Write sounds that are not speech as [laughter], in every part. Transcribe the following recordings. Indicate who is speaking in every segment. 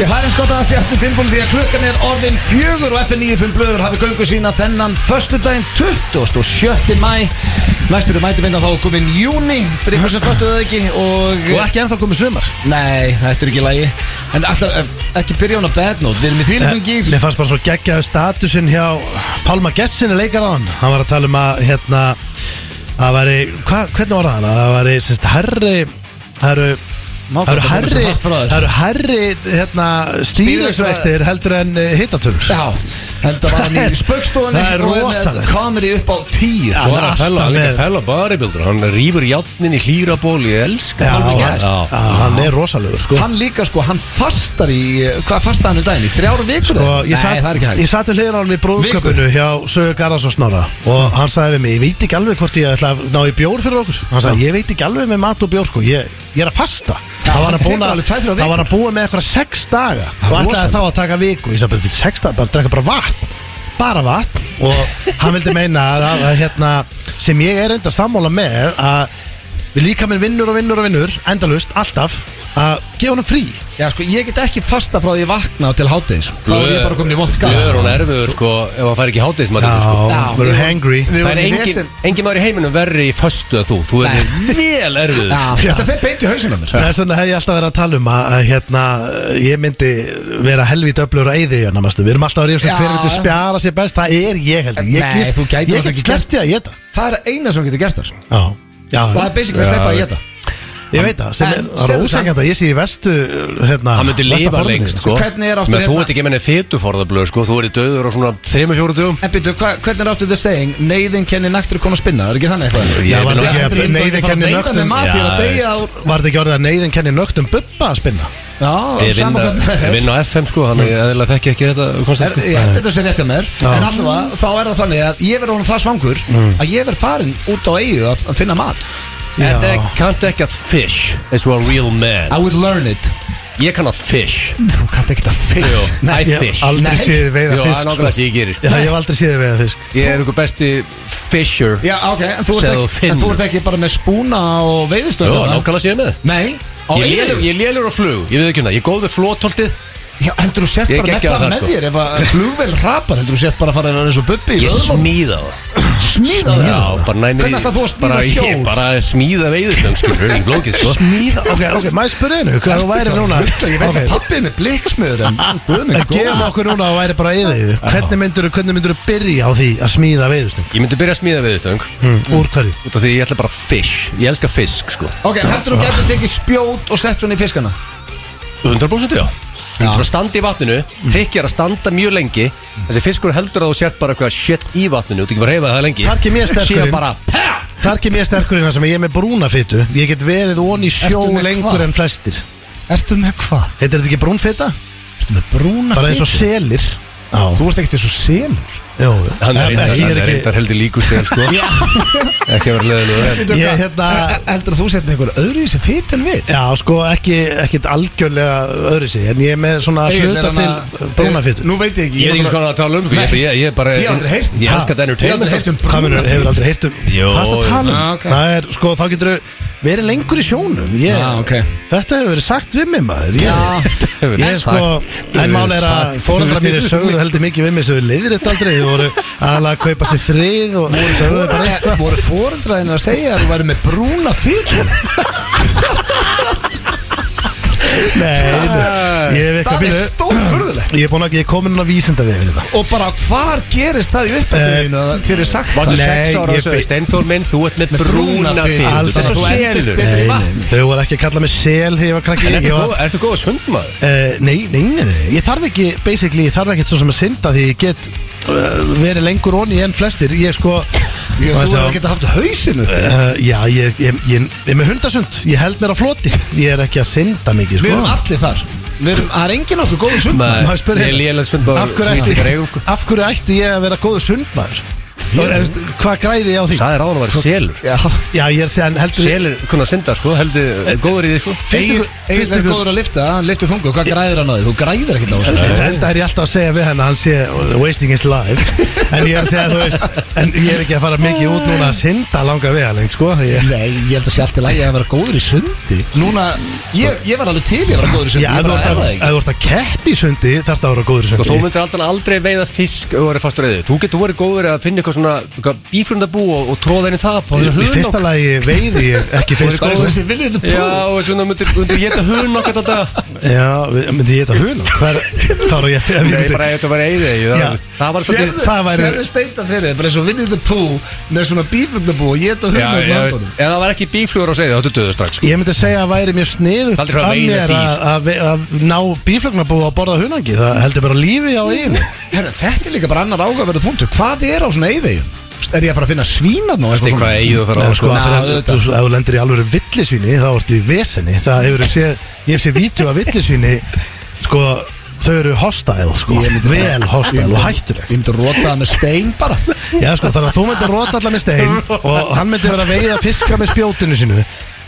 Speaker 1: Ég það er eins gott að það sé aftur tilbúin því að klukkan er orðin fjögur og FN95 blöður hafi göngu sína þennan föstudaginn 27. mæ Næstur er mætuminn að þá komin júni Drifur sem föttu það ekki og
Speaker 2: Og ekki ennþá komið sumar
Speaker 1: Nei, þetta er ekki lægi En alltaf ekki byrja hún á bad note Við erum í þvílum gýr
Speaker 2: Mér fannst bara svo geggjaðu statusinn hjá Pálma Gessin er leikar á hann Hann var að tala um að hérna að veri, hva, hvernig var það hann? Að það veri, semst, herri það eru
Speaker 1: Má
Speaker 2: það eru
Speaker 1: koma svo
Speaker 2: herri,
Speaker 1: hart frá þér.
Speaker 2: það eru herri hérna, stýriksvextir heldur en eh, hitatölur
Speaker 1: Já, þetta var hann
Speaker 2: [laughs]
Speaker 1: í spöggstofunni
Speaker 2: Það er rosalegt.
Speaker 1: Komir upp á tíu
Speaker 2: Já,
Speaker 3: Svo
Speaker 1: sko.
Speaker 3: er hann
Speaker 2: alltaf
Speaker 3: fell á, hann er
Speaker 2: með-
Speaker 3: líka fell á bodybuildur Hann rýfur játnin í hlýra ból Ég elska
Speaker 2: Já,
Speaker 3: hann
Speaker 2: hann,
Speaker 3: Já.
Speaker 2: já, hann er rosalögur sko.
Speaker 1: Hann líka sko, hann fastar í Hvað fastar hann um daginn? Í þrjára vikur?
Speaker 2: sko, ég
Speaker 1: Nei, það er
Speaker 2: sat,
Speaker 1: ekki hægt
Speaker 2: ég sat við hliðin á hann í brúðköpunu hjá Sögur Garðarsson Snorra og hann sagði við mig, ég veit ekki alveg hvort ég ætla að ná í bjór fyrir okkur hann sagði, ég veit ekki alveg með mat og bjór sko, ég, ég er að fasta það var hann
Speaker 1: það
Speaker 2: búin
Speaker 1: tekur
Speaker 2: að,
Speaker 1: alveg tvær, þrjár
Speaker 2: það var hann búin með eitthvað sex daga og ætlaði þá að taka viku ég sagði, "Bíddu, sex daga, bara drekka bara vatn bara vatn og hann vildi meina að, að, að hérna, sem ég er enda sammála með að við líka minn vinnur og vinnur og vinnur endalust, alltaf, að gefa honum frí
Speaker 1: Já sko, ég get ekki fasta frá því ég vakna til hátegis Þá er ég bara komin í vond skala
Speaker 3: Ég er hún erfiður sko Ef hann fær ekki hátíðismat sko.
Speaker 2: já, verður
Speaker 1: við-
Speaker 2: hangry
Speaker 1: við
Speaker 3: Það er
Speaker 1: vorum í
Speaker 3: engin,
Speaker 1: vesen-
Speaker 3: engin maður í heiminum verri í föstu að þú Þú
Speaker 1: Nei.
Speaker 3: er vel erfiður
Speaker 1: Já,
Speaker 2: Já.
Speaker 1: Þetta fer beint í hausinu mér
Speaker 2: Þess vegna hef ég alltaf verið að tala um að, að hérna, ég myndi vera helvít öflur á eyði hérna, manstu. við erum alltaf að ríða
Speaker 1: Já.
Speaker 2: hver myndi spjara sér best, það er ég held ég, ég,
Speaker 1: Nei, þú
Speaker 2: ég,
Speaker 1: gætir náttúrulega
Speaker 2: ég get
Speaker 1: ekki
Speaker 2: sleppt ég að geta
Speaker 1: Það er eina sem þú getur gert þar Og
Speaker 2: Já, já,
Speaker 1: það er basically að sleppa að geta
Speaker 2: ég veit það, sem
Speaker 1: En
Speaker 2: er- það
Speaker 1: sérðu
Speaker 2: er ósengjand að ég sé í vestu hérna,
Speaker 3: Hann myndi
Speaker 2: versta
Speaker 3: lifa
Speaker 2: forminu.
Speaker 3: lengst sko
Speaker 1: Hvernig er aftur
Speaker 3: Men þú
Speaker 1: hérna-
Speaker 3: ert ekki með fétuforðablöð sko Þú ert döður á svona 3-4 dugum
Speaker 1: En byrju, hva, hvernig er aftur þið saying Neiðin kenni naktur konu að spinna, það er ekki þannig eitthvað
Speaker 2: Já, var það
Speaker 3: vil nú-
Speaker 2: ekki að neyðin kenni
Speaker 1: Neiðin
Speaker 2: nögtum
Speaker 1: mat, ég er að
Speaker 3: Já,
Speaker 1: deyja á
Speaker 2: Var þetta ekki orðið að neyðin kenni nögtum bubba að spinna?
Speaker 1: Já,
Speaker 3: Ég vinn
Speaker 1: saman
Speaker 3: að- ég
Speaker 1: hvernig
Speaker 3: vinn á FM sko Þannig ég eðlilega þekki ekki þetta
Speaker 1: Er,
Speaker 3: koncept, sko.
Speaker 1: ég, þetta er sér rétt hjá mér
Speaker 2: Já. Mm.
Speaker 1: En allavega, þá er það þannig að ég verður honum það svangur Að ég verð farin út á eigu að, að finna mat
Speaker 3: Þetta
Speaker 2: Já.
Speaker 3: er kannt ekki að fish As a real man
Speaker 1: I would learn it
Speaker 3: Ég kann að fish
Speaker 1: Þú kannt ekki að
Speaker 3: Jú,
Speaker 1: fyrir
Speaker 3: I
Speaker 2: Ég hef
Speaker 3: fish
Speaker 2: aldrei
Speaker 1: Nei.
Speaker 2: séð þið veiða
Speaker 3: Jú, það er
Speaker 2: fisk
Speaker 3: nákvæmlega
Speaker 2: sko.
Speaker 3: sem ég gerir
Speaker 2: Já, ég hef aldrei séð þið veiða fisk sko.
Speaker 3: Ég er einhver besti fisher
Speaker 1: Já, ok, en þú, ert ekki,
Speaker 3: Sem þú
Speaker 1: en þú ert
Speaker 3: finnur.
Speaker 1: ekki bara með spúna og
Speaker 3: Jú,
Speaker 1: veiðistöðu
Speaker 3: nákvæmlega sem ég er með
Speaker 1: Nei, á
Speaker 3: Ég er lélur-
Speaker 1: einu
Speaker 3: Ég er lélur á flug, ég veit ekki um það Ég er góð með flótoltið
Speaker 1: Já, heldur þú sett
Speaker 3: Ég
Speaker 1: bara með
Speaker 3: geggjaður
Speaker 1: það
Speaker 3: þar,
Speaker 1: með
Speaker 3: sko.
Speaker 1: þér Ef að flugvel rapar, heldur þú sett bara að fara að vera eins og bubbi í
Speaker 3: Ég
Speaker 1: löðrum?
Speaker 3: smíða það
Speaker 1: Smíða það?
Speaker 3: Já, bara næni
Speaker 1: Hvernig ætlar þú að smíða
Speaker 3: bara,
Speaker 1: hjól?
Speaker 3: Ég bara smíða veiðistöng, skilur, í flókið, sko
Speaker 2: Smíða, ok, ok, maður spyrir einu Hvað þú væri núna
Speaker 1: Ég veit
Speaker 2: Ok.
Speaker 1: að pappin er blikksmiður En guð minn
Speaker 2: að gefa
Speaker 1: góður.
Speaker 2: okkur núna að væri bara yðið hvernig myndur hvernig myndur byrja á því að smíða veiðustöng
Speaker 3: Ég myndi byrja að smíða veiðistöng
Speaker 1: Hmm,
Speaker 2: mm. úr hverju
Speaker 3: Út af því ég ætla bara fish Ég elska fisk, sko
Speaker 1: Ok, heldur þú getur tekið spjót og sett svona í fiskana
Speaker 3: 100% já Þú ert bara að standa í vatninu Þykir að standa mjög lengi Þessi fiskur heldur að þú sért bara eitthvað shit í vatninu Þú ert ekki bara að reyfa það lengi
Speaker 2: Þar kem ég sterkur
Speaker 3: Síðan
Speaker 2: inn.
Speaker 3: bara, pæ!
Speaker 2: þar kem ég sterkur inn að sem ég er með brúnafitu ég get verið ón í sjó
Speaker 1: Ertu með
Speaker 2: lengur
Speaker 1: hvað?
Speaker 2: en flestir
Speaker 1: Ertu með hvað?
Speaker 2: heitir þetta ekki brúnfita?
Speaker 1: Ertu með brúna
Speaker 2: bara eins og selir á
Speaker 1: Þú ert ekkert eins og selur
Speaker 2: Jó,
Speaker 3: Hann er
Speaker 2: Nei, ég
Speaker 3: reyndar- hann er
Speaker 2: ekki
Speaker 3: reyndar heldur líku sér sko Ekki að vera leðinu
Speaker 2: ég er hérna
Speaker 1: Heldur þú sett með einhver öðru í þessi fit en við?
Speaker 2: já sko ekki ekkit algjörlega öðru sig en ég er með svona
Speaker 1: Egill,
Speaker 2: hluta
Speaker 1: er hann að-
Speaker 2: til brúnafitu
Speaker 1: Nú veit ég ekki
Speaker 3: Ég veit ekki hvað hann er að tala um sko, ég-
Speaker 1: Nei.
Speaker 3: Ég ég er bara
Speaker 1: Ég hef aldrei heyrt.
Speaker 3: Ég
Speaker 1: Ha?
Speaker 3: elska
Speaker 1: Ég hef aldrei
Speaker 3: þetta entertainment sko.
Speaker 1: heyrt um
Speaker 2: Hvað munur, hefur aldrei heyrt um
Speaker 3: Jó,
Speaker 2: Hvað er það að tala
Speaker 1: já,
Speaker 2: um?
Speaker 1: Ah, ok.
Speaker 2: Það er, sko, þá getur verið lengur í sjónum ég,
Speaker 1: Já, Ah, ok.
Speaker 2: Þetta hefur verið sagt við mig maður Ég,
Speaker 3: [laughs]
Speaker 1: Já.
Speaker 3: hefur verið
Speaker 2: ég er sko,
Speaker 3: sagt.
Speaker 2: en mál er að
Speaker 3: Sagt
Speaker 2: Fóreldra mér er sögðu heldur mikið við mig sem við leiðir þetta aldrei Þú voru aðalega að kaupa sér frið og sögðu bara
Speaker 1: Voru- Voru fóreldraðin að segja að þú væri með brúna fytu?
Speaker 2: Nei, nei, ég hef eitthvað
Speaker 1: Það er
Speaker 2: býðu-
Speaker 1: stórfurðulegt.
Speaker 2: Ég er búin að, ég er komin að vísinda við þetta
Speaker 1: Og bara hvar gerist það í uppbyrðinu Þegar ég sagt
Speaker 3: Vartu
Speaker 1: það
Speaker 2: Nei,
Speaker 3: sex ára
Speaker 2: ég
Speaker 3: og sögðu
Speaker 2: be-
Speaker 3: Steinþór minn, þú ert með
Speaker 1: brúna
Speaker 3: brúna
Speaker 1: fitu.
Speaker 3: fyrir
Speaker 2: Alls
Speaker 3: Þess að
Speaker 2: ekki.
Speaker 3: þú
Speaker 1: Þú endist
Speaker 3: endist
Speaker 1: betur.
Speaker 2: Nei,
Speaker 1: í vatn.
Speaker 2: nei, þau voru ekki að kalla mig sel þegar ég var krakki
Speaker 3: En
Speaker 2: Ég
Speaker 3: ertu
Speaker 2: var-
Speaker 3: góð- ertu góð sundmaður?
Speaker 2: Eh, Nei, nei, nei, nei, ég þarf ekki basically, ég þarf ekkert svo sem að synda því ég get uh, verið lengur onni en flestir ég sko
Speaker 1: Ég,
Speaker 2: Hvað
Speaker 1: þú
Speaker 2: sagði
Speaker 1: verður
Speaker 2: hann?
Speaker 1: ekki að haft hausinu
Speaker 2: Uh, já, ég, ég, ég, ég er með hundasund Ég held mér á floti Ég er ekki að synda mikið
Speaker 1: Við
Speaker 2: sko.
Speaker 1: erum allir þar Við erum, það er enginn okkur góður sund
Speaker 3: Nei.
Speaker 2: Maður spyr
Speaker 3: Nei,
Speaker 2: hérna,
Speaker 3: lélegt sundmaður
Speaker 2: af, hverju
Speaker 3: sem
Speaker 2: ætti,
Speaker 3: Íslendingar eiga, sko.
Speaker 2: af hverju ætti ég að vera góður sundmaður? Og, þú veist, Hvað græði ég á því?
Speaker 3: Sæði ráðan að vera selur
Speaker 1: Já
Speaker 2: Já, ég er segjan heldur
Speaker 3: Selur, kunna synda sko, heldur góður í því sko
Speaker 1: Egil Egil er góður að lifta, hann liftir þungu Hvað græðir hann á því? Þú græðir ekkert á þessu
Speaker 2: Þetta er ég alltaf að segja við henn að hann sé oh, wasting his life En ég er að segja, þú veist En ég er ekki að fara mikið út núna að synda langa við hann, sko ég,
Speaker 1: Nei, ég held að sé allt í lagi að vera góður í sundi Núna, ég, ég var alveg til í að vera góður í sundi
Speaker 2: Já, ef
Speaker 1: Ég
Speaker 2: þú
Speaker 1: bara
Speaker 2: ert
Speaker 1: er það
Speaker 2: að, ef
Speaker 1: ekki
Speaker 2: þú ert að keppi í sundi þarf það að vera góður í
Speaker 3: Og Sko, þú
Speaker 2: sundi
Speaker 3: myndir aldrei, aldrei veiða fisk og verið fastur eðið Þú getur verið góður að finna eitthvað svona bífrundabú og, og tróða henni það
Speaker 2: Í, í fyrsta lagi veiði ég ekki fisk
Speaker 1: Bara
Speaker 2: sko.
Speaker 1: eins og þessi viljum þú
Speaker 3: Já, og svona myndir, myndir geta hún okkur þetta
Speaker 2: Já, við- myndi ég þetta huna? Hvað er hvað er ég að
Speaker 3: Nei,
Speaker 2: myndi
Speaker 3: bara þetta var eðið
Speaker 2: Já.
Speaker 3: Það var svolítið
Speaker 2: það væri-
Speaker 1: Sérðu steinda fyrir þér, bara eins og vinnið the poo Með svona bífundabú og geta
Speaker 3: Já,
Speaker 1: hundar
Speaker 3: já, veist, ef það var ekki bíflugur á segið, þá döðu strax sko.
Speaker 2: Ég myndi segja að væri mjög sniðugt
Speaker 3: Það er aldrei að
Speaker 2: af mér að-
Speaker 3: veiða
Speaker 2: að ve- að ná bíflögnabú að borða hunangi Það heldur bara lífi á einu
Speaker 1: Herra, þetta er líka bara annar ágaverðu punktu Hvað er á svona eyðegjum? Er ég að fara að finna svínað nú?
Speaker 3: Veist þið hvað eigið þú þarf
Speaker 2: Nei,
Speaker 3: á
Speaker 2: sko,
Speaker 3: sko
Speaker 1: Ná,
Speaker 2: fyrir,
Speaker 1: auðvitað.
Speaker 2: þú, ef þú lendir í alveg villisvíni þá ertu í vesenni það hefur sé, ég hef sé vídeo af villisvíni sko, þau eru hostile sko, vel hostile og hættuleg
Speaker 1: Ég myndi að rota það með stein bara
Speaker 2: já sko, þannig að þú myndir rota allar með
Speaker 1: [laughs]
Speaker 2: stein og hann myndi vera að veiða fiska með spjótinu sínu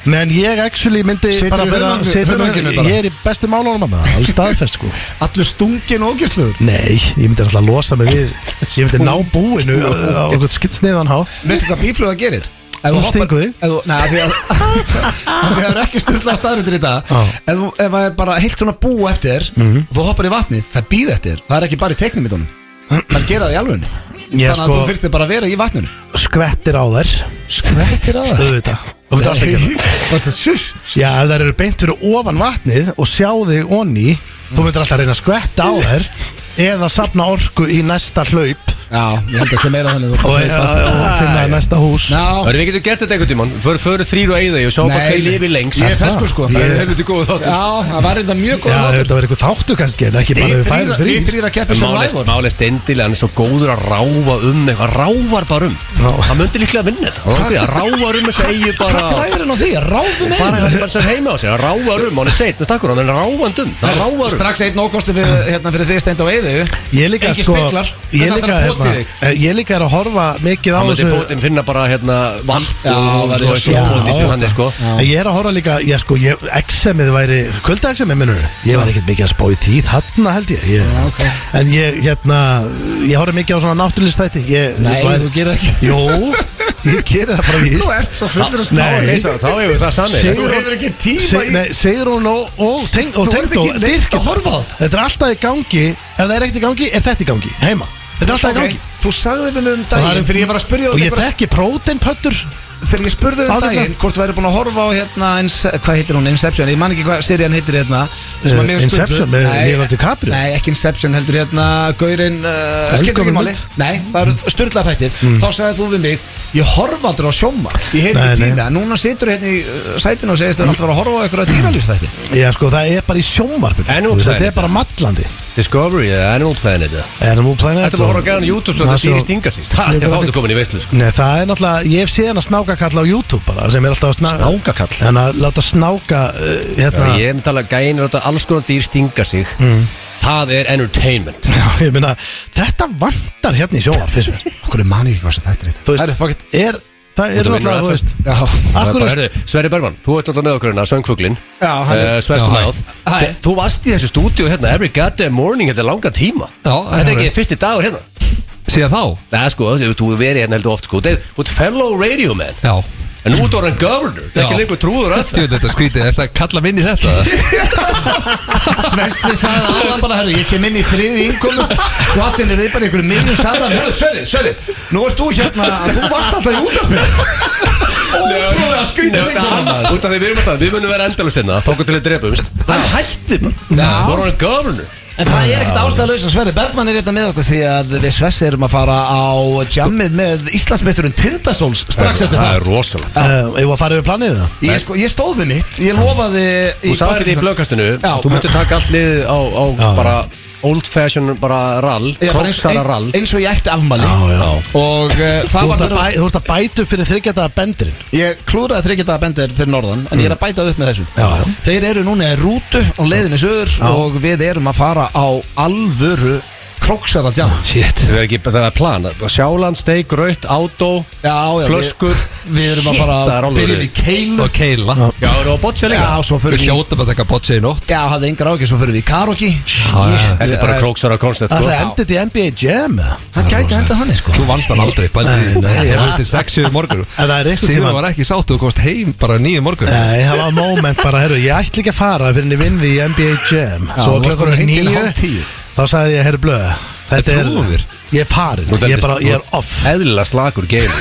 Speaker 2: menn ég actually myndi
Speaker 1: Situr
Speaker 2: bara
Speaker 1: í
Speaker 2: vera
Speaker 1: hunangi-
Speaker 2: situr í-
Speaker 1: hunanginu bara.
Speaker 2: ég er í bestu málunum að
Speaker 1: [laughs]
Speaker 2: maður, alls staðfest sko
Speaker 1: Allur stungin og ógjörsluður
Speaker 2: nei, ég myndi alltaf að losa mig
Speaker 1: [laughs]
Speaker 2: við ég
Speaker 1: Sko.
Speaker 2: myndi ná búinu á okkur skitsniðan hátt
Speaker 1: Veistu hvað bífluga gerir? Ef
Speaker 2: Hún stingur þig.
Speaker 1: ef þú- Nei, af því að [laughs] af því að það er ekki stundla staðrindir í dag
Speaker 2: Já. Mhm.
Speaker 1: Ef þú- ef það er bara heilt svona bú eftir þér Þú hoppar í vatnið, það býð eftir þér. Það er ekki bara í teiknum í tónum Það er gerað í alvegni Þannig
Speaker 2: Ég
Speaker 1: að
Speaker 2: sko-
Speaker 1: þú þurftir bara að vera í vatninu
Speaker 2: skvettir á þær
Speaker 1: Skvettir að það
Speaker 2: auðvitað þú myndi alltaf að gera það
Speaker 1: Sjöss
Speaker 2: Já, ef þær eru beint fyrir ofan vatnið og sjá þig onni þú myndir alltaf að reyna að skvetta á þær eða safna orku í næsta hlaup
Speaker 1: Já, ég held að sé meira þannig að þú
Speaker 2: og, og, og finna næsta hús
Speaker 1: Já,
Speaker 3: Það er við getum gert þetta einhvern tímann Föru, föru þrýr og eigið og sjá bara
Speaker 1: Nei,
Speaker 3: hvað lifi lengst
Speaker 1: Ég er feskur sko
Speaker 3: Það
Speaker 1: Ég-
Speaker 3: er helviti góð þáttur
Speaker 1: Já, það var reynda mjög góð
Speaker 2: Já,
Speaker 1: þáttur.
Speaker 2: þetta verður eitthvað þáttu kannski en ekki bara við færum
Speaker 1: Í
Speaker 2: þrýr
Speaker 1: þrýra keppi sem
Speaker 3: Málist,
Speaker 1: ræður
Speaker 3: málist endilega, hann er svo góður að ráfa um eitthvað, ráfar bara um
Speaker 2: Já.
Speaker 3: hann myndi líklega að vinna þetta Hann myndi að ráfar um þessu eigi bara
Speaker 1: Hvað græður hann á því? Ráðum einn
Speaker 3: bara það sem hann sem heima á sig, hann ráfar um hann er seitt með stakkur, hann er ráfandum hann ráfar um
Speaker 1: Strax einn ókosti fyrir, hérna, fyrir þig steind á eyðu
Speaker 2: Ég líka
Speaker 1: Engir
Speaker 2: sko
Speaker 1: speglar,
Speaker 2: ég
Speaker 1: en það þarf
Speaker 2: líka,
Speaker 1: að pota í
Speaker 2: hérna,
Speaker 1: þig.
Speaker 2: eh, ég líka er að horfa mikið á
Speaker 3: hann myndi
Speaker 2: þessu
Speaker 3: bótinn finna bara hérna vatn
Speaker 1: Já,
Speaker 3: og
Speaker 1: verður
Speaker 3: og
Speaker 1: svo-
Speaker 3: svo hóðni
Speaker 2: Já,
Speaker 3: sem hann er sko
Speaker 2: En Ég er að horfa líka, já sko, ég, exemið væri, kvöldaexemið minnur Ég var ekkert mikið að spá í því þarna held ég, ég
Speaker 1: Já, ok.
Speaker 2: En ég, hérna, ég horfa mikið á svona náttúrlistætti
Speaker 1: Nei, þú gerir það ekki.
Speaker 2: Jó, ég gerir það bara víst Ah,
Speaker 1: ert svo fullur að
Speaker 2: Nei.
Speaker 3: Þá- þá hefur það sannir
Speaker 2: Sigur-
Speaker 1: ekki
Speaker 2: Se, nei, Sigrún og, og, teng, og
Speaker 1: Þú ert
Speaker 2: Tengdó
Speaker 1: ekki neitt
Speaker 2: dyrka
Speaker 1: að horfa á
Speaker 2: það. Þetta er alltaf í gangi, ef það er ekkert í gangi, er þetta í gangi, heima Þetta er alltaf í gangi
Speaker 1: Þú sagði við um
Speaker 2: Og það er-
Speaker 1: daginn Þegar ég var að spyrja
Speaker 2: Og
Speaker 1: þig
Speaker 2: ég
Speaker 1: bara-
Speaker 2: þekki próteinpöttur
Speaker 1: Þegar ég spurði um
Speaker 2: Ágætlega.
Speaker 1: daginn Hvort þú væri búin að horfa á hérna Ince- Hvað heitir hún? Inception Ég man ekki hvað serían heitir hérna sem að
Speaker 2: Eh,
Speaker 1: mér spurðu.
Speaker 2: Inception með
Speaker 1: Nei,
Speaker 2: Leonardo DiCaprio?
Speaker 1: Nei, ekki Inception heldur hérna Gaurin uh,
Speaker 2: Helga
Speaker 1: Skilur ekki máli
Speaker 2: Vilmund.
Speaker 1: Nei, það eru styrlað þættir
Speaker 2: Mm.
Speaker 1: Þá sagði þú við mig Ég horfa aldrei á sjóma Ég hef
Speaker 2: Nei,
Speaker 1: ekki
Speaker 2: nei.
Speaker 1: tíma Núna situr hérna í uh, sætinu og segist Það er alltaf að horfa á einhverja dýralýfstætti
Speaker 2: Já sko það er bara í sjónvarpinu
Speaker 3: En nú
Speaker 2: Þú veist,
Speaker 3: planet.
Speaker 2: Þetta er bara mallandi
Speaker 3: Discovery eða Animal Planet eða
Speaker 2: Animal Planet
Speaker 3: Þetta var að horfa gæðan á YouTube svo þetta dýri stinga sig
Speaker 2: Það
Speaker 3: Þá
Speaker 2: er bara
Speaker 3: ertu komin í veistlu sko
Speaker 2: Nei það er náttúrulega Ég hef séð hann að snáka kalla á YouTube bara sem er alltaf að snáka
Speaker 3: Snákakall?
Speaker 2: Þannig að láta snáka uh, hérna
Speaker 3: Ég er að tala gæðin er að alls konar dýr stinga sig Það er entertainment
Speaker 2: [laughs] Já, ég meina Þetta vantar hérna í sjónvarp finnst mér
Speaker 1: Okkur er manið ekki hvað sem þættir
Speaker 2: Þú
Speaker 1: þetta Það er fokkitt
Speaker 2: er Það er
Speaker 3: Þetta
Speaker 2: náttúrulega
Speaker 3: vinnur
Speaker 2: þú veist
Speaker 1: Já
Speaker 3: Það er
Speaker 2: Akkur
Speaker 3: bara, heyrðu, Sverri Bergman, þú ert alltaf með okkur hérna, söngfuglin
Speaker 1: Já, Ah, hann er-
Speaker 3: Sverstu
Speaker 1: Já,
Speaker 3: náð
Speaker 1: hæ. Hæ.
Speaker 3: Þú varst í þessu stúdíu hérna, every goddamn morning Þetta er langa tíma
Speaker 4: Já,
Speaker 3: Þetta er
Speaker 4: það er-
Speaker 3: ekki fyrsti dagur hérna
Speaker 4: Síðan þá?
Speaker 3: Nei, sko, þú þú hefur verið hérna heldur oft sko Þú þú ert fellow radio man
Speaker 4: Já
Speaker 3: En nú ert orðan governor, það er ekki
Speaker 4: Já.
Speaker 3: lengur trúður
Speaker 1: [laughs]
Speaker 3: að
Speaker 4: Ég veit þetta skrítið, er þetta að kalla minni þetta?
Speaker 1: Svessi sagði áðan bara, herru, ég kem inn í þriði innkomu Svo allt inn er við bara í einhverju minnum saman Hörru, Sverri, Sverri, nú ert þú hérna Þú varst alltaf í útarpið Ótrúlega skrítið
Speaker 3: Nei,
Speaker 1: þingum
Speaker 3: hann- Út af því við erum alltaf, við munum vera endalust hérna Tókum til að drepa um Hann hætti bara, þú er orðan governor
Speaker 1: En það er ekkert ástæðalaus að Sverri Bergmann er hérna með okkur Því að við Svessi erum að fara á jammið með Íslandsmeisturinn Tindasóls strax eftir
Speaker 3: Það
Speaker 1: það
Speaker 3: er rosalegt
Speaker 2: Ég var Eh, að fara yfir planið það
Speaker 1: Ég, sko, ég stóð við mitt, ég lofaði
Speaker 3: Þú sagði þetta í blöggastinu
Speaker 1: Já.
Speaker 3: Þú myndir taka allt liðið á, á
Speaker 2: Já.
Speaker 3: bara old fashion bara rall
Speaker 1: Ég bara eins, ein,
Speaker 3: Kóksara rall
Speaker 1: eins og ég ætti afmæli
Speaker 2: Já, já.
Speaker 1: og uh, það var
Speaker 2: Þú ert að
Speaker 1: þegar-
Speaker 2: bæ- þú ert að bætu fyrir þryggjata bendurinn
Speaker 1: Ég klúraði þryggja daga bendir fyrir norðan En ég er að bæta upp með þessu
Speaker 2: Já, já.
Speaker 1: Þeir eru núna í rútu á leiðinni sögur Og við erum að fara á alvöru króksar að djama
Speaker 4: Shit
Speaker 3: Það er ekki, það er plan Sjáland, steik, raut, átó
Speaker 1: Já, já, við-
Speaker 3: Flöskur
Speaker 1: Við erum að
Speaker 3: Shit, það
Speaker 1: bara
Speaker 3: er
Speaker 1: að
Speaker 3: alveg
Speaker 1: byrja í keilu
Speaker 4: Og keila
Speaker 3: Já, eru á boccia líka
Speaker 1: Já, svo
Speaker 4: Við
Speaker 1: fyrir við
Speaker 4: hljóta bara að taka potsi í nótt
Speaker 1: Já, hafði engar ágjur, svo fyrir við í karaoke
Speaker 3: Þetta er bara króksar á koncept
Speaker 2: Ah, Að
Speaker 3: sko.
Speaker 2: það endið í NBA Jam eða?
Speaker 1: Það gæti enda þannig sko
Speaker 4: Þú vannst hann aldrei Bældi Það fyrst til 6 morgun
Speaker 2: En það er einhvern
Speaker 4: Sigur
Speaker 2: tímann-
Speaker 4: var ekki sátt Þú komst heim bara 9 morgun
Speaker 2: Nei, það var moment bara, herru, ég ætli ekki að fara fyrir en ég vinði í NBA Jam Svo
Speaker 1: þú varst
Speaker 2: klokkur
Speaker 1: komin heim til
Speaker 2: nýju,
Speaker 1: hálf tíu.
Speaker 2: þá sagði ég, herru, blöð Þetta
Speaker 4: En
Speaker 2: er,
Speaker 4: trúum þér?
Speaker 2: ég er farin,
Speaker 3: Nú
Speaker 2: ég er
Speaker 3: dæmist-
Speaker 2: bara, ég er off
Speaker 3: Eðlilega slakur game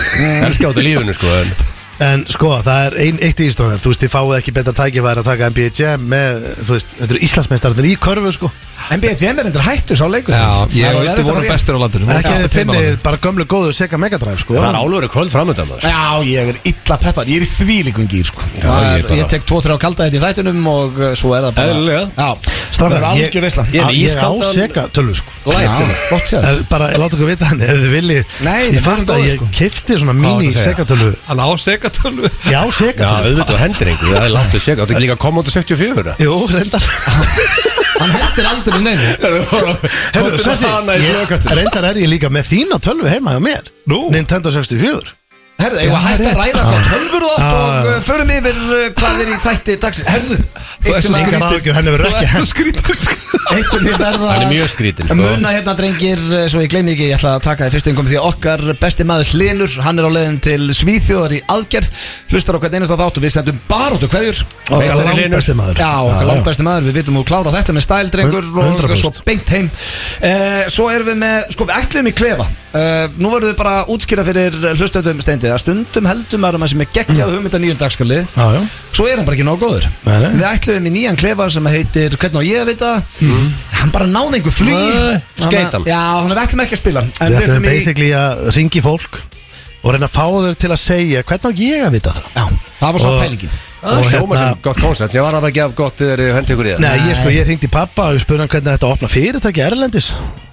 Speaker 3: Elskar út í lífinu sko en
Speaker 2: En sko, það er ein, eitt í Íslandar, þú veist, ég fáið ekki betra tækifæri að taka NBA Jam með, þú veist, þetta eru Íslandsmeistarnir í körfu, sko
Speaker 1: NBA Jam er endur hættu sá leikur
Speaker 4: Já
Speaker 1: Það
Speaker 4: Ég
Speaker 1: var
Speaker 4: veit Við
Speaker 1: erfitt að
Speaker 4: vorum
Speaker 1: fara í-
Speaker 4: bestir á landinu
Speaker 2: Ekki að þið finnið
Speaker 4: Finnið
Speaker 2: bara gömlu góðu Sega Megadrive, sko
Speaker 3: Það er álöfri kvöld framöndan maður
Speaker 1: Já, ég er illa peppar, ég er í þvílíkum gýr sko.
Speaker 3: Já,
Speaker 1: Það
Speaker 3: ég
Speaker 1: er,
Speaker 3: bara-
Speaker 1: ég tek 2-3 kalda þetta í þættunum og uh, svo er það bara
Speaker 3: Eðlilega.
Speaker 1: Já, það
Speaker 2: Strákar,
Speaker 1: er
Speaker 2: ég-
Speaker 1: algjör veisla
Speaker 3: Ég er
Speaker 2: Á-
Speaker 3: með
Speaker 2: Ég á
Speaker 3: ískaldan-
Speaker 2: Sega tölvu, sko
Speaker 1: Já,
Speaker 3: Live
Speaker 1: flott séð
Speaker 2: Ef- Bara, ég láta okkur vita hann, ef þið viljið
Speaker 1: Nei,
Speaker 2: Ég
Speaker 1: við erum
Speaker 2: fatt að
Speaker 1: góðir,
Speaker 2: ég
Speaker 1: sko.
Speaker 2: kifti svona
Speaker 3: varstu
Speaker 2: mini
Speaker 3: að segja?
Speaker 2: Sega tölvu
Speaker 4: Hann á segatölu
Speaker 2: Já, Sega
Speaker 3: Já,
Speaker 2: tölvu
Speaker 3: auðvitað hendir einhver Það er langt að segja Þetta er ekki líka Commodore 64
Speaker 2: Jú, reyndar
Speaker 1: Hann hendir aldrei um neinu
Speaker 2: Heyrðu,
Speaker 3: [laughs] Komdu með
Speaker 2: Sessi,
Speaker 3: hana í
Speaker 2: ég-
Speaker 3: flugkastið.
Speaker 2: Reyndar er ég líka með þína tölvu heima hjá mér
Speaker 4: Nú?
Speaker 2: Nintendo 64
Speaker 1: Herðu, ég var hægt að ræða hvað tölfur og allt og uh, förum yfir uh, hvað er í þætti dagsins Herðu, eitt sem
Speaker 2: Engar
Speaker 1: að-
Speaker 2: áhyggjur, henni verður ekki hent
Speaker 1: eitt sem ég verða
Speaker 3: Hann er mjög skrítinn, sko.
Speaker 1: Muna hérna drengir, eh, svo ég gleymi ekki, ég ætla að taka það í fyrst engum Því að okkar besti maður Hlinur, hann er á leiðin til Svíþjóðar í aðgerð Hlustar okkar einasta þátt og við sendum baróttu hverjur
Speaker 2: Okkar
Speaker 3: Meistari
Speaker 2: langbæsti maður
Speaker 1: Já, okkar langbæsti maður, við vitum að klára þetta með stæl drengur og
Speaker 2: 100%.
Speaker 1: svo beint heim eh, Svo erum við með, sko við ætlum í klefa eh, Nú verðum við bara að útskýra fyrir hlustöndum steindið að stundum heldum maður maður sem er geggjað hugmynda nýjum dagskalið
Speaker 2: Já, já
Speaker 1: Svo er hann bara ekki nóg góður
Speaker 2: Mm. Nei, nei.
Speaker 1: Við ætluðum í nýjan klefa sem heitir Hvernig á ég að vita
Speaker 2: Mm.
Speaker 1: Hann bara náði einhver flugi
Speaker 3: Nei, skeit hann.
Speaker 1: Já, hann er ætlum ekki að spila hann. En
Speaker 2: Við ætlum
Speaker 1: ætlum í-
Speaker 2: basically að ringi fólk Og reyna að fá þau til að segja Hvernig á ég að vita það?
Speaker 1: Já, það var svo
Speaker 2: Og-
Speaker 1: pælingin
Speaker 3: Það
Speaker 2: Og
Speaker 3: er hljóma
Speaker 2: hérna-
Speaker 3: sem gott koncept Ég var að vera að gefa gott þegar þið hendur ykkur í það
Speaker 2: Nei, ég sko, ég ringdi pappa og spurði hann hvernig þetta opna fyrirtæki Erlendis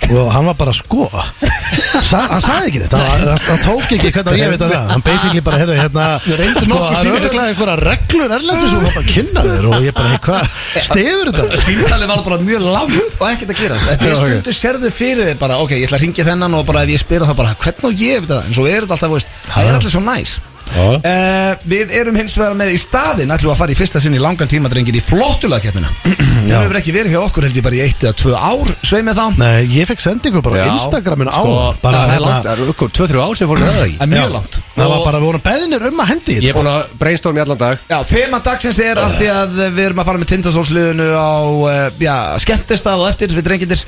Speaker 2: og hann var bara sko Sa, hann sagði ekki þetta, hann, hann- hann tók ekki hvernig á ég veit að það, hann basically bara herri, hérna, sko,
Speaker 1: nokkuð
Speaker 2: hann
Speaker 1: stífur.
Speaker 2: örglaði einhverja reglur Erlendis og hann bara kynna þér og ég bara, hey, hvað, stegur þetta?
Speaker 1: Svíntali var bara mjög langt og ekkert að gera Þetta er stundu sérðu fyrir þig bara Ok, ég ætla að ringja þennan og bara ef ég spyrir það bara Hvernig á ég að vita það En svo er þetta alltaf, veist, það er alltaf svo næs
Speaker 3: Já.
Speaker 1: Uh, við erum hins vegar með í staðin ætlum við að fara í fyrsta sinn í langan tíma drengir í flottulagkeppnina hún hefur ekki verið hjá okkur held ég bara í eitt eða tvö ár sveið með þá
Speaker 2: Nei, ég fekk sendingu bara á
Speaker 3: Já,
Speaker 2: Instagraminu á
Speaker 3: sko,
Speaker 2: bara
Speaker 3: Það er
Speaker 2: hérna,
Speaker 3: langt, það eru ykkur 2-3 ár sem fórum að það ekki
Speaker 1: Það er
Speaker 2: Já.
Speaker 1: mjög langt
Speaker 2: það var
Speaker 1: Og-
Speaker 2: bara, við vorum beðinir um að hendi
Speaker 3: Ég
Speaker 2: þetta.
Speaker 3: er búin að brainstorm í allan dag
Speaker 1: Já, þema dagsins er að því að við erum að fara með tindastólsliðinu á eh, já, skemmtistað og eftir við drengindir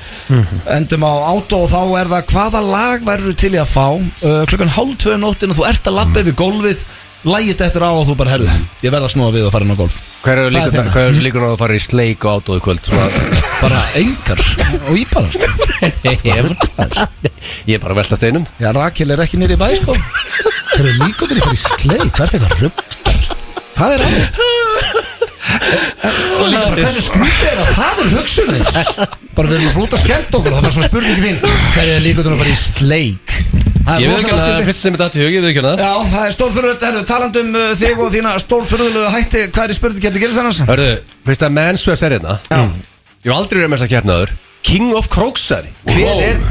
Speaker 1: endum á átó og þá er það hvaða lag verður til í að fá uh, klukkan hálf tvöðu nóttin og þú ert að lappa yfir gólfið lægit eftir á og þú bara herðu ég verð að snúa við og fara inn á gólf
Speaker 3: Hver
Speaker 1: Hvað
Speaker 3: eru
Speaker 1: er
Speaker 3: líkur-
Speaker 1: þeim?
Speaker 3: hver eru líkur á að fara í sleik og átóðu
Speaker 1: [laughs]
Speaker 3: kvöld Svona-
Speaker 1: bara engar og íbarast
Speaker 3: Ég er bara að velta steinum
Speaker 1: Já, Rakel er ekki nýri í bæ sko Það eru líkundir í fyrir sleik Það er eitthvað rögg Það er alveg Og líka bara hversu skrítið er að það er hugsunni Bara við erum að flúta skemmt okkur og Það var svona spurning þín Hver er líkundir að fara í sleik Það er
Speaker 3: Ég veit
Speaker 1: rosalega
Speaker 3: ekki að það er
Speaker 1: skrítið.
Speaker 3: fyrst sem er datt í hug Ég veit ekki að það
Speaker 1: Já, það er stórfyrðulegt, herru, talandum uh, þig og þína stórfyrðulegu hætti, hvað er í spurningkerni gerist annars?
Speaker 3: Hörðu, veist það mensvegs er hérna Ég hef aldrei verið með þess að kjarnaður King of Króksari Hver
Speaker 1: Wow.
Speaker 3: er,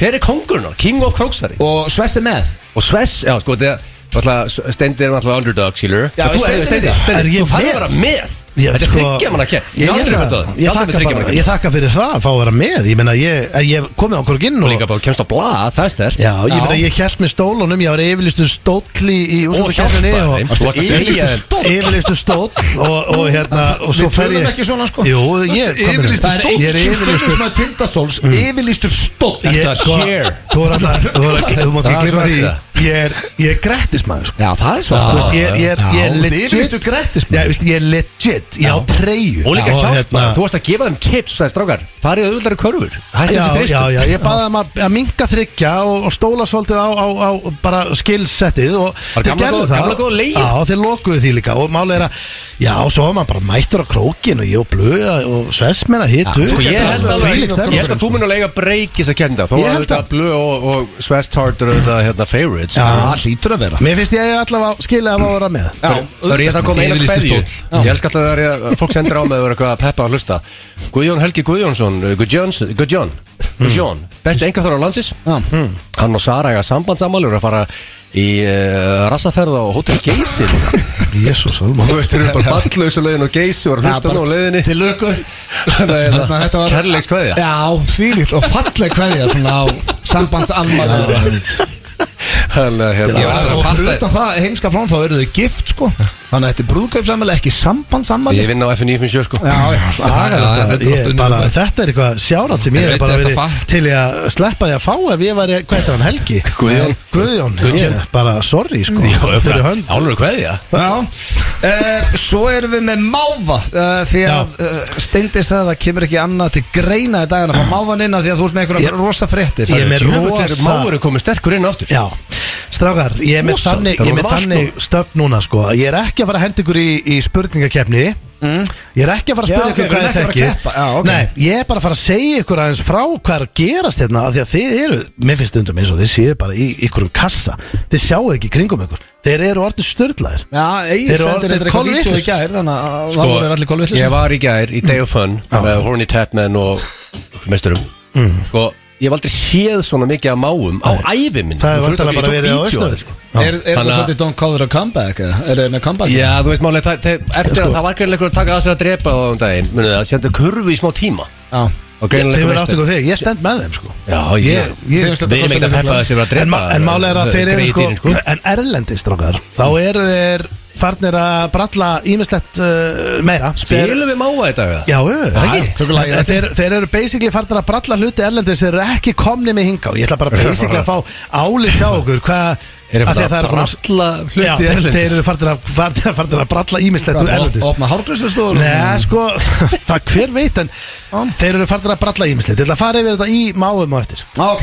Speaker 3: hver er kongurinn á? King of Króksari
Speaker 1: Og Svessi með
Speaker 3: Og Sves, já sko þetta Stendir er náttúrulega underdog, skilur
Speaker 1: Já,
Speaker 3: þú
Speaker 1: Steindi er
Speaker 3: Steindi,
Speaker 1: þetta.
Speaker 2: Er
Speaker 3: Steindi,
Speaker 2: ég
Speaker 3: Þú færði
Speaker 2: með?
Speaker 3: að vera með
Speaker 2: Ég-
Speaker 3: Þetta er
Speaker 2: sko,
Speaker 3: þryggja manna kjær Ég
Speaker 2: Ég,
Speaker 3: hef aldrei
Speaker 2: ég,
Speaker 3: verið með það
Speaker 2: ég, þakka
Speaker 3: þriggja
Speaker 2: bara-
Speaker 3: manna
Speaker 2: ég
Speaker 3: kjær
Speaker 2: þakka fyrir það að fá að vera með Ég meina, ég, ég hef komið á okkur inn
Speaker 3: Og
Speaker 2: og,
Speaker 3: líka bara kemst á blað, það er stærst
Speaker 2: Já, ég meina, ég hjælt með stólunum, ég var yfirlistu stóll í, í úrslutakeppninni
Speaker 3: hjálpaði þeim. sko. Þú varst að segja
Speaker 2: yfirleystu
Speaker 3: þeim.
Speaker 2: stóll. Yfirleystu stóll og, og hérna, og svo
Speaker 1: Við
Speaker 2: fer
Speaker 1: tölum
Speaker 2: ég
Speaker 1: ekki svona sko
Speaker 2: Jú, ég, hvað meinarðu?
Speaker 1: Yfirlýstur Mm. stóll
Speaker 2: Ég er yfirlistu
Speaker 1: Stundum sem að tindastóls Yfirlýstur stóll
Speaker 2: Ég,
Speaker 3: Ertu að
Speaker 2: sko,
Speaker 3: share?
Speaker 2: þú er alltaf, þú er alltaf, þú mátt
Speaker 3: Það er
Speaker 2: ekki glima
Speaker 3: svona
Speaker 2: því
Speaker 3: þetta.
Speaker 2: Ég er, ég er grættismæður, sko
Speaker 1: Já, það er
Speaker 2: Þú
Speaker 1: svart
Speaker 2: veist, ég er, ég er, ég er legit
Speaker 1: Yfirlýstur grættis
Speaker 2: Já, veist, ég er legit, ég á treyju
Speaker 3: Og líka
Speaker 2: Já,
Speaker 3: hjálpa,
Speaker 2: hérna-
Speaker 3: þú varst að gefa þeim tips Það er strákar, farið auðvöldari körfur Hætti
Speaker 2: Já,
Speaker 3: þessi
Speaker 2: já,
Speaker 3: tristur
Speaker 2: já, ég baði um að, að minga þryggja og, og stóla svolítið á, á, á bara skillsettið og
Speaker 3: Bara gamla góð- gamla góð leið.
Speaker 2: Já, þeir lokuðu því líka og málið er að Já, svo var maður bara mættur á krókin og ég og blöða og svesmenn að hitu
Speaker 3: Sko ég held að,
Speaker 2: það
Speaker 3: ég held að þú mun að lega breykis að kenda Þó
Speaker 2: Ég
Speaker 3: að
Speaker 2: held
Speaker 3: þetta
Speaker 2: að-
Speaker 3: blöð og, og Svesthard eru þetta hérna, favorites
Speaker 1: Það hlýtur að vera
Speaker 2: Mér finnst ég allavega skilja að vera með
Speaker 3: Það er- Það er ég að koma einu
Speaker 4: Yfirlýsti
Speaker 3: hverju
Speaker 4: stóll.
Speaker 3: Ég elskar alltaf þegar ég- fólk sendir á mig að vera eitthvað að peppa að hlusta Guðjón Helgi Guðjónsson uh, Guðjóns- Guðjón Guðjón Besti enga þar á landsins Hmm.
Speaker 1: Já.
Speaker 3: Hann og Sara eiga sambandsamálur að fara í uh, rassaferð á Hotel Geysi
Speaker 2: Jésús, alveg
Speaker 3: [laughs] Þú veist, þeir eru bara ballausa leiðin og Geysi og eru að hlusta nú á leiðinni [laughs] hérna,
Speaker 1: Til lögu Þarna, þetta var-
Speaker 3: Kærleiks kveðja
Speaker 1: Já, þvílíkt og falleg kveðja Svona á sambandsalmaður
Speaker 3: Þannig að
Speaker 1: Já,
Speaker 3: hérna
Speaker 1: og fyrir utan það heimska frán þá eru þau gift sko Þannig að þetta er brúðkaupsamæli, ekki sambandsamæli
Speaker 3: Ég vinn á FN957 sko
Speaker 4: þetta er oft unnið
Speaker 2: Bara,
Speaker 4: með.
Speaker 2: þetta er eitthvað sjárat sem
Speaker 4: En
Speaker 2: ég
Speaker 4: veit
Speaker 2: hef bara
Speaker 4: þetta
Speaker 2: verið
Speaker 4: fatt?
Speaker 2: til í að sleppa því að fá ef ég væri, hvað er hann, Helgi?
Speaker 3: Guðjón.
Speaker 2: Guðjón, ég er bara sorry sko fyrir hönd
Speaker 3: Álur kveðja
Speaker 1: Já, uh, svo erum við með máva uh, Því að uh, Steindi sagði að það kemur ekki annað til greina í dagana Fá mávan inn að því að þú ert með einhverja rosa fréttir
Speaker 2: Ég er með
Speaker 3: Djöfull er
Speaker 2: rosa-
Speaker 3: máurinn komið sterkur inn aftur
Speaker 2: Já, strákar, ég er með
Speaker 3: Rosa,
Speaker 2: þannig,
Speaker 3: þetta
Speaker 2: ég er
Speaker 3: voru
Speaker 2: með
Speaker 3: val,
Speaker 2: þannig stöf núna sko að Ég er ekki að fara að henda ykkur í, í spurningakefni Ég er ekki að fara að
Speaker 1: Mm. Já,
Speaker 2: spyrja
Speaker 1: ok, við erum
Speaker 2: ykkur hvað ég
Speaker 1: ekki að fara
Speaker 2: þekki
Speaker 1: að keppa, já, ok.
Speaker 2: Nei, ég er bara að fara að segja ykkur aðeins frá hvað er að gerast hérna af Því að þið eru, mér finnst stundum eins og þið séu bara í ykkurum kassa Þið sjáu ekki í kringum ykkur Þeir eru orðin störðlaðir
Speaker 1: Já,
Speaker 2: Þeir
Speaker 1: Egil
Speaker 2: eru
Speaker 1: sendir
Speaker 2: orðnir
Speaker 1: þetta eitthvað
Speaker 2: kolvitlausir.
Speaker 1: vídeo í gær Þannig að
Speaker 2: Sko,
Speaker 1: það voru þeir allir kolvillis
Speaker 3: Sko, Ég var í gær í Day of Fun
Speaker 2: Mm.
Speaker 3: með Horny Tatman og okkur meisturum Sko, ég hef aldrei séð svona mikið af máum á ævi minn
Speaker 2: Það hefur
Speaker 3: Fyrir
Speaker 2: vantilega
Speaker 3: utan-
Speaker 2: bara
Speaker 3: ég
Speaker 2: verið á
Speaker 3: tók vídeo af
Speaker 2: austöðu
Speaker 3: því,
Speaker 2: sko.
Speaker 1: Er, er það
Speaker 3: Þannig að-
Speaker 1: svolítið Don't Call It a Comeback? eða? Er það með comeback?
Speaker 3: Já, þú veist máli, það, það,
Speaker 2: Sko.
Speaker 3: eftir að það var greinleikur að taka að sér að drepa á um daginn Munið það, sendu kurvu í smá tíma
Speaker 1: Já.
Speaker 2: Þeir
Speaker 3: Og greinilega
Speaker 2: verið
Speaker 3: veistu-
Speaker 2: átt ykkur þig, ég stend með þeim sko
Speaker 3: Já, ég,
Speaker 1: Ég-
Speaker 3: ég Við erum ekki að peppa þessi að vera að
Speaker 2: En,
Speaker 3: drepa eh,
Speaker 2: ma en málega er að þeir eru
Speaker 3: greyið
Speaker 2: sko,
Speaker 3: dýrin,
Speaker 2: En erlendis strákar Þá eru þeir farnir að bralla Ímislegt uh, meira Þeir-
Speaker 3: Spilum við máa þetta eða?
Speaker 2: Já, já,
Speaker 3: Já,
Speaker 2: ekki
Speaker 3: tökum lagið
Speaker 2: En þeir, þeir eru basically farnir að bralla hluti erlendis Þeir eru ekki komni með hinga Og ég
Speaker 3: [laughs]
Speaker 2: ætla bara basically að fá álit hjá okkur Hvað
Speaker 3: Eru
Speaker 2: af því
Speaker 3: farnir
Speaker 2: það
Speaker 3: að
Speaker 2: eru komin-
Speaker 3: bralla hluti
Speaker 2: Já, þeir-
Speaker 3: erlendis?
Speaker 2: Þeir eru farnir að, farnir, farnir að bralla ímislegt erlendis
Speaker 1: Opna hárgræsustofur
Speaker 2: Nei, sko, [laughs] það hver veit En þeir eru farnir að bralla ímislegt Ég ætla að fara yfir þetta í máum og eftir
Speaker 1: Ok, uh,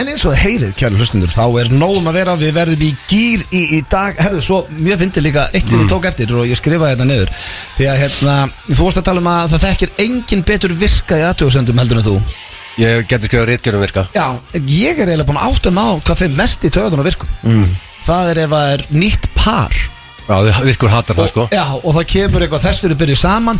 Speaker 1: en eins og það heyrið, kjæru hlustundur, þá er nógum að vera, við verðum í gýr í, í dag, herðu, svo mjög fyndi líka eitt
Speaker 3: Mm.
Speaker 1: sem ég tók eftir og ég skrifaði þetta niður, því að hérna, þú vorst að tala um að það þekkir engin betur virka í aðtjóðsendum heldur en þú.
Speaker 3: Ég geti skrifað réttgjörnum virka
Speaker 1: Já, en ég er eiginlega búin að átta mig á hvað fyrir mest í töðunum virkum. Mm. Það er ef það er nýtt par.
Speaker 3: Já, þið- virkur hattar það sko
Speaker 1: Já, og það kemur eitthvað þess fyrir byrju saman,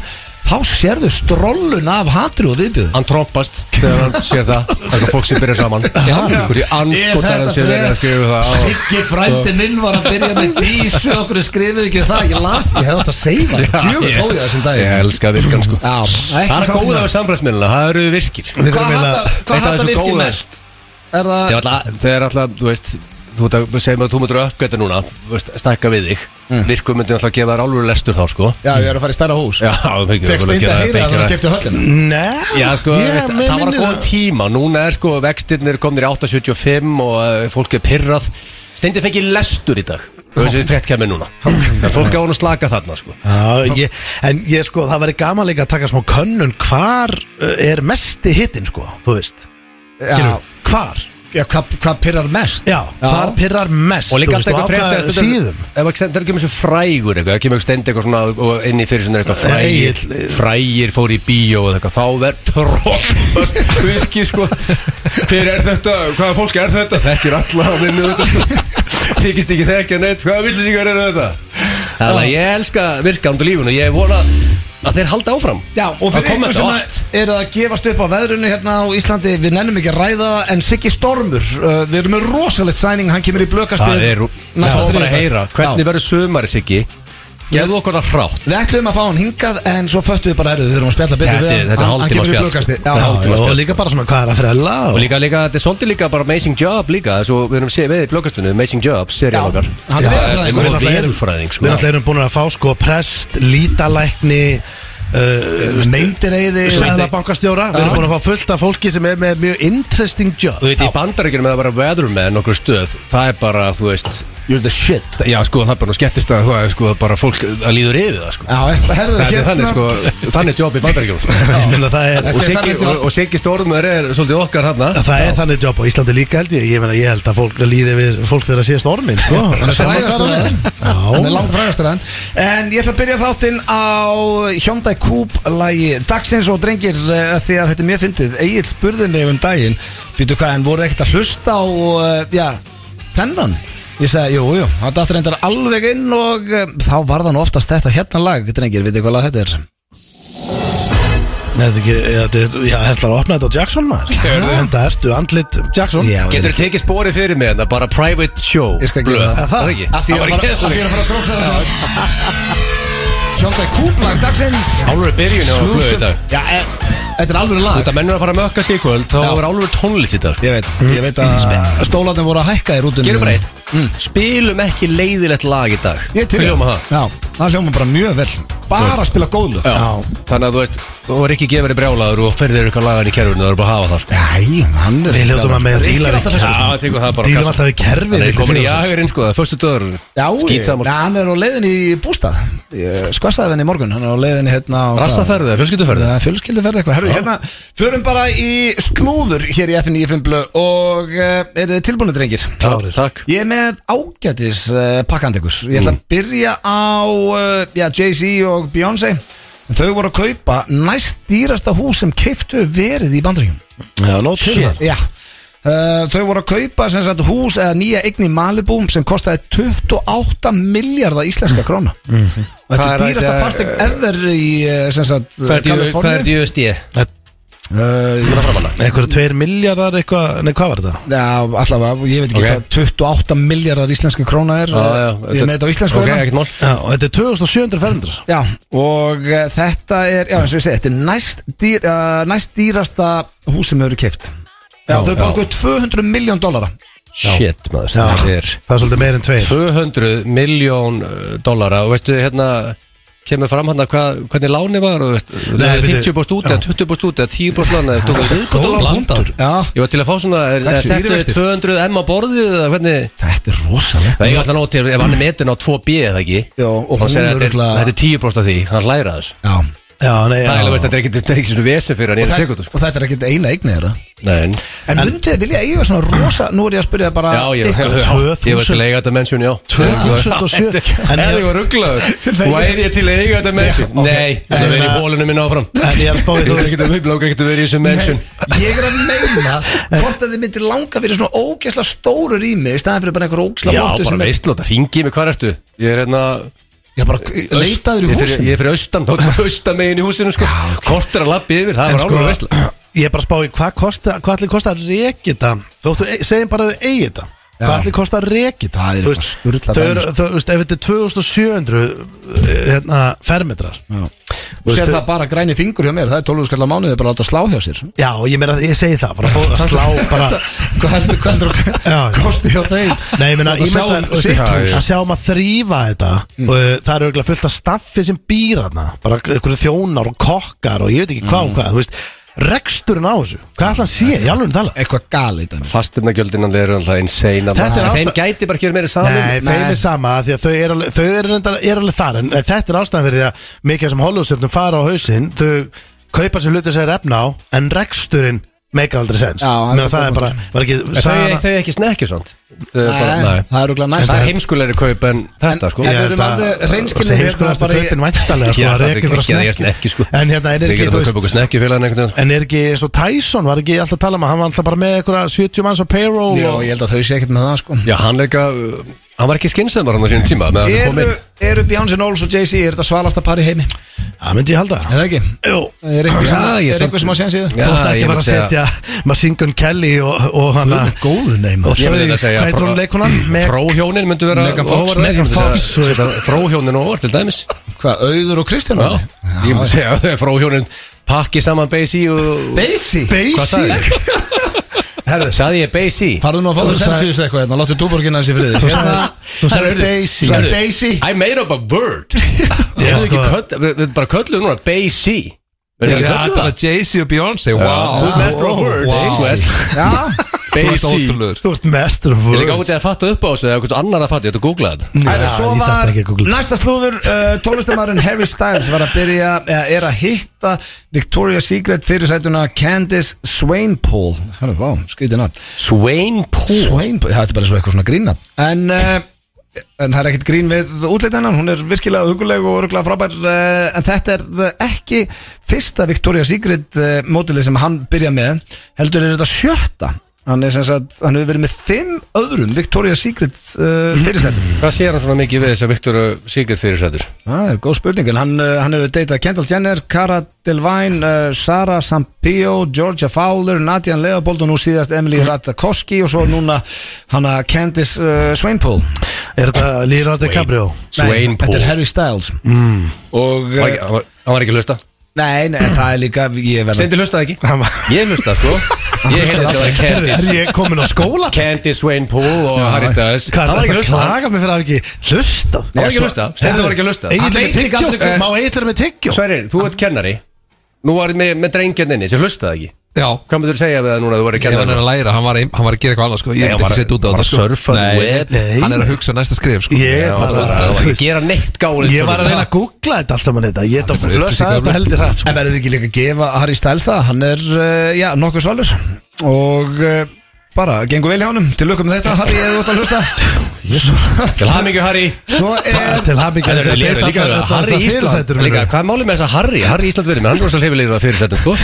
Speaker 1: þá sérðu strollun af hatri og viðbjöðu.
Speaker 3: hann trompast þegar hann sér það þannig að fólk sem byrja saman Ykkur í anskotanum sem verið að skrifa það á-
Speaker 1: Siggi frændi minn var að byrja með dísu okkur skrifið ekki um það, ég las, ég hefði átt að segja það djöfum
Speaker 3: Ah, ég-
Speaker 1: þó ég þessum dag
Speaker 3: Ég elska virkan sko
Speaker 1: Já, ekki
Speaker 3: Það er
Speaker 1: samt
Speaker 3: góða
Speaker 1: það.
Speaker 3: við samfélagsmiðluna, það eru virkir
Speaker 2: Við
Speaker 1: Hvað
Speaker 2: þurfum eiginlega-
Speaker 1: hattar- hvað
Speaker 3: Eitt af
Speaker 1: hattar
Speaker 3: þessu
Speaker 1: virkið
Speaker 3: góða-
Speaker 1: mest? Er
Speaker 3: Þegar
Speaker 1: það,
Speaker 3: alltaf, þegar alltaf, þú veist Þú veist að segja mig að þú myndir uppgæta núna þú veist, Stækka við þig Virku myndir alltaf að gefa þær alveg lestur þá sko
Speaker 1: Mm. já, ég er að fara í stærra hús
Speaker 3: Já, það fengir
Speaker 1: Fekst einnig að heyra að það
Speaker 3: það
Speaker 1: kefti höllina
Speaker 2: Nei,
Speaker 3: Já, sko,
Speaker 2: ég-
Speaker 3: veist,
Speaker 2: mér
Speaker 3: það var að
Speaker 2: minnir
Speaker 3: góða tíma Núna er sko, vextirnir komnir í 8.75 og uh, fólk er pirrað Steindi fengið lestur í dag Þú veist, frétt kemur núna En Fólk á hann að slaka þarna, sko
Speaker 2: Já, ég, en ég sko, það væri gaman líka að taka smá könnun hvar uh, er mesti hittin sko, þú veist
Speaker 1: Já,
Speaker 2: Skilur, hvar?
Speaker 1: já, hvað hvað pirrar mest?
Speaker 2: Já, hvar pirrar mest
Speaker 3: Og
Speaker 2: þú
Speaker 3: líka alltaf eitthvað
Speaker 2: veist,
Speaker 3: frétt
Speaker 2: og á hvaða síðum
Speaker 3: Ef ekki sendur ekki með svo frægur eitthvað Ekki með stendi eitthvað svona og inn í fyrir sinni eitthvað frægir
Speaker 2: Egill.
Speaker 3: Frægir fór í bíó og eitthvað Þá [laughs] verð trópast Virki sko Hver er þetta? Hvaða fólk er þetta? Þekkir alla að vinna þetta sko Þykist ekki þekkja neitt Hvaða villisíkar eru þetta? Ah. Þannig að ég elska virkandu lífun og ég vona að þeir halda áfram
Speaker 1: Já, og
Speaker 3: Það
Speaker 1: fyrir
Speaker 3: kom
Speaker 1: einhver
Speaker 3: þetta
Speaker 1: sem
Speaker 3: oft.
Speaker 1: að- eru að gefast upp á veðrunni hérna á Íslandi Við nennum ekki að ræða það, en Siggi Stormur uh, Við erum með rosalegt sæning, hann kemur í blökastið
Speaker 3: Það er, næsta
Speaker 1: næsta
Speaker 3: þriðjudag bara
Speaker 1: þriðjudag.
Speaker 3: að heyra
Speaker 1: Já.
Speaker 3: Hvernig verður sömari Siggi? Geðu okkur það hrátt
Speaker 1: Við ætlum að fá hann hingað en svo föttu við bara erðu Við þurfum að spjalla betur
Speaker 3: Þetta-
Speaker 1: við hann.
Speaker 3: þetta er
Speaker 1: Hann- hann
Speaker 3: hálftíma
Speaker 1: kemur í
Speaker 3: spjall.
Speaker 1: blöðkastið.
Speaker 3: Þetta er hálftíma
Speaker 1: Já,
Speaker 2: Já,
Speaker 3: spjall.
Speaker 2: og líka bara svona hvað er að frella
Speaker 3: Og
Speaker 2: og,
Speaker 3: líka, líka, þetta er svolítið líka bara Amazing Job líka Svo við erum séð við í blöggastunni Amazing Job, seriðan okkar
Speaker 1: hann er
Speaker 2: Já,
Speaker 1: veðurfræðingur.
Speaker 2: við náttúrulega erum-
Speaker 3: veðurfræðing, sko.
Speaker 2: Við náttúrulega erum búin að fá sko prest, lítalækni uh,
Speaker 1: Neindireiði
Speaker 2: Sæðabankastjóra Við erum búin að fá fullt af fólki sem er með mjög interesting job
Speaker 3: Þú veit, í bandaríkjunum með að vera weatherman okkur stöð Það er bara, þú veist
Speaker 1: You're the shit
Speaker 3: Já sko það er bara skettist að það er sko bara fólk að líður yfir það sko
Speaker 1: Já, herðu
Speaker 3: Það er
Speaker 1: hérna
Speaker 3: þannig sko, þannig jobb í Bandaríkjum
Speaker 2: Ég meina það er
Speaker 1: Þetta
Speaker 3: Og
Speaker 1: er
Speaker 3: Siggi,
Speaker 1: þannig jobb.
Speaker 3: og, og Siggi Stormur er svolítið okkar hann
Speaker 2: Að Það er þannig jobb á Íslandi líka held ég Ég, meina, ég held að fólk líði við fólk þegar að sé stormin
Speaker 3: [laughs]
Speaker 2: sko.
Speaker 1: Hann er
Speaker 2: Sama hvað
Speaker 1: frægastur að
Speaker 2: það er.
Speaker 1: Hann er
Speaker 2: Já.
Speaker 1: langt frægastur að En ég ætla að byrja þáttinn á Hyundai Coupe lagi Dagsins og drengir eh, því að þetta er mjög fyndið Egil spurði mig um daginn Býtu hvað, en voru ekkert að hlusta á eh, Já, þennan Ég sagði, jú, jú, það dættur reyndar alveg inn og eh, þá var það nú oftast þetta hérna lag, drengir, veitir hvað lag þetta er?
Speaker 2: Nei, þetta er ekki- eða þetta er- Já, heldur að opna þetta á Jackson maður En það ertu andlit Jackson
Speaker 1: Já,
Speaker 3: Getur þú tekið spórið fyrir mig en það bara private show
Speaker 1: Ég skal gera
Speaker 3: blöð.
Speaker 1: það.
Speaker 2: Er það?
Speaker 3: það ekki?
Speaker 1: Af því
Speaker 3: var
Speaker 1: að
Speaker 3: ekki
Speaker 1: fara- af því að fara að gróksa þetta Hyundai Coupe lag dagsins
Speaker 3: Álfur er byrjun á blöðu í dag
Speaker 1: Já, eh, þetta er alveg lag
Speaker 3: Þetta mennur að fara að mökka sig í kvöld Þá
Speaker 1: Já.
Speaker 3: er Álfur tónlist í dag sko.
Speaker 1: Ég veit, ég veit að stólarnir voru að hækka í rútunum
Speaker 3: Gerum bara einn Spilum ekki leiðilegt lag í dag
Speaker 1: Mm. Ég til í
Speaker 3: Hljóma það
Speaker 1: Já, það hljóma bara mjög vel Bara að spila góð lög
Speaker 3: Já. Þannig að þú veist Þú er ekki gefur í brjálaður og ferðir ykkur lagan í kerfinu Það er bara að hafa það sko.
Speaker 1: Æ, hann er
Speaker 2: Við hljótum að mega díla við
Speaker 1: Já,
Speaker 3: Já, það tekur það bara
Speaker 2: Dílum
Speaker 3: kast.
Speaker 2: alltaf við kerfið
Speaker 3: Hann er
Speaker 2: milli
Speaker 3: komin í
Speaker 2: félagsins.
Speaker 3: jagurinn sko, það er fyrstu döður
Speaker 1: Já, ég,
Speaker 3: Skýtsamur.
Speaker 1: na, hann er á leiðin í bústað Skvassaði henni í morgun Hann er á leiðin í hérna á-
Speaker 3: Rassaferðu eða fjölskylduferðu
Speaker 1: Það er fjölskylduferð eitthvað Herru, hérna, förum bara í slúður hér í FN í Fimblu og uh, er þið tilbúinu, drengir?
Speaker 2: Klárir.
Speaker 3: Takk Mm.
Speaker 1: Ég er með ágætis uh, pakkandi ykkur Ég ætla að byrja á uh, já, Jay-Z og Beyoncé Þau voru að kaupa næst dýrasta hús sem keiftu verið í bandaríkjum
Speaker 2: Já, nóg til
Speaker 3: Shit.
Speaker 2: þar
Speaker 1: Já Uh, þau voru að kaupa sem sagt hús eða nýja eign í Malibu sem kostaði 28 miljardar íslenska króna og þetta
Speaker 3: Mhm. Hvað
Speaker 1: er
Speaker 3: er
Speaker 1: dýrasta
Speaker 3: þetta,
Speaker 1: fastegn ever í eh, sem sagt Kaliforníu
Speaker 3: USD?
Speaker 1: uh,
Speaker 2: Eitthvað tveir miljardar eitthvað Nei, hvað var þetta?
Speaker 1: Já, allavega, ég veit ekki
Speaker 3: Ok.
Speaker 1: hvað 28 miljardar íslenska króna er
Speaker 3: Já, já,
Speaker 1: Ég er með þetta á íslensku
Speaker 3: Ok,
Speaker 1: hérna.
Speaker 3: ekkert mál
Speaker 2: Já, og þetta er 2700 fermetrar
Speaker 1: Já, og uh, þetta er, já eins og ég segi, þetta er næst, dýr, uh, næst dýrasta hús sem eru keift Já, þau borguðu 200 miljón dollara
Speaker 3: Shit maður
Speaker 2: Já,
Speaker 3: Það er
Speaker 2: það er svolítið meir en tveir
Speaker 3: 200 miljón uh, dollara og veistu hérna kemur fram hann að hvað, hvernig láni var og veist,
Speaker 2: Nei,
Speaker 3: leiði
Speaker 2: veitu-
Speaker 3: 50 búst út eða 20 búst út eða 10 búst láni eða tókum við
Speaker 1: Góður punktur. Já.
Speaker 3: ég var til að fá svona er-
Speaker 1: Hversu?
Speaker 3: er settu
Speaker 1: Stýrivextir?
Speaker 3: 200 M á borðið eða hvernig
Speaker 1: Þetta er rosalegt
Speaker 3: það er alltaf nótt til ef hann er metin á 2B eða ekki
Speaker 1: Já, og
Speaker 3: hann
Speaker 1: hún
Speaker 3: segir
Speaker 1: er
Speaker 3: að þetta
Speaker 1: örugglega-
Speaker 3: er- þetta er 10 búst af því hann læra þessu
Speaker 1: Já,
Speaker 2: Já, nei, já
Speaker 3: það er alveg veist þetta er ekki þetta er ekki svona vesen fyrir hann í
Speaker 1: og,
Speaker 3: einu
Speaker 1: þe-
Speaker 3: sekundu sko
Speaker 1: og þetta er ekkert eina eignið þeirra
Speaker 3: Nei.
Speaker 1: En myndið þið vilja eiga svona rosa, nú er ég að spyrja bara
Speaker 3: já ég já,
Speaker 1: ykkur.
Speaker 3: já. ég var til
Speaker 2: 2000.
Speaker 3: að eiga þetta mennsjón já
Speaker 2: 2007. En
Speaker 3: en
Speaker 2: ég-
Speaker 3: ég var rugglaður væri ég til að eiga þetta mennsjón nei það verið í bólunum minn áfram
Speaker 2: En ég er að
Speaker 3: [laughs]
Speaker 2: spáði
Speaker 3: uh, Þú
Speaker 2: þú
Speaker 3: veist
Speaker 2: veist
Speaker 3: ekki að uppláka ekkert að vera í þessu mennsjun
Speaker 1: Ég er að meina
Speaker 3: [laughs]
Speaker 1: hvort að þið myndir langa fyrir svona ógæsla stóru rými í staðan fyrir bara einhver ógæsla
Speaker 3: Já,
Speaker 1: móttu
Speaker 3: bara
Speaker 1: sem er
Speaker 3: veistlóta, ringi mig, hvað ertu? Ég er hérna
Speaker 1: Já, bara leitaður í
Speaker 3: Ég er fyrir-
Speaker 1: húsinu
Speaker 3: Ég er fyrir austan, þá er austan megin í húsinu sko Kortur að lappi yfir, það
Speaker 2: En
Speaker 3: var
Speaker 2: sko,
Speaker 3: álur veistla
Speaker 2: [clears throat] ég er bara að spáði hvað kosta, hvað allir kosta að reki þetta Þóttu, e- segjum bara að þau eigi þetta Hvað
Speaker 1: Já.
Speaker 2: allir kosta að reki þetta
Speaker 1: Það er
Speaker 2: Þú
Speaker 1: eitthvað
Speaker 2: veist,
Speaker 1: sturlað
Speaker 2: Þau
Speaker 1: dæmi,
Speaker 2: eru, þú veist, ef þetta er 2700 hérna, fermetrar
Speaker 1: Þú
Speaker 2: Veistu-
Speaker 1: sér það bara græni fingur hjá mér, það er 12 skallar mánuði bara að láta slá hjá sér
Speaker 2: Já, og ég meina, ég segi það, bara fó, að slá [laughs] bara
Speaker 1: [laughs] Hvað heldur, hvað heldur
Speaker 2: Já, já.
Speaker 1: kosti hjá þeim?
Speaker 2: Nei, ég meina,
Speaker 1: Láta
Speaker 2: ég
Speaker 1: sjá
Speaker 2: meina
Speaker 1: um
Speaker 2: þú veist,
Speaker 1: sitt hús.
Speaker 2: að sjá um að þrýfa þetta og uh, það eru auðvitað fullt af staffi sem býr hana bara einhverju þjónar og kokkar og ég veit ekki hvað og hvað, þú veist reksturinn á þessu, hvað ætla hann sé, ég alveg um tala
Speaker 1: Eitthvað gali í dæmi
Speaker 3: Fastirnagjöldin hann er alltaf insane
Speaker 2: Þetta
Speaker 3: að
Speaker 2: er
Speaker 3: maður-
Speaker 2: ástæð-
Speaker 3: Þeim gæti bara að gera meira saman
Speaker 2: Nei, þeim er sama, af því að þau eru alveg, þau eru reyndar, er alveg þar, en þetta er ástæðan fyrir því að mikið sem Hollywoodstjörnum fara á hausinn, þau kaupa sér hluti sem er efna á, en reksturinn meikar aldrei sens.
Speaker 1: Já, það er
Speaker 2: Meina, það
Speaker 1: góð
Speaker 2: er bara, var ekki,
Speaker 3: En Þau
Speaker 2: Sara-
Speaker 3: þau er ekki snekkju svont
Speaker 1: Nei,
Speaker 3: Það
Speaker 1: það er örugglega næst
Speaker 3: er heimskulegri kaup en þetta sko
Speaker 1: en-
Speaker 2: Ég
Speaker 1: við
Speaker 2: held
Speaker 1: erum
Speaker 2: að-
Speaker 1: alveg hreinskilnir
Speaker 2: þessi
Speaker 1: hérna
Speaker 2: heimskulegasta
Speaker 1: bara í-
Speaker 2: kaupin væntanlega,
Speaker 3: Ég
Speaker 2: sko, að
Speaker 3: er
Speaker 2: reka ykkur að
Speaker 3: ekki að ég
Speaker 2: snekki.
Speaker 3: snekki sko
Speaker 2: En hérna, er
Speaker 3: Við
Speaker 2: ekki,
Speaker 3: getum
Speaker 2: þú
Speaker 3: að kaupa okkur
Speaker 2: veist
Speaker 3: snekki fyrir hann einhvern veginn sko.
Speaker 2: En er ekki eins og Tyson, var ekki alltaf að tala um að hann var alltaf bara með eitthvað 70 manns á payroll
Speaker 1: Jó,
Speaker 2: og
Speaker 1: ég held að þau sé ekkert með það sko
Speaker 3: Já, hann er ekki að Hann var ekki skynsöðmar hann á sínum tíma meðan hann kom
Speaker 1: Eru,
Speaker 3: inn.
Speaker 1: eru Beyonce Knowles og Jay-Z, er þetta svalasta par í heimi?
Speaker 2: Það myndi ég halda
Speaker 1: Er það ekki?
Speaker 2: Jú
Speaker 1: Er eitthvað sem,
Speaker 3: Já, ég
Speaker 1: er
Speaker 3: samt-
Speaker 1: eitthvað sem að séðan síðan?
Speaker 3: Já,
Speaker 2: Þótt
Speaker 3: ég
Speaker 2: ekki var
Speaker 3: myndi
Speaker 2: að
Speaker 3: segja-
Speaker 2: setja Machine Gun Kelly og, og hann að
Speaker 1: góðu neym
Speaker 2: Og
Speaker 3: Ég myndi
Speaker 2: þau,
Speaker 3: að segja
Speaker 2: hvað heitir
Speaker 3: frá-
Speaker 2: hún leikunan? Meg
Speaker 3: Fróhjónin myndu vera
Speaker 1: Megan Fox,
Speaker 3: óvarlega,
Speaker 1: Megan
Speaker 3: ég myndi
Speaker 2: Fox,
Speaker 3: segja-
Speaker 2: þú veist.
Speaker 3: setja Fróhjónin og orð til dæmis
Speaker 1: Hvað, auður og Kristján?
Speaker 3: Já, ég myndi segja að þau fróhjónin pakki saman Basie og...
Speaker 1: Beisi
Speaker 3: Hvað
Speaker 2: Basie
Speaker 3: sagði ég? Herðu, sagði ég Basie?
Speaker 1: Farðu nú að fá þú
Speaker 2: sagði-
Speaker 1: sensíðust eitthvað hérna, láttu túborgina þessi friði Hérna.
Speaker 2: Þú sagði- þú sagði
Speaker 1: Herðu,
Speaker 2: Basie.
Speaker 1: sagði Basie
Speaker 3: I made up a word Ég
Speaker 2: Já,
Speaker 3: hefði ekki
Speaker 2: sko.
Speaker 3: köll, við, við bara köllum núna Basie
Speaker 5: Verður
Speaker 1: Já,
Speaker 5: ekki
Speaker 1: það.
Speaker 5: kallar það Jay-Z og Beyoncé Wow
Speaker 3: Þú ert master of words Þú
Speaker 2: sko,
Speaker 1: [laughs]
Speaker 3: ert-
Speaker 5: Þú ert
Speaker 3: Jay-Z.
Speaker 5: ótrúlegur
Speaker 2: Þú ert mestur of
Speaker 3: Ég er ekki
Speaker 2: words
Speaker 3: ákveðið að fatta upp á þessu eða eitthvað annar að fatta, ég ætla að googla þetta
Speaker 2: Já,
Speaker 1: Æra, svo
Speaker 2: ég
Speaker 1: var
Speaker 2: þarf ekki að googla þetta.
Speaker 1: næsta slúður uh, tónlistamæðurinn Harry Styles var að byrja eða er að hitta Victoria's Secret fyrirsætuna Candice Swainpool Hæru, vá, skrítið nátt
Speaker 3: Swain Pool
Speaker 1: Swainpool, það er bara svo eitthvað svona grína En, uh, en það er ekkert grín við útleita hennar Hún er virkilega huguleg og örgulega frábær uh, En þetta er uh, ekki fyrsta Victoria's Secret uh, mótilið sem hann byrja með Heldur er þetta sjötta Hann er sem sagt, hann hefur verið með fimm öðrum Victoria's Secret uh, fyrirsættum
Speaker 3: Hvað sér hann svona mikið við þess að Viktor Sigurd fyrirsættur?
Speaker 1: [laughs] Það er góð spurning, en hann, uh, hann hefur deytað Kendall Jenner, Cara Delvine, uh, Sara Sampio, Georgia Fowler, Nadia Leopold og nú síðast Emily Ratajkowski og svo núna hana Candice uh, Swainpool.
Speaker 2: Er þetta Lýra DiCaprio?
Speaker 1: Nei, Þetta er
Speaker 3: Swainpool
Speaker 1: Harry Styles. Mm. Og,
Speaker 3: Var
Speaker 1: uh,
Speaker 3: ekki- Hann var- hann var ekki að hlusta
Speaker 1: nei, nei, það er líka, ég verða...
Speaker 3: Stendi hlustaði ekki
Speaker 2: Hann var-
Speaker 3: Ég hlusta sko Ég heyrði þetta var
Speaker 2: Er
Speaker 3: Candice
Speaker 2: ég komin á skóla?
Speaker 3: Candice Swain Pool og Harry Styles
Speaker 2: Hvað
Speaker 3: Hann
Speaker 2: er
Speaker 3: var ekki
Speaker 2: þetta að
Speaker 3: að hlusta
Speaker 2: klaga mig fyrir að hafa ekki hlusta?
Speaker 3: Hann var ekki að hlusta Stendi var ekki að hlusta
Speaker 1: Hann
Speaker 2: Egil
Speaker 1: veit
Speaker 2: er
Speaker 1: líka
Speaker 2: með
Speaker 1: aldrei-
Speaker 2: tyggjó Má Egil er með tyggjó?
Speaker 3: Sverrir, þú ert kennari Nú var með, með drengjarninni sem hlustaði ekki
Speaker 5: Já
Speaker 3: Hvað myndur þú segja við það núna að þú verður
Speaker 5: Ég var
Speaker 3: kennari?
Speaker 5: hann að læra, hann var, ein- hann var að gera eitthvað annað sko Ég
Speaker 3: Nei,
Speaker 5: er ekki
Speaker 3: hann
Speaker 5: að setja út á
Speaker 3: var-
Speaker 5: það sko
Speaker 3: var að surfa the web.
Speaker 5: Nei, hann er að hugsa næsta skrif sko
Speaker 2: Ég er bara
Speaker 3: Það
Speaker 2: þú
Speaker 3: var ekki
Speaker 2: veist,
Speaker 3: að gera neitt gálið
Speaker 2: Ég var að reyna að googla þetta allt saman þetta Ég þetta
Speaker 5: bara
Speaker 2: flössaði
Speaker 5: upplýsingar-
Speaker 2: þetta heldur hrætt sko.
Speaker 1: En verður þið ekki líka að gefa Harry Styles það? Hann er, uh, já, nokkuð svalur og uh, bara, gengur vel hjá honum. Til lukkum með þetta, Harry, eða þú ert að hlusta.
Speaker 3: Til hann ekki Harry
Speaker 1: [laughs] Svo er...
Speaker 2: Til hafmyggja
Speaker 3: Það er líka- líka að vera Harry Ísland líka, Hvað er málið með þess að Harry? Harry Ísland verið með hann rosa hlifilegur að fyrirsetum sko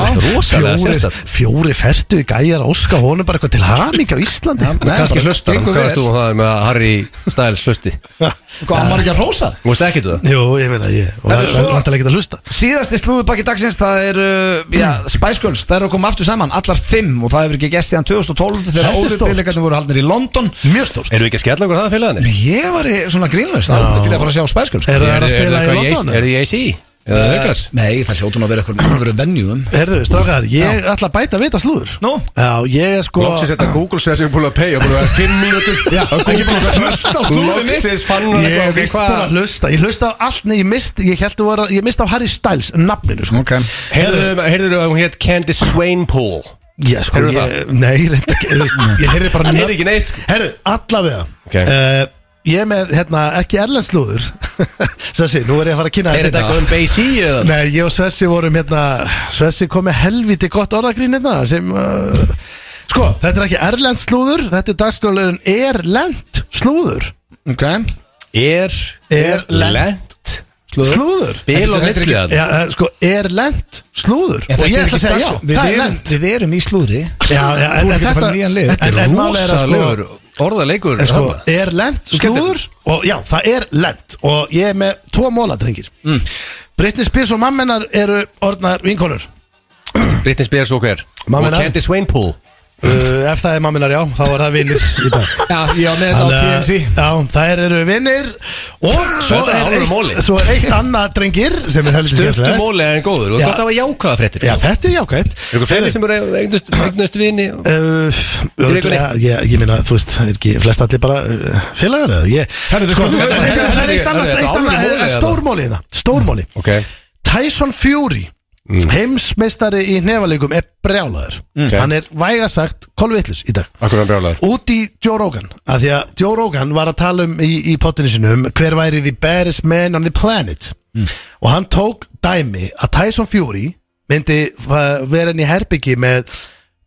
Speaker 3: Rósalega sérstætt
Speaker 2: Fjóri ferstu gæjar að óska honum bara eitthvað til hafmyggja á Íslandi
Speaker 1: Nei,
Speaker 3: Kanski
Speaker 1: bara
Speaker 3: hlustar hann,
Speaker 1: gengur
Speaker 3: hvað veist
Speaker 1: vel.
Speaker 3: þú um það með að Harry Styles hlusti?
Speaker 1: Hvað, hann var ekki að rósa?
Speaker 3: Þú veist ekki þú það?
Speaker 2: Jú, ég meina ég Og
Speaker 1: Það
Speaker 2: það
Speaker 1: er
Speaker 2: er
Speaker 1: svo-
Speaker 2: vantilega ekki að hlusta
Speaker 1: Síðasti slúðubakki dagsins það er uh, já, Spice Girls, það eru að koma aftur saman allar fimm og það hefur ekki gæst síðan 2012 þegar
Speaker 2: Þetta er stórt.
Speaker 1: ólimpíleikarnir voru haldnir í London
Speaker 2: Mjög stórt
Speaker 3: Erum við ekki að skella okkur að það félagarnir?
Speaker 1: Ég var í svona grínlust alveg til að fara að sjá Spice Girls
Speaker 2: Er það
Speaker 3: Er
Speaker 2: að spila í London?
Speaker 3: það í AC? Er það aukas?
Speaker 1: Nei, það hljótun að vera eitthvað mjög verið venjum
Speaker 2: Herðu, strákar, ég ætla að bæta vita slúður
Speaker 1: Nú?
Speaker 2: Já, ég er sko
Speaker 3: Lóksins þetta Google sér sem búin að pay og búin að vera 5
Speaker 2: [laughs]
Speaker 3: mínútur að Google
Speaker 1: hlusta á slúðrið mitt.
Speaker 3: Lóksins fann
Speaker 2: Ég
Speaker 3: hann
Speaker 2: er
Speaker 3: eitthvað, ok,
Speaker 2: vist búin að hlusta Ég hlusta á allt Nei, ég mist Ég held að vera Ég mist á Harry Styles Nafninu, sko
Speaker 1: Ok.
Speaker 3: hvað Heyrðu að hún hétt Candice Swainpool
Speaker 2: Já, sko
Speaker 3: Heyrðu
Speaker 2: ég, Nei, ég reyndi ekki þú veist,
Speaker 3: [laughs]
Speaker 2: Ég heyrði bara
Speaker 3: Hann heyrði ekki neitt, sko.
Speaker 2: Herðu, allavega
Speaker 3: Ok.
Speaker 2: Eh, Ég er með, hérna, ekki erlend slúður [laughs] Sessi, nú er ég að fara að kynna
Speaker 3: Er
Speaker 2: hérna.
Speaker 3: þetta eitthvað um Bay-Z eða?
Speaker 2: Nei, ég og Svessi vorum hérna Svessi kom með helviti gott orðagrín hérna sem uh, Sko, þetta er ekki erlend slúður Þetta er dagskrálegurinn erlend slúður
Speaker 1: Ok,
Speaker 3: Er
Speaker 2: Erlent. Slúður,
Speaker 3: Bil og
Speaker 1: Þetta er ekki-
Speaker 3: millið
Speaker 2: Já, eh, sko, erlend slúður
Speaker 1: Ég,
Speaker 2: Og ég ætla að segja já,
Speaker 1: við,
Speaker 2: það er
Speaker 1: erum,
Speaker 2: lent
Speaker 1: við erum í [laughs] slúðri
Speaker 2: Já, já, en
Speaker 1: Þú ert ekki að
Speaker 2: þetta
Speaker 1: fara í nýjan lið.
Speaker 2: en- en- en málið er að sko-
Speaker 3: Rósalegur
Speaker 1: Eh,
Speaker 3: orðalegur
Speaker 2: En sko,
Speaker 3: þarna.
Speaker 2: er lent slúður og já, það er lent og ég er með tvo móla, drengir mm. Brittany Spears og mammenar eru orðnar
Speaker 1: [laughs]
Speaker 2: vinkonur
Speaker 3: Britney Spears og hver
Speaker 2: Mamma
Speaker 3: Og
Speaker 2: hennar.
Speaker 3: Candice Swainpool
Speaker 2: uh, ef það er mamminar, já, þá er það vinnir í dag
Speaker 1: Já, ég var með þetta á
Speaker 2: Þannig að-
Speaker 1: TMC
Speaker 2: Já, þær eru vinnir og svo
Speaker 3: Þetta er
Speaker 2: er,
Speaker 3: alvöru móli.
Speaker 2: eitt, svo er eitt annað drengir sem er heldur
Speaker 3: Sturtu mólega en góður Og
Speaker 2: Já.
Speaker 3: gott að hafa jákvæða fréttir
Speaker 2: Já, þetta er jákvæmt
Speaker 3: Er eitthvað fleiri sem eru eignust, eignust vini og-
Speaker 2: Uh, örgulega, ég, ég meina, þú veist, er ekki flest allir bara uh, félagar eða ég,
Speaker 1: Herru,
Speaker 2: sko,
Speaker 1: þetta-
Speaker 2: þetta er- það er eitt annað,
Speaker 3: þetta er
Speaker 2: eitt annað,
Speaker 3: alvöru móli
Speaker 2: eh,
Speaker 3: eða?
Speaker 2: stórmóli hérna, stórmóli
Speaker 3: Ok Mm.
Speaker 2: Tyson Fury heimsmeistari í nefalikum er brjálaður hann er vægasagt kolvitlis í dag
Speaker 3: Akkur hann brjálaður
Speaker 2: út í Joe Rogan af því að Joe Rogan var að tala um í, í potinu sinum hver væri the baddest man on the planet og hann tók dæmi að Tyson Fury myndi fa- vera inn í herbyggi með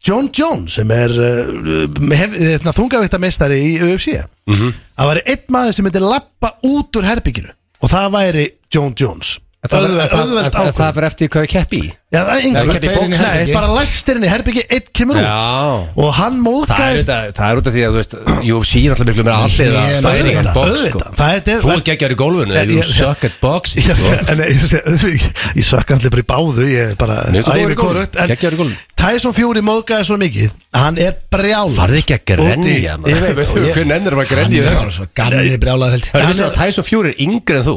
Speaker 2: John Jones sem er uh, þungavíktameistari í UFC það væri einn maður sem myndi lappa út úr herbygginu og það væri John Jones Auðveld- auðveld ákvörðun.
Speaker 3: fyrir eftir hvað ég keppi í
Speaker 2: Já, það er
Speaker 3: Nei,
Speaker 2: engur
Speaker 3: kemur í
Speaker 2: Tveir inn í
Speaker 1: bóks.
Speaker 2: herbergi. Nei, bara læstir inn í herbyggi, eitt kemur
Speaker 3: Já.
Speaker 2: út og hann
Speaker 3: Það er,
Speaker 2: móðgæðist
Speaker 3: þetta, það er út af því að þú veist UFC er alltaf miklu meira allir að
Speaker 1: Ég-
Speaker 3: fighting en
Speaker 2: auðvitað,
Speaker 3: box sko.
Speaker 2: auðvitað. Það er- þetta er-
Speaker 3: Þú er geggjar í gólfinu
Speaker 2: Ég-
Speaker 3: Þú
Speaker 2: ég-
Speaker 3: suck at boxing
Speaker 2: Já,
Speaker 3: sko.
Speaker 2: [laughs] en ég, ég, ég, ég sökka allir bara í báðu ég er bara
Speaker 3: Nei,
Speaker 2: ævi
Speaker 3: þú góður í golfi.
Speaker 2: hvorugt, en
Speaker 3: Geggjaður í golfi.
Speaker 2: Tyson Fury móðgæði svo mikið hann er brjál
Speaker 3: Farðu ekki að grenja maður.
Speaker 2: ég
Speaker 3: [laughs]
Speaker 2: veit
Speaker 3: Þú-
Speaker 2: og ég-
Speaker 3: Hver nennir að grenja í
Speaker 1: Ég
Speaker 3: þessu
Speaker 1: var svo gamli brjálaðar
Speaker 3: Það er
Speaker 1: held
Speaker 3: vissið að Tyson Fury er yngri en þú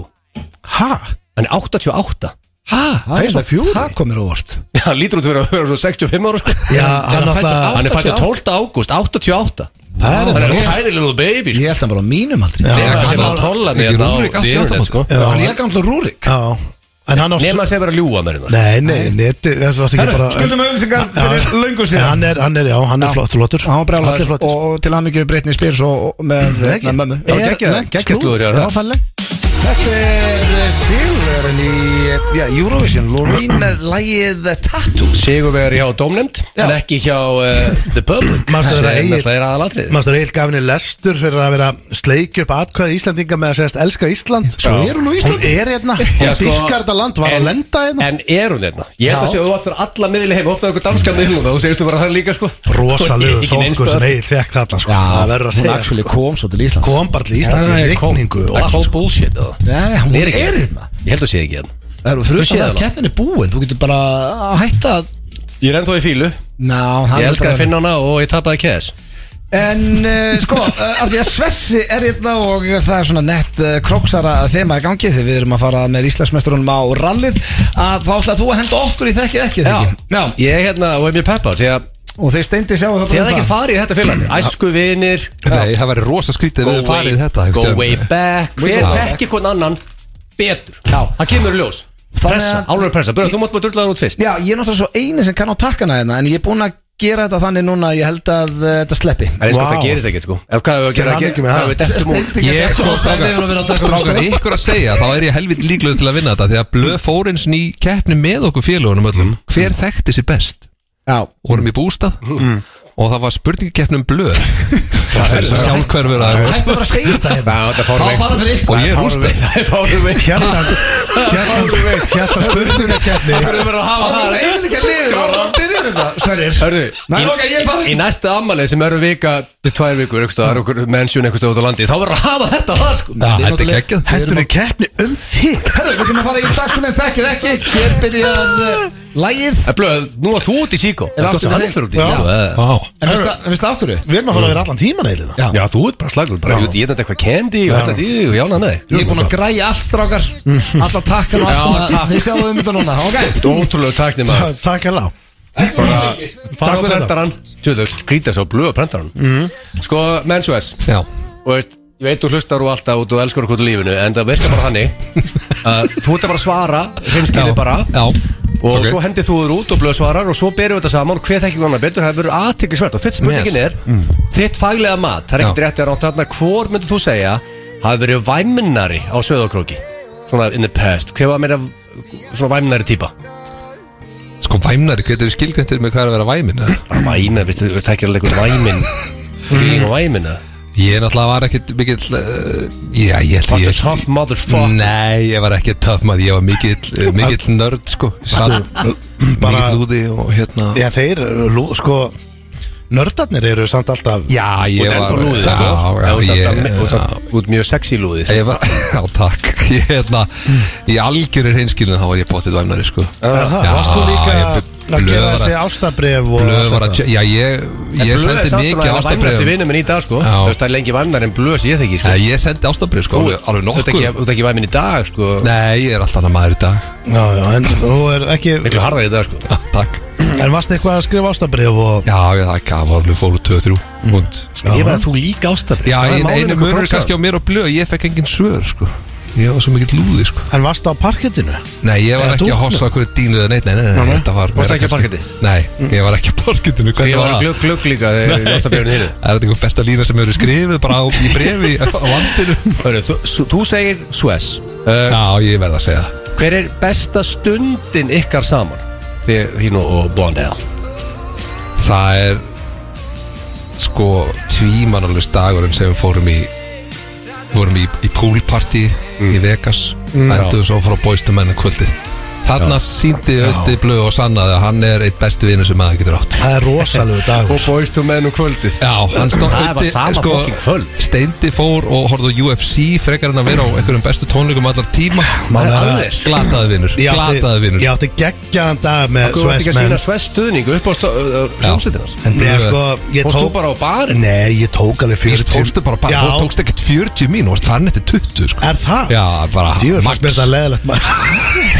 Speaker 2: ha,
Speaker 3: Hann er 88
Speaker 1: Hæ, það er
Speaker 2: Tyson Fury?
Speaker 1: Það komir óvart
Speaker 3: Hann lítur út fyrir að vera svo 65 ára sko.
Speaker 2: já,
Speaker 1: hann
Speaker 2: hann
Speaker 1: fæddur á-
Speaker 2: alltaf
Speaker 3: Hann er fættur 12. ágúst 88
Speaker 2: það
Speaker 3: Hann
Speaker 2: er
Speaker 3: er
Speaker 2: þetta
Speaker 3: a tiny little baby sko.
Speaker 1: Ég held að hann var á mínum aldrei
Speaker 2: Já.
Speaker 3: Ég er
Speaker 2: hann
Speaker 3: sem
Speaker 2: var-
Speaker 3: að tolla
Speaker 5: Ekki
Speaker 3: mig
Speaker 5: Rúrik 88 sko
Speaker 1: Hann er gamla Rúrik
Speaker 2: já, En hann á s-
Speaker 3: Nefn að segja verið að ljúa mér hérna
Speaker 2: Nei, nei, neti, það varst ekki
Speaker 1: Herru,
Speaker 2: bara
Speaker 1: skuldum auðlýsingar fyrir
Speaker 2: Já.
Speaker 1: löngu síðan.
Speaker 2: Nei, Hann er, hann er, já, hann er flott, flottur
Speaker 1: Hann var
Speaker 2: Allir
Speaker 1: brjálæður
Speaker 2: flottir.
Speaker 1: og og til hamingju Brittany Spears og og með
Speaker 2: Nei,
Speaker 1: með mömmu
Speaker 3: Já,
Speaker 2: Er
Speaker 3: geggjað-
Speaker 2: lent
Speaker 3: geggjað
Speaker 2: slúður.
Speaker 3: slúður, já,
Speaker 2: Já,
Speaker 3: það.
Speaker 2: fælleg
Speaker 1: Þetta er Sigurinn í já, Eurovision Loreen með lægið Tattoo
Speaker 3: Sigur verið hjá Dómnefnd
Speaker 1: Já.
Speaker 3: En ekki hjá uh, The Public
Speaker 2: Manstu
Speaker 3: Sem
Speaker 2: þegar Egill-
Speaker 3: náttúrulega er aðalatrið
Speaker 2: Mástur Egil gaf henni lestur fyrir að vera að sleikja upp atkvæði Íslandinga með að segast elska Ísland
Speaker 1: Svo er hún á
Speaker 2: Hún
Speaker 1: Íslandi
Speaker 2: er hérna, hún
Speaker 3: Já, sko,
Speaker 2: dyrkar þetta land, var
Speaker 3: en-
Speaker 2: að lenda hérna
Speaker 3: En er hún hérna? Ég held að
Speaker 2: Já.
Speaker 3: sé að þú vantar alla miðli heim Opnaðu einhver danska miðlum og þú segistu bara það líka sko
Speaker 2: Rosalegu
Speaker 3: Ekki neins
Speaker 2: sokkur sem
Speaker 3: staðar.
Speaker 2: Egil fekk þarna sko. Það verður að segja sko.
Speaker 1: kom svo til Íslands
Speaker 2: Kom bara til Íslands í
Speaker 3: Það er cold-
Speaker 2: rigningu og
Speaker 3: það er
Speaker 2: allt
Speaker 3: cold
Speaker 2: sko.
Speaker 3: bullshit eða?
Speaker 1: Nei, hún
Speaker 3: Er
Speaker 1: er
Speaker 3: ekki.
Speaker 1: hérna
Speaker 3: Ég held að sé ekki hérna
Speaker 1: Það eru fyrir
Speaker 3: Þú séð
Speaker 1: utan það
Speaker 3: hana?
Speaker 1: að keppnin er búin Þú getur bara að hætta að-
Speaker 3: Ég er ennþá í fílu
Speaker 1: Ná, það
Speaker 3: Ég
Speaker 1: er
Speaker 3: elskar
Speaker 1: bara-
Speaker 3: að finna hana og ég tapaði kæs
Speaker 1: En uh,
Speaker 3: [laughs]
Speaker 1: sko, uh, af því að Svessi er hérna og það er svona nett uh, króksara þema í gangi þegar við erum að fara með Íslandsmestrunum á rallið að þá ætlaði þú að henda okkur í þekkið ekki
Speaker 3: Já,
Speaker 1: þekki
Speaker 3: já Ég er hérna og er mjög peppar Því að
Speaker 1: og þeir steindi sjá það
Speaker 3: þið hefði ekki farið í þetta félag Æsku vinir
Speaker 5: Nei, það væri rosa skrítið við farið í þetta
Speaker 3: go
Speaker 5: einhvern
Speaker 3: way
Speaker 5: tímann.
Speaker 3: back Hver
Speaker 1: Way back.
Speaker 3: þekki hvern annan betur Já Það kemur í ljós Pressa,
Speaker 1: að-
Speaker 3: álverður pressa Börðu, þú mátt bara drulla hann út fyrst
Speaker 1: Já, ég er náttúrulega svo eini sem kann á takkana hérna en ég er búinn að gera þetta þannig núna að ég held að uh, þetta sleppi
Speaker 3: Það er eins og
Speaker 2: Vá.
Speaker 3: það gerist ekkert sko Ef hvað hefur að gera
Speaker 2: Til hamingju með
Speaker 3: hvað
Speaker 2: það.
Speaker 3: hefur dettum úr
Speaker 1: Steindi
Speaker 5: Ég
Speaker 1: gekk svo
Speaker 5: sko,
Speaker 1: oft að niður og verið á dagskrá,
Speaker 5: strákar,
Speaker 1: sko.
Speaker 5: ykkur að segja þá er ég helvit líklega til að vinna þetta því að blöð fórinsn í keppni með okkur félagunum
Speaker 3: Mm.
Speaker 5: öllum hver þekkti sér best
Speaker 1: Já,
Speaker 5: vorum í bústað
Speaker 3: Mm.
Speaker 5: og það var
Speaker 3: [laughs]
Speaker 5: spurningakeppnum blöð það er sjálfhverfur að
Speaker 1: hættu bara að segja þetta hérna
Speaker 3: Já, þetta
Speaker 1: Það
Speaker 3: er fárveikt.
Speaker 1: var bara fyrir ykkur
Speaker 5: og ég er rúsbeg
Speaker 3: Það er fárum við
Speaker 2: Hjartan, hjartan, hjartan
Speaker 3: Það
Speaker 2: spurningakeppni
Speaker 3: verður bara að hafa
Speaker 1: Það var
Speaker 3: það
Speaker 1: eiginlega liður Það var að byrja þetta, Sverrir
Speaker 3: Hörðu,
Speaker 1: Nei,
Speaker 3: í-
Speaker 1: ok, ég fann
Speaker 3: í, í næsta ammalið sem eru vika til tvær vikur, einhvers staðar, okkur mennsjun einhvers staðar út á landi, þá verður að hafa þetta það sko
Speaker 5: Já, þetta er geggjað
Speaker 2: Hendur í keppni um þig
Speaker 1: Herru, við erum að fara í dagskunum Þekkið ekki, hér byrja að uh, Lægið
Speaker 3: Það er Eh, blöð, nú að þú út í síkó Það er
Speaker 1: aftur
Speaker 3: gott sem
Speaker 1: með
Speaker 3: hann
Speaker 1: þig?
Speaker 3: fyrir út í
Speaker 2: Já.
Speaker 3: síkó eh.
Speaker 1: En veistu að- en veistu af hverju?
Speaker 2: Við erum að fara að vera allan tíman eilina
Speaker 1: Já.
Speaker 3: Já, þú ert bara slagur, bara ég ég þetta eitthvað candy og alltaf því og jána með
Speaker 1: Ég er búinn að græja allt strákar Alla takkan og
Speaker 3: Já,
Speaker 1: allt
Speaker 3: takk.
Speaker 1: Þið sjáum við þetta núna, ok
Speaker 3: Ótrúlega takni maður
Speaker 2: Takk hérlega
Speaker 3: Bara,
Speaker 2: Takk
Speaker 3: fara á
Speaker 2: fyrir þetta.
Speaker 3: prendaran Tjóðu, skrýta svo blöð á prendaran
Speaker 1: Mhm.
Speaker 3: Sko, mennsjus
Speaker 5: já,
Speaker 3: og veist, ég veit þú hlustar og alltaf og þú elskar okkur til lífinu, en það virkar bara
Speaker 5: [laughs]
Speaker 3: þannig að þú ert að bara að svara hreinskilið
Speaker 5: Já.
Speaker 3: bara
Speaker 5: Já.
Speaker 3: og
Speaker 5: Ok.
Speaker 3: svo hendið þú þér út og blöð svarar og svo berum við þetta saman og hver þekkir hvernig betur það verður aðtiklisvert og fyrst spurningin
Speaker 5: Yes. Mm.
Speaker 3: er þitt faglega mat, það er ekkert
Speaker 5: Já.
Speaker 3: rétt að rátt þarna hvor myndir þú segja hafi verið væminnari á Söðokróki svona in the past, hver var meira svona væminnari típa
Speaker 5: sko væmnari, hvernig er skilgræntir með hvað er að vera væmin eða?
Speaker 3: bara væminn, veistu, þú tekir alveg eitthvað
Speaker 5: [laughs]
Speaker 3: væminn grín og væminn
Speaker 5: ég náttúrulega var ekkit mikill uh, já, ég held að
Speaker 3: Varstu
Speaker 5: ég
Speaker 3: tough motherfucker?
Speaker 5: nei, ég var ekki tough maður, ég var mikill, uh, mikill nörd sko, satt
Speaker 2: bara-
Speaker 5: mikill úti og hérna
Speaker 2: Já, þeir, eru lú- sko Nördarnir eru samt alltaf
Speaker 5: já,
Speaker 3: og það er
Speaker 5: ég var
Speaker 3: ennþá sko. lúðið
Speaker 5: já, já, ég- já.
Speaker 3: sko út mjög sexy lúðið
Speaker 5: Ég var, [laughs] já takk Ég hérna, í algjörir hinskilin þá var ég bóttið væmnari sko
Speaker 2: Er það?
Speaker 5: Já,
Speaker 2: Varst þú líka
Speaker 5: ég bu-
Speaker 2: að
Speaker 5: blöð
Speaker 2: gera
Speaker 5: var
Speaker 2: þessi
Speaker 5: að-
Speaker 2: ástabref og
Speaker 5: Blöð
Speaker 2: allt
Speaker 5: var að,
Speaker 2: þetta?
Speaker 5: já ég Ég sendi mikið
Speaker 3: Þú
Speaker 5: ástabrið
Speaker 3: vinnur minn í dag sko
Speaker 5: Já.
Speaker 3: Þú veist það er lengi væmnar en blöð sem ég þekki sko
Speaker 5: Ég sendi ástabrið sko, alveg, alveg
Speaker 3: Þú ert
Speaker 5: nokkuð
Speaker 3: ekki- þú ert ekki væminn í dag sko
Speaker 5: Nei, ég er allt annað maður í dag [laughs]
Speaker 2: Já, já, en þú er ekki
Speaker 3: Miklu harðar í dag sko
Speaker 5: Já, Takk
Speaker 2: En varst eitthvað að skrifa ástabrif og
Speaker 5: Já, ég það gaf alveg fóru 2-3 hund
Speaker 3: Skrifaði þú líka ástafri
Speaker 5: Já, ein, einu munur kannski á mér og blöð Ég fekk engin svör sko Ég var svo mikill lúði sko
Speaker 2: En varst á parkettinu?
Speaker 5: Nei, ég var
Speaker 2: Eða
Speaker 5: ekki að
Speaker 2: dúknum?
Speaker 5: hossa okkur dínu eða neitt Nei, nei, nei, nei, þetta var
Speaker 3: Varstu ekki á
Speaker 5: kannski- Nei, ég var ekki á parkettinu
Speaker 3: Ég
Speaker 5: Hvernig var
Speaker 3: var
Speaker 5: það?
Speaker 3: glögg glögg líka þegar ástafriðinu þínu
Speaker 5: Er þetta einhver besta lína sem eru skrifið bara á, í brefi á vandinu?
Speaker 3: [laughs] Hörru, þú- þú- Þú segir Suez Uh,
Speaker 5: Já, ég verð að segja það.
Speaker 3: Hver er besta stundin ykkar saman? Þið hínu og Blondell
Speaker 5: Það er sko tvímanalust dagurinn sem við fórum í vorum í, í poolparty
Speaker 3: Mm.
Speaker 5: í Vegas endur svo frá bóistum menn kvöldi þarna síndi ötti blöð og sannaði að hann er eitt besti vinur sem maður getur átt
Speaker 2: Það er rosalegu dagur
Speaker 3: boys to men um og kvöldi
Speaker 5: Já, hann stóð
Speaker 3: Það var sama fokkin kvöld.
Speaker 5: Steindi fór og horfði á UFC frekar en að vera á einhverjum bestu tónleikum allar tíma
Speaker 2: Maður er
Speaker 3: alveg.
Speaker 5: Glataði vinnur
Speaker 2: Ég átti-
Speaker 5: Glataði vinnur
Speaker 2: Ég átti geggjaðan dag með
Speaker 3: Þú ert ekki að
Speaker 2: Svesmenn
Speaker 3: sína Suez stuðning upp á hljómsveitinans
Speaker 5: En
Speaker 2: Nei,
Speaker 5: blöð-
Speaker 2: sko, ég
Speaker 3: Fórst þú
Speaker 2: tók
Speaker 3: bara á barinn?
Speaker 2: Nei, ég tók alveg
Speaker 5: Þú
Speaker 2: 40
Speaker 5: tókstu bara bara,
Speaker 2: Já,
Speaker 5: þú tókstu ekkert 40 mín og varst farin eftir 20 sko.
Speaker 2: er það?
Speaker 5: Já, bara
Speaker 2: Jú, fannst mér
Speaker 5: max
Speaker 2: þetta leðilegt maður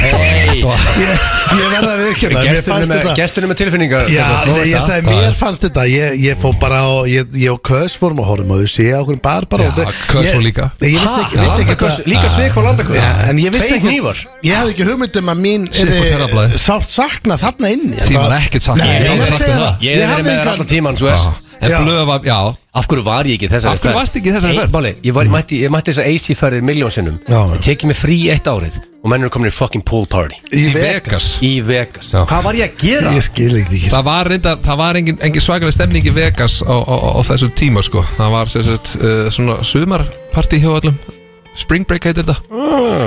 Speaker 5: Hey,
Speaker 3: Nei
Speaker 2: Ég,
Speaker 3: [laughs]
Speaker 2: ég verða að viðkjöna Mér fannst þetta
Speaker 3: Gesturinn með tilfinningar
Speaker 2: Já,
Speaker 3: Þetta-
Speaker 2: nei, ég
Speaker 3: þetta-
Speaker 2: sagði, mér fannst þetta Ég, ég fór bara og ég, ég og Kös fórum að horfum og þau sé okkur bar bara
Speaker 5: Já,
Speaker 2: og þetta-
Speaker 5: Kös
Speaker 2: ég-
Speaker 5: fór líka.
Speaker 2: Nei, Ég vissi ekki, vissi ekki
Speaker 3: Landaköst- Líka sveik frá landaköst
Speaker 2: Já, en ég vissi
Speaker 3: Tveir
Speaker 2: ekki
Speaker 3: hnífar.
Speaker 2: Ég hafði ekki hugmynd um að mín
Speaker 5: Sitt hvor þeirra blaði.
Speaker 2: yrði sárt sakna þarna inni
Speaker 5: Því var ekkert
Speaker 2: Nei,
Speaker 5: saknað. Ég
Speaker 2: ég
Speaker 5: hafði
Speaker 2: segi
Speaker 5: sagt um það.
Speaker 2: það
Speaker 3: Ég hef verið með þér allan tíman svo þess
Speaker 5: En
Speaker 2: Já.
Speaker 5: blöð var, já
Speaker 3: Af hverju var ég ekki í þessari
Speaker 5: Af hverju varstu ekki í þessari
Speaker 3: Nei,
Speaker 5: ferð?
Speaker 3: Máli, ég, var, ég, mætti, ég mætti þessar AC-ferðir miljónsinnum
Speaker 2: Já.
Speaker 3: Ég tekið mig frí eitt árið Og menn eru komin í fucking pool party
Speaker 5: Í
Speaker 2: Í Vegas
Speaker 5: Vegas
Speaker 3: Í Vegas
Speaker 5: Já.
Speaker 3: Hvað var ég að gera?
Speaker 2: Ég skil ekki ekki
Speaker 5: Það var reynda, það var engin, engin svakalega stemning í Vegas á, á, á þessum tíma sko Það var sem sagt uh, svona sumarparti hjá öllum Spring Break heitir þetta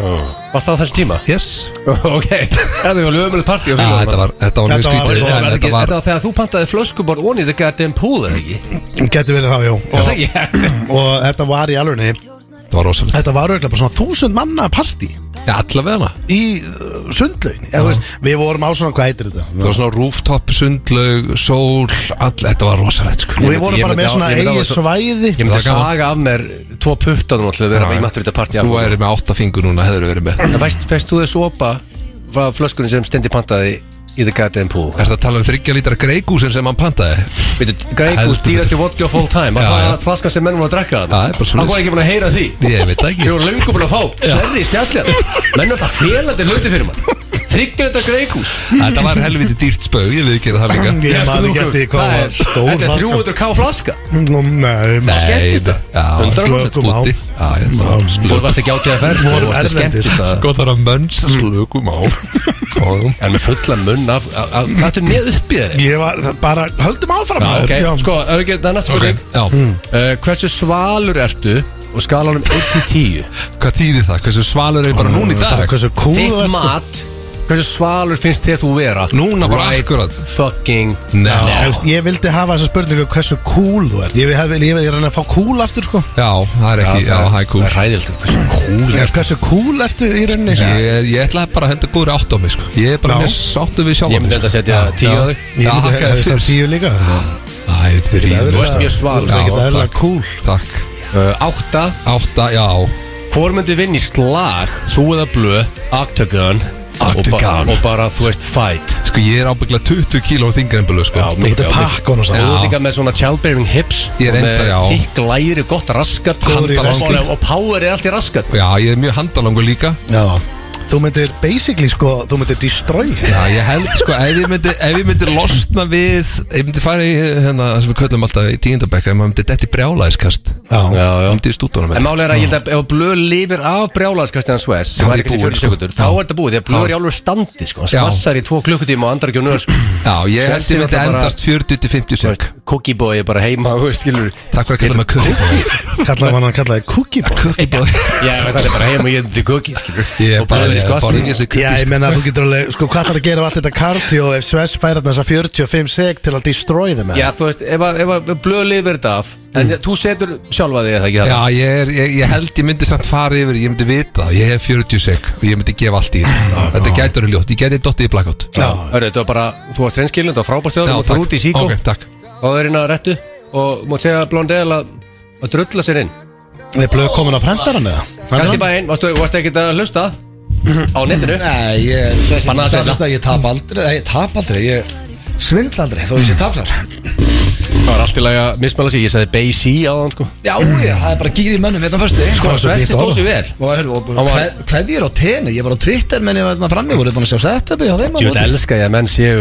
Speaker 3: Var það á þessum tíma?
Speaker 5: Yes
Speaker 3: ok Það var lögumölu party á
Speaker 5: Já,
Speaker 3: félagum.
Speaker 5: þetta var, þetta var mjög
Speaker 2: Þetta var-
Speaker 5: skrítið
Speaker 3: Var
Speaker 5: en
Speaker 3: það ekki-
Speaker 5: Þetta var,
Speaker 3: Þetta var þegar þú pantaði flöskubor onni The goddamn pool, eða ekki?
Speaker 2: Gæti verið þá, jú
Speaker 3: Er
Speaker 2: Og,
Speaker 3: það ekki?
Speaker 2: og þetta var í alvegni
Speaker 5: þetta var rosalegt
Speaker 2: Þetta var auðvitað bara svona þúsund manna partí
Speaker 5: Já, allavega hana
Speaker 2: Í uh, sundlaun Eða, þú veist, Við vorum á svona, hvað heitir
Speaker 5: Það
Speaker 2: þetta?
Speaker 5: var svona rooftop, sundlaug, sól, all, þetta var rosalegt sko
Speaker 2: Við vorum
Speaker 3: ég
Speaker 2: bara
Speaker 3: myndi
Speaker 2: með
Speaker 3: á-
Speaker 2: svona
Speaker 3: ég myndi á-
Speaker 2: eigi svæði
Speaker 3: Ég myndi að
Speaker 5: Það var gaman.
Speaker 3: saga af mér tvo puttanum alltaf þegar ég mætti við þetta partí
Speaker 5: Þú væri með átta fingur núna, hefur verið með
Speaker 3: En veist, fæst þú þess opa frá flöskunum sem stendi pantaði í The Goddamn Pool?
Speaker 5: Er það að tala um þryggja lítra greikúsin sem hann pantaði?
Speaker 3: Veitu, Gregus,
Speaker 5: Heldur
Speaker 3: dýrasti vodka of all time Var
Speaker 5: Já,
Speaker 3: það
Speaker 5: já.
Speaker 3: að flaska sem menn voru að drekka það?
Speaker 5: Já, það er bara svoleiðis.
Speaker 3: Hann var ekki búin að heyra því
Speaker 5: Ég veit það ekki.
Speaker 3: Ég voru löngu búin að fá Sverri í stjalljar Menn er alltaf félandi hluti fyrir mann Þryggja þetta Gregus
Speaker 5: Þetta var helviti dýrt spög, ég við gera það líka
Speaker 2: Ég maður ekki eftir því hvað
Speaker 3: Það
Speaker 2: var
Speaker 3: er
Speaker 2: stór
Speaker 3: þetta er
Speaker 2: flaska.
Speaker 3: 300k flaska
Speaker 2: Nú, Nei, maður
Speaker 3: skemmtist það?
Speaker 5: það? Já,
Speaker 3: 100%.
Speaker 5: slökum á Úti. Já, ég-
Speaker 3: Þú varst ekki átíða færð Þú
Speaker 2: Vorum
Speaker 3: varst að
Speaker 2: erlendis.
Speaker 3: skemmtist það
Speaker 5: Sko það er að mönns
Speaker 2: Mm.
Speaker 5: slökum á Og
Speaker 3: En með fulla munn af af- af- Hvað ertu með upp í þeirri?
Speaker 2: Ég var bara, höldum áfram
Speaker 3: Já,
Speaker 2: maður. Mm.
Speaker 3: ok,
Speaker 2: Já.
Speaker 3: sko, er ekki, það er næst
Speaker 5: Ok,
Speaker 3: spurning
Speaker 5: já,
Speaker 3: uh, Hversu svalur ertu og skalanum 1-10
Speaker 5: hvað þýðir það? Hversu svalur er bara núna í
Speaker 2: Bara
Speaker 5: dag?
Speaker 2: Hversu cool
Speaker 3: Þitt
Speaker 2: þú ert, sko.
Speaker 3: mat Hversu svalur finnst þið að þú vera
Speaker 5: Núna bara akkurat
Speaker 3: Fucking
Speaker 5: Nei,
Speaker 2: Já, þú veist, Ég vildi hafa þessa spurningu hversu cool þú ert Ég vil- ég vil- ég vil reyna að fá cool aftur sko
Speaker 5: já, það er ekki, já, það er cool
Speaker 3: Það er ræðild Hversu cool
Speaker 2: Ég- Hversu cool ertu í rauninni sko?
Speaker 5: Ég, er- ég ætla bara að henda góðri átt á mig sko. Ég er bara
Speaker 2: Já.
Speaker 5: mjög sáttu við sko. sjálf
Speaker 3: Ég myndi enda að setja 10 á þig.
Speaker 2: Ég myndi hefði það tíu líka
Speaker 5: Þú
Speaker 2: ekkert eðlilega-
Speaker 3: ert mjög
Speaker 2: Þú
Speaker 3: svalur.
Speaker 2: ert ekkert
Speaker 5: Já,
Speaker 2: eðlilega
Speaker 5: takk.
Speaker 2: cool
Speaker 5: Takk
Speaker 3: uh, Átta
Speaker 5: Átta, já
Speaker 3: Hvor myndi vinna í slag Þú eða blö Octagon Og, ba
Speaker 5: Octagon.
Speaker 3: og bara þú veist fight
Speaker 5: Sko ég er ábyggla 20 kíló þingar en búlu sko
Speaker 2: Þú getur pakkon og
Speaker 3: Og
Speaker 2: svo
Speaker 3: þú ert líka með svona childbearing hips
Speaker 5: Ég er
Speaker 3: og
Speaker 5: enda,
Speaker 3: með
Speaker 5: já.
Speaker 3: Þykk læri, gott raskat
Speaker 2: Góður í
Speaker 3: og,
Speaker 2: wrestling.
Speaker 3: og power er allt í raskat
Speaker 5: Já, ég er mjög handalangur líka
Speaker 2: Já. Þú myndir basically sko Þú myndir destroy
Speaker 5: Já, ég held sko, ef ég myndi, ef ég myndi losna við Ég myndi fara í hérna, það sem við köllum alltaf í tíundabekka Ef maður myndi detti brjálæðiskast
Speaker 2: Já.
Speaker 5: Já, myndi í stúdónum
Speaker 3: En málið er að ég held að ef Blöð lifir af brjálaðskastin hans West sem
Speaker 5: Þá er
Speaker 3: væri
Speaker 5: ég
Speaker 3: kannski
Speaker 5: búinn,
Speaker 3: 40
Speaker 5: sko.
Speaker 3: sekundur þá
Speaker 5: Já.
Speaker 3: er þetta búið því að Blöð er í alveg standi sko, hann
Speaker 5: Já.
Speaker 3: skvassar í tvo klukkutíma og andrar ekki á nöð sko.
Speaker 5: Já, ég held
Speaker 3: Svensi
Speaker 5: ég myndi
Speaker 3: náttúrulega bara-
Speaker 5: endast 40-50
Speaker 3: Þú
Speaker 5: sek
Speaker 3: veist, Cookie boy er bara heima þú veist, skilur
Speaker 5: Takk fyrir að
Speaker 2: Kallaði
Speaker 5: kalla mig Cookie Boy
Speaker 2: hann hann kallaði cookie boy
Speaker 5: Cookie Boy
Speaker 3: Já, það er bara heima og ég er til cookie skilur
Speaker 5: Ég er
Speaker 3: og Blöð
Speaker 5: bara,
Speaker 3: er í
Speaker 5: ég borði ekki
Speaker 3: skvassi
Speaker 2: Já,
Speaker 5: þessi
Speaker 2: ég
Speaker 5: cookies
Speaker 2: menna að þú getur alveg Sko, hvað þarf að gera af allt þetta cardio Ef Sves færa þess að 45 seg Til að destroy þeim eða?
Speaker 3: Já, þú veist, ef, að- ef að Blöð lifir þetta af en
Speaker 5: Mm.
Speaker 3: þú setur sjálfa þig eða ekki það
Speaker 5: Já, ég, er, ég, ég held ég myndi samt fara yfir Ég myndi vita, það. ég hef 40 sek Og ég myndi gefa allt í þetta Þetta gætur er ljótt, ég gæti dottið í blackout
Speaker 2: Já.
Speaker 3: Hörru, þetta var bara, þú varst reynskilin, þetta var frábært hjá þér, þú mátt fara út í síkó
Speaker 5: Ok, takk
Speaker 3: og það er inn að rettu og mátt segja Blondel að að drulla sér inn
Speaker 2: Er blöð komin á prentaran eða?
Speaker 3: Gæti bæinn, varstu, varstu ekkert að hlusta á netinu?
Speaker 1: Nei, ég sveist
Speaker 3: Bannað að
Speaker 1: ekki
Speaker 3: segja.
Speaker 1: staðfesta Ég tap aldrei, nei, ég tap aldrei Ég svindla aldrei þó ég sé tapsar
Speaker 3: Það var allt í lagi að mismæla sig, ég sagði Bay-C á hann sko
Speaker 1: Já, ég, það er bara gýr í mönnum hérna fyrstu
Speaker 2: Sko,
Speaker 1: Sko,
Speaker 2: svo
Speaker 3: Svessi
Speaker 2: lítið
Speaker 3: stóð
Speaker 2: orð.
Speaker 3: sér vel
Speaker 1: og hérna,
Speaker 3: Hann var-
Speaker 1: hvað hve ég er á tenni Ég var á Twitter menn ég var hérna fram Ég voru búin að sjá setupi á þeim
Speaker 3: Ég veit elska ég að menn séu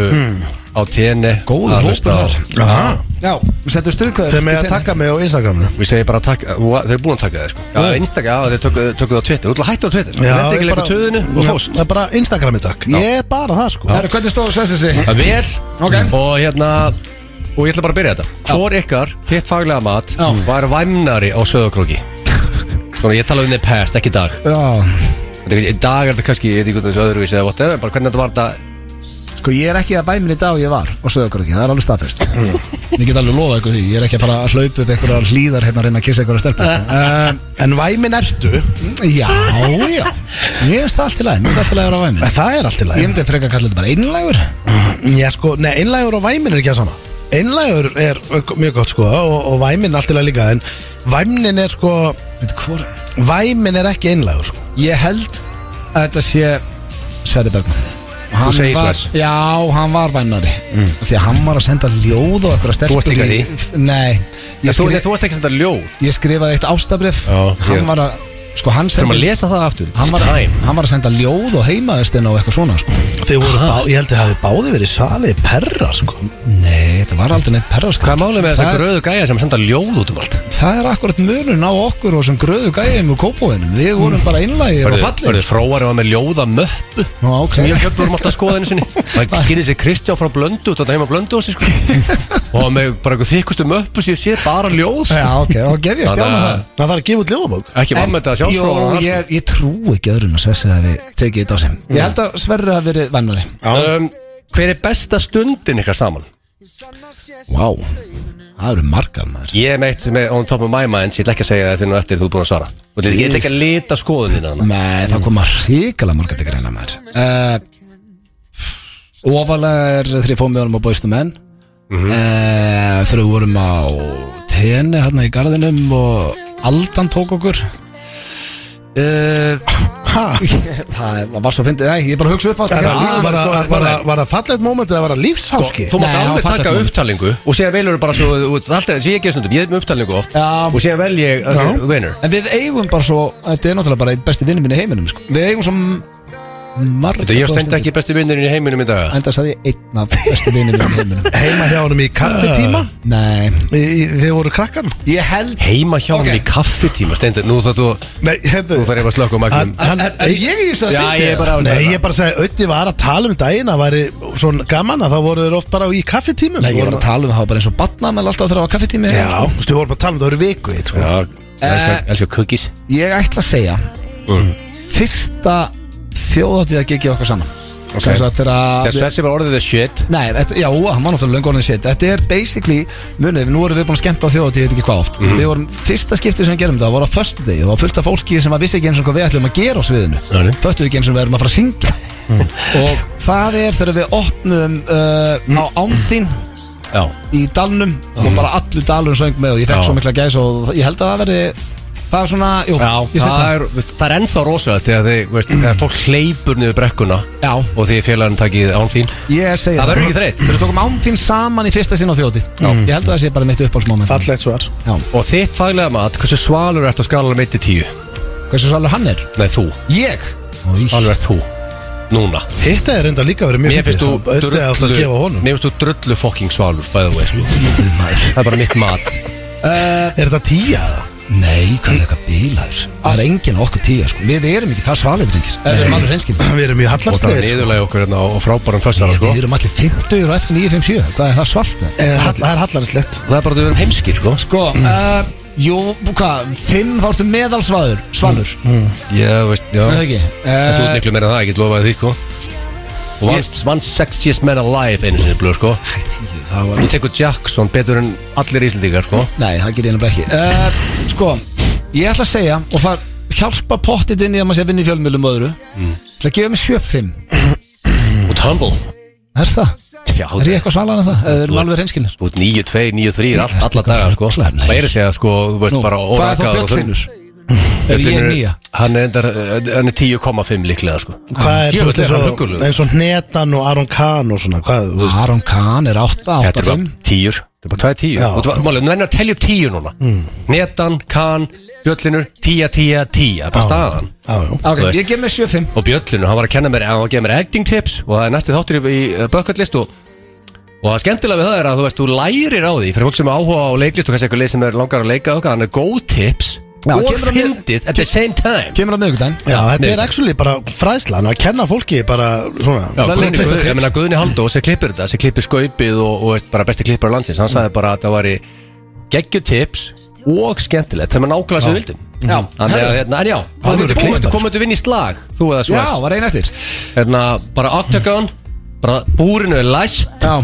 Speaker 3: á tenni
Speaker 1: Hmm. Góður
Speaker 3: að
Speaker 1: hópur
Speaker 3: hlusta á-
Speaker 1: þar
Speaker 2: Aha.
Speaker 1: Já, settum stuðkvæður
Speaker 2: Þeir með að taka mig á Instagramnu
Speaker 3: Við segjum bara takk, þau eru búin að taka það sko
Speaker 1: Hmm.
Speaker 3: Já, einstakja, já, þau tökku tökku það á Twitter Þú ætla að hætta á Twitter Þú ætla ekki leikur töðinu og
Speaker 2: Já,
Speaker 3: host
Speaker 2: Það er bara Instagrami takk Ég er bara það sko
Speaker 1: Herru, hvernig stóðu Svessi sig?
Speaker 3: Það er
Speaker 1: Ok.
Speaker 3: vel Og hérna Og ég ætla bara að byrja þetta Hvor ykkar, þitt faglega mat
Speaker 1: Já.
Speaker 3: Var væmnari á
Speaker 1: [laughs]
Speaker 3: söðokróki Svona, ég tala um þið past, ekki í dag
Speaker 1: Já,
Speaker 3: Þetta er kannski- Í dag er þetta kannski, ég veit ekki hvernig þessu öðruvísi eða whatever Bara hvernig þetta var þetta
Speaker 1: Sko ég er ekki að bæmin í dag og ég var og sögur okkur ekki, það er alveg staðfest Ég get alveg lofa ykkur því, ég er ekki að fara að hlaupa upp einhverjar hlýðar hérna að reyna að kissa einhverjar [laughs] stelpur um,
Speaker 2: En væmin ertu
Speaker 1: Já, já Mér finnst það allt í lagi, mér finnst það allt í lagi að vera á væmin
Speaker 2: Það er allt í
Speaker 1: Ég
Speaker 2: lagi
Speaker 1: myndi frekar að kalla þetta bara einlægur
Speaker 2: Já sko, nei, einlægur og væmin er ekki að sama Einlægur er mjög gott sko Og, og væmin allt í lagi líka En væmnin er sko
Speaker 1: Veitu, hvor-
Speaker 2: Væmin er ekki einlægur sko
Speaker 1: Ég held að þetta sé Sverri Bergman Og hann
Speaker 3: Þú segir
Speaker 1: var,
Speaker 3: Sverris.
Speaker 1: Já, hann var vænari Því að hann var að senda ljóð og eitthvað stelpur
Speaker 3: varst líka
Speaker 1: í-
Speaker 3: í
Speaker 1: Nei ég,
Speaker 3: Þú
Speaker 1: skrif,
Speaker 3: þú varst ekki að senda ljóð
Speaker 1: ég skrifaði eitt ástabrif
Speaker 3: Já,
Speaker 1: Hann
Speaker 3: ég-
Speaker 1: var að Sko, hann
Speaker 3: Þurfum að
Speaker 1: sendi
Speaker 3: lesa það aftur
Speaker 1: Hann var, hann var að senda ljóð og heimaðistinn og eitthvað svona sko.
Speaker 2: Þeir voru bá, ég held að hafi báði verið salið perra sko
Speaker 1: Nei, þetta var aldrei neitt perraskap
Speaker 3: Hvað málum er
Speaker 1: það,
Speaker 3: þessa gröðu gæja sem senda ljóð út um allt?
Speaker 1: það er akkurat munun á okkur og sem gröðu gæjum og kópóinum Við vorum bara innlægir og
Speaker 3: Verður
Speaker 1: fallir
Speaker 3: fróari var með ljóða möppu
Speaker 1: Nú, ok
Speaker 3: sem ég og Hjöfn vorum alltaf að skoða einu sinni Það skýrði sér Kristján frá blöndu og þetta heima blöndu og sko Og hann með bara eitthvað þykustu möppu sem ég sé bara ljóð sko.
Speaker 1: Já, ok, þá gef ég stjána
Speaker 3: Þannig
Speaker 1: það
Speaker 3: að-
Speaker 2: Það þarf að gefa út ljóðabók
Speaker 3: Ekki vann með þetta [laughs] sjálfsfróðan
Speaker 1: Jó, ég, ég trú ekki öðrun að Sverri hafi tekið þetta á sem Ég held að Sverri hafi verið vennari
Speaker 3: um, Hver er besta stundin ykkar saman?
Speaker 1: Vá, það eru margar maður
Speaker 3: Ég er meitt sem er on top of my mind Ég ætla ekki að segja þetta nú eftir þú er búin að svara Og þetta er ekki að lita skoðunina hana
Speaker 1: Nei, það koma hrikalega margar til greina maður uh, Ofalega er þegar ég fóð með honum á Bóistu menn mm Þegar við vorum á tenni hérna í garðinum og Aldan tók okkur uh,
Speaker 2: Ha?
Speaker 1: Það var svo fyndið, nei, ég bara hugsa upp á
Speaker 2: Var
Speaker 1: þetta
Speaker 2: það-
Speaker 1: hérna.
Speaker 2: var það- var það- var það fallet moment eða var það lífsháski?
Speaker 3: Þú mátt
Speaker 1: Nei, hann
Speaker 3: alveg
Speaker 1: fattar
Speaker 3: taka
Speaker 1: ekki.
Speaker 3: upptalingu Og séðan velur bara svo þú- þú- Allt er sem ég gerir stundum Ég er með upptalingu oft
Speaker 1: Já.
Speaker 3: Og séðan vel ég
Speaker 2: Já.
Speaker 3: Winner
Speaker 1: En við eigum bara svo, þetta er náttúrulega bara einn besti vinnum minn í heiminum sko. Við eigum svo m- marga
Speaker 3: Þetta ég stend ekki besti vinnurinn í heiminum í dag
Speaker 1: Enda sagði ég einn af besti vinnum minn í heiminum
Speaker 2: Heima hjá honum í kaffetíma
Speaker 1: Nei,
Speaker 2: Í- í- Þeir voru krakkan
Speaker 1: ég held
Speaker 3: Heima hjá hann
Speaker 1: Ok.
Speaker 3: í kaffitíma Stendur, nú þarf þú
Speaker 2: Nei, hefðu
Speaker 3: Nú þarf ég bara að slökka á magnum
Speaker 2: Hann-
Speaker 1: Er, er ég í þessu að
Speaker 3: Já,
Speaker 1: stýta?
Speaker 3: ég er bara
Speaker 2: Nei, ég er bara að segja, Ötti var að tala um daginn að væri svona gaman að þá voru þeir oft bara í kaffitímum
Speaker 1: Nei, ég var að tala um það bara eins og batna með alltaf þegar það var kaffetími
Speaker 2: Já, þú veist, við vorum að tala um það voru viku eitt, sko.
Speaker 3: Já, elskar- elskar cookies
Speaker 1: Ég ætla að segja
Speaker 3: Mm.
Speaker 1: Fyrsta þjóðatíð að gegja okkar saman okay. Sem sagt þegar
Speaker 3: Þess versi var orðið the shit
Speaker 1: Nei, þetta, já, hann var náttúrulega löngu orðin sitt Þetta er basically, munið, nú erum við búin að skemmta á þjóðatíð, ég veit ekki hvað oft
Speaker 3: Mhm.
Speaker 1: Við vorum, fyrsta skiptið sem við gerum þetta var á föstu degi og það var fullt af fólki sem að vissi ekki eins og hvað við ætlum að gera á sviðinu
Speaker 3: Nei. Mhm.
Speaker 1: Föttu ekki eins og við erum að fara að syngja [laughs] Og það er þegar við opnum uh, á ánþín
Speaker 3: Já
Speaker 1: í dalnum og bara allur dalurinn söng með og ég fekk
Speaker 3: Mhm. Já.
Speaker 1: svo mikla gæs og ég held að það verði það er svona, jú, ég set
Speaker 3: það er, það er ennþá rosalegt þegar, þið, veist, þegar fólk hleypur niður brekkuna
Speaker 1: Já.
Speaker 3: og því félagin takið án þín
Speaker 1: ég segi
Speaker 3: Það verður ekki þreytt.
Speaker 1: Þegar við tókum ánþín saman í fyrsta sinna á þjóti Ég held að það sé bara mitt uppáhaldsmoment
Speaker 2: Fallegt svar
Speaker 1: Já.
Speaker 3: og þitt faglega mat, hversu svalur ertu á skalanum 1-10?
Speaker 1: Hversu svalur hann er?
Speaker 3: Nei, þú,
Speaker 1: Ég?
Speaker 3: alveg ert þú Núna
Speaker 2: Hitt er reynda líka verið mjög
Speaker 3: Mér finnst þú
Speaker 2: fyndið. Öddi átt að gefa honum
Speaker 3: Mér finnst þú drullu fokking svalur bæða þú sko. Það er bara mitt [laughs] mat
Speaker 2: Er þetta tíja? eða?
Speaker 1: Nei, hvað er eitthvað bílaður? Það er enginn á okkur tíu, sko Við erum ekki það svalið, drengir Ef Við erum alveg reynskinn
Speaker 2: [clears throat] Við erum mjög
Speaker 3: Og það er
Speaker 2: hallarstegur
Speaker 3: niðurlega okkur hérna á, á frábæran fössara sko.
Speaker 1: Við erum allir 50 og eftir 957 Hvað er það svalt? með?
Speaker 2: Er hall- Það er hallarslegt
Speaker 3: Það er bara að við erum heimskir sko.
Speaker 1: Sko, uh, jú, hvað, 5 þá ertu meðalsvalur Svalur, mm,
Speaker 3: Já, veist, já
Speaker 1: það ekki
Speaker 3: Þetta út
Speaker 1: Eh,
Speaker 3: miklu meira en það, ég get lofaði því sko. Og vannst, vannst sexiest man alive einu sinni blöð sko.
Speaker 1: Það var
Speaker 3: Tekur Jackson betur en allir íslendingar sko.
Speaker 1: Nei, það gerir ég nefnilega ekki uh, Sko, ég ætla að segja Og það hjálpa pottit inn í að maður sé að vinna í fjölmjölum öðru Það gefa mig 7-5
Speaker 3: Út humble
Speaker 1: Er það?
Speaker 3: Já,
Speaker 1: Er ég eitthvað svalan að það? Eða erum
Speaker 3: Þú-
Speaker 1: alveg reynskinnir?
Speaker 3: Út 9-2, 9-3, all, alla daga sko.
Speaker 1: Rugglar, nei.
Speaker 3: Það er að segja sko, þú veist,
Speaker 1: Nú,
Speaker 3: bara
Speaker 1: Hvað er þá
Speaker 3: órakaður og þurr-
Speaker 1: Björnfinnur? Er ég
Speaker 3: Björnfinnur-
Speaker 1: nýja?
Speaker 3: Hann er, endar, hann er 10,5 líklega sko.
Speaker 2: Hvað er
Speaker 3: Ég
Speaker 2: þú
Speaker 3: veist,
Speaker 2: veist
Speaker 3: er
Speaker 2: eins
Speaker 3: hann
Speaker 2: og
Speaker 3: huggulegur?
Speaker 2: eins og Netan og Aron Kahn og svona Hvað, þú veist
Speaker 1: Aron Kahn er 8, 8,
Speaker 3: Þetta er bara
Speaker 1: 5
Speaker 3: tíur Þetta er bara tvæði tíur
Speaker 2: Já. Mm.
Speaker 3: Og þú málið, nú verður að telja upp tíu núna Netan, Kahn, Bjöllinur, tíja, tíja, tíja Bara staðan
Speaker 2: Já, já
Speaker 1: Ok,
Speaker 3: Þú veist.
Speaker 1: ég gef mig 7-5
Speaker 3: Og Bjöllinur, hann var að kenna mér Hann var að gefa mér acting tips Og það er næsti þáttur í, í uh, bucket list og Og það skemmtilega við það er að þú veist, þú lærir á því Fyrir fólk sem er áhuga á leiklist og kannski eitthvað leið sem er langar að leika og eitthvað, Þannig er góð tips
Speaker 1: Já,
Speaker 3: og
Speaker 1: kemur á mér-
Speaker 3: fyndið at the same time
Speaker 1: Kemur á miðvikudaginn
Speaker 2: Já, þetta
Speaker 3: nei.
Speaker 2: er actually bara fræðsla Hann er að kenna fólki bara svona
Speaker 3: Já,
Speaker 1: Guðni-
Speaker 3: Guðni,
Speaker 1: Guðni-
Speaker 3: Guðni, ég meina Guðni Haldó sem klippir þetta, sem klippir skaupið og, og veist, bara besti klippar landsins, hann sagði bara að það væri geggjutips og skemmtilegt þegar maður nákvæmlega sem við vildum
Speaker 1: Já.
Speaker 3: Þannig að, hérna, en já, það
Speaker 2: eru
Speaker 3: myndir búið
Speaker 2: klippar.
Speaker 3: komum við vinna í slag, þú eða
Speaker 1: Já,
Speaker 3: svo
Speaker 1: var einn eftir
Speaker 3: hérna, bara octagon bara búrinu er læst
Speaker 1: Já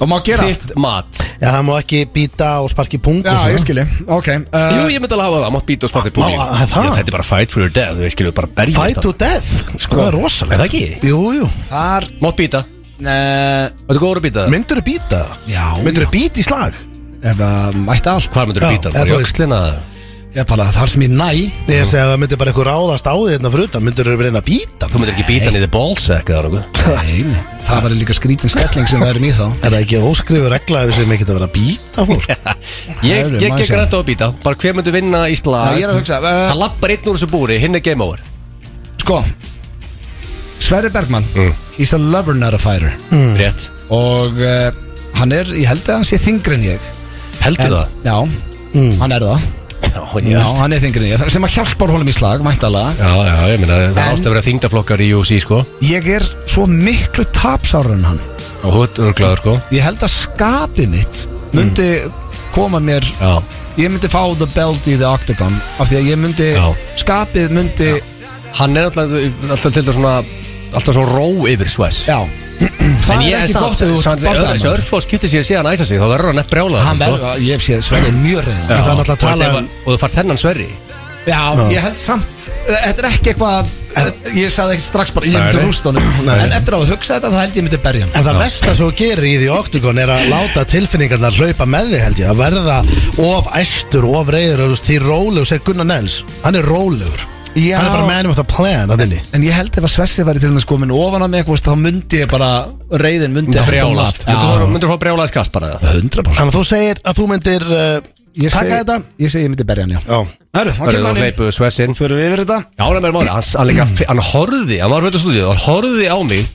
Speaker 1: Og má gera allt
Speaker 3: þitt mat
Speaker 2: Já, það má ekki býta og sparki punkt og
Speaker 1: Já,
Speaker 2: svona.
Speaker 1: ég skilji Ok eh,
Speaker 3: Jú, ég myndi alveg hafa það, mátt býta og smakka í búrinu
Speaker 2: Má- að það?
Speaker 3: Þetta er bara fight for your death, við skiljum bara berjast
Speaker 2: Fight to
Speaker 3: þarna.
Speaker 2: death Sko, það er rosalegt
Speaker 3: Er það ekki?
Speaker 2: Jú, jú
Speaker 1: Þar
Speaker 3: Mátt býta,
Speaker 1: eh,
Speaker 3: þetta er góður að býta það?
Speaker 2: Myndur þú býta?
Speaker 1: Já,
Speaker 2: Myndur þú býta í slag?
Speaker 1: Ef að mætti allt
Speaker 3: Hvað myndir
Speaker 2: Já,
Speaker 3: býta?
Speaker 2: eða
Speaker 3: Bara
Speaker 2: þú
Speaker 3: í
Speaker 2: veist.
Speaker 3: öxlina?
Speaker 1: Ég bara, þar sem ég næ
Speaker 2: Ég segi að það myndir bara eitthvað ráðast á því hérna fyrir utan Myndir þau reyna að býta
Speaker 3: Þú myndir ekki býta niður ballsack eða nokkuð
Speaker 1: Nei, nei, það var líka skrítin stelling sem við erum í þá
Speaker 2: Er það ekki óskrifur regla ef við segjum ekki að vera að býta fólk?
Speaker 3: Ég,
Speaker 1: Herru,
Speaker 3: ég
Speaker 1: maður
Speaker 3: gekk
Speaker 1: sér.
Speaker 3: rætt á að býta Bara hver myndir vinna í slag
Speaker 1: Já, ég er að hugsa, eh,
Speaker 3: Það lappar einn úr þessu búri, hinn er game over
Speaker 1: Sko Sverri Bergman
Speaker 3: Mm.
Speaker 1: He's a lover not a fighter
Speaker 3: Rétt
Speaker 1: Og uh, hann er, ég held að hann sé þingri en ég
Speaker 3: Heldur
Speaker 1: en,
Speaker 3: það?
Speaker 1: Já, hann er það
Speaker 3: Já, ég
Speaker 1: Já,
Speaker 3: veist.
Speaker 1: hann er þingri en ég Það sem að hjálpar honum í slag, væntalega
Speaker 3: já, já, ég meina Það
Speaker 1: En-
Speaker 3: ást að vera þingdaflokkar í UFC sko
Speaker 1: Ég er svo miklu tapsárur en hann
Speaker 3: Og hútt örglaður sko
Speaker 1: Ég held að skapið mitt
Speaker 3: Mm.
Speaker 1: Myndi koma mér
Speaker 3: Já
Speaker 1: Ég myndi fá the belt í the octagon Af því að ég myndi,
Speaker 3: Já.
Speaker 1: skapið myndi Já,
Speaker 3: Hann er alltaf, alltaf til þetta svona Alltaf svo ró yfir sves
Speaker 1: Það er ekki gott ef þú ert
Speaker 3: Þessi
Speaker 1: bandaræmur.
Speaker 3: örflóð skiptir sér síðan að æsa sig Þá verður hann nett brjálaður
Speaker 1: Hann
Speaker 3: sko.
Speaker 1: verður, ég sé Sverri mjög reyðan
Speaker 2: Það er náttúrulega að
Speaker 3: Og
Speaker 2: tala
Speaker 3: ef
Speaker 2: um-
Speaker 3: að- Og þú far þennan sverri
Speaker 1: Já, ég held samt Þetta er ekki eitthvað Ég sagði ekki strax bara Ég myndi
Speaker 3: Nei, nei.
Speaker 1: rúst honum En eftir að hafa hugsað þetta Þá held ég myndi berja hann
Speaker 2: [laughs] En það versta sem þú gerir í því oktagon er að láta tilfinningarnar hlaupa með þig held ég Að verða of æstur, of reyður og þú veist, Því rólegur, segir Gunnar Nels Hann er rólegur
Speaker 1: Já.
Speaker 2: Hann er bara man with a plan að þinni
Speaker 1: En ég held ef að Svessi væri til þess komin ofan á mig eitthvað, Þá myndi ég bara Reyðin myndi
Speaker 3: Myndir
Speaker 1: henda honum
Speaker 3: brjálaðast.
Speaker 1: af.
Speaker 3: Myndir þú- myndir þú fá brjálaðist kast bara eða?
Speaker 1: Já, 100%
Speaker 2: Þannig að þú segir að þú myndir uh,
Speaker 1: Ég
Speaker 2: taka
Speaker 1: segi-
Speaker 2: þetta
Speaker 1: Ég segi ég myndi berja hann, já
Speaker 2: Já
Speaker 1: Hörru, hann
Speaker 3: Hörðu
Speaker 1: kemur
Speaker 3: þú
Speaker 1: hann inn
Speaker 3: hleypu svessin
Speaker 1: Förum við yfir þetta
Speaker 3: Já, það er máli, hann, hann, líka, hann horfði, hann var veitur stúdíu, hann horfði á mig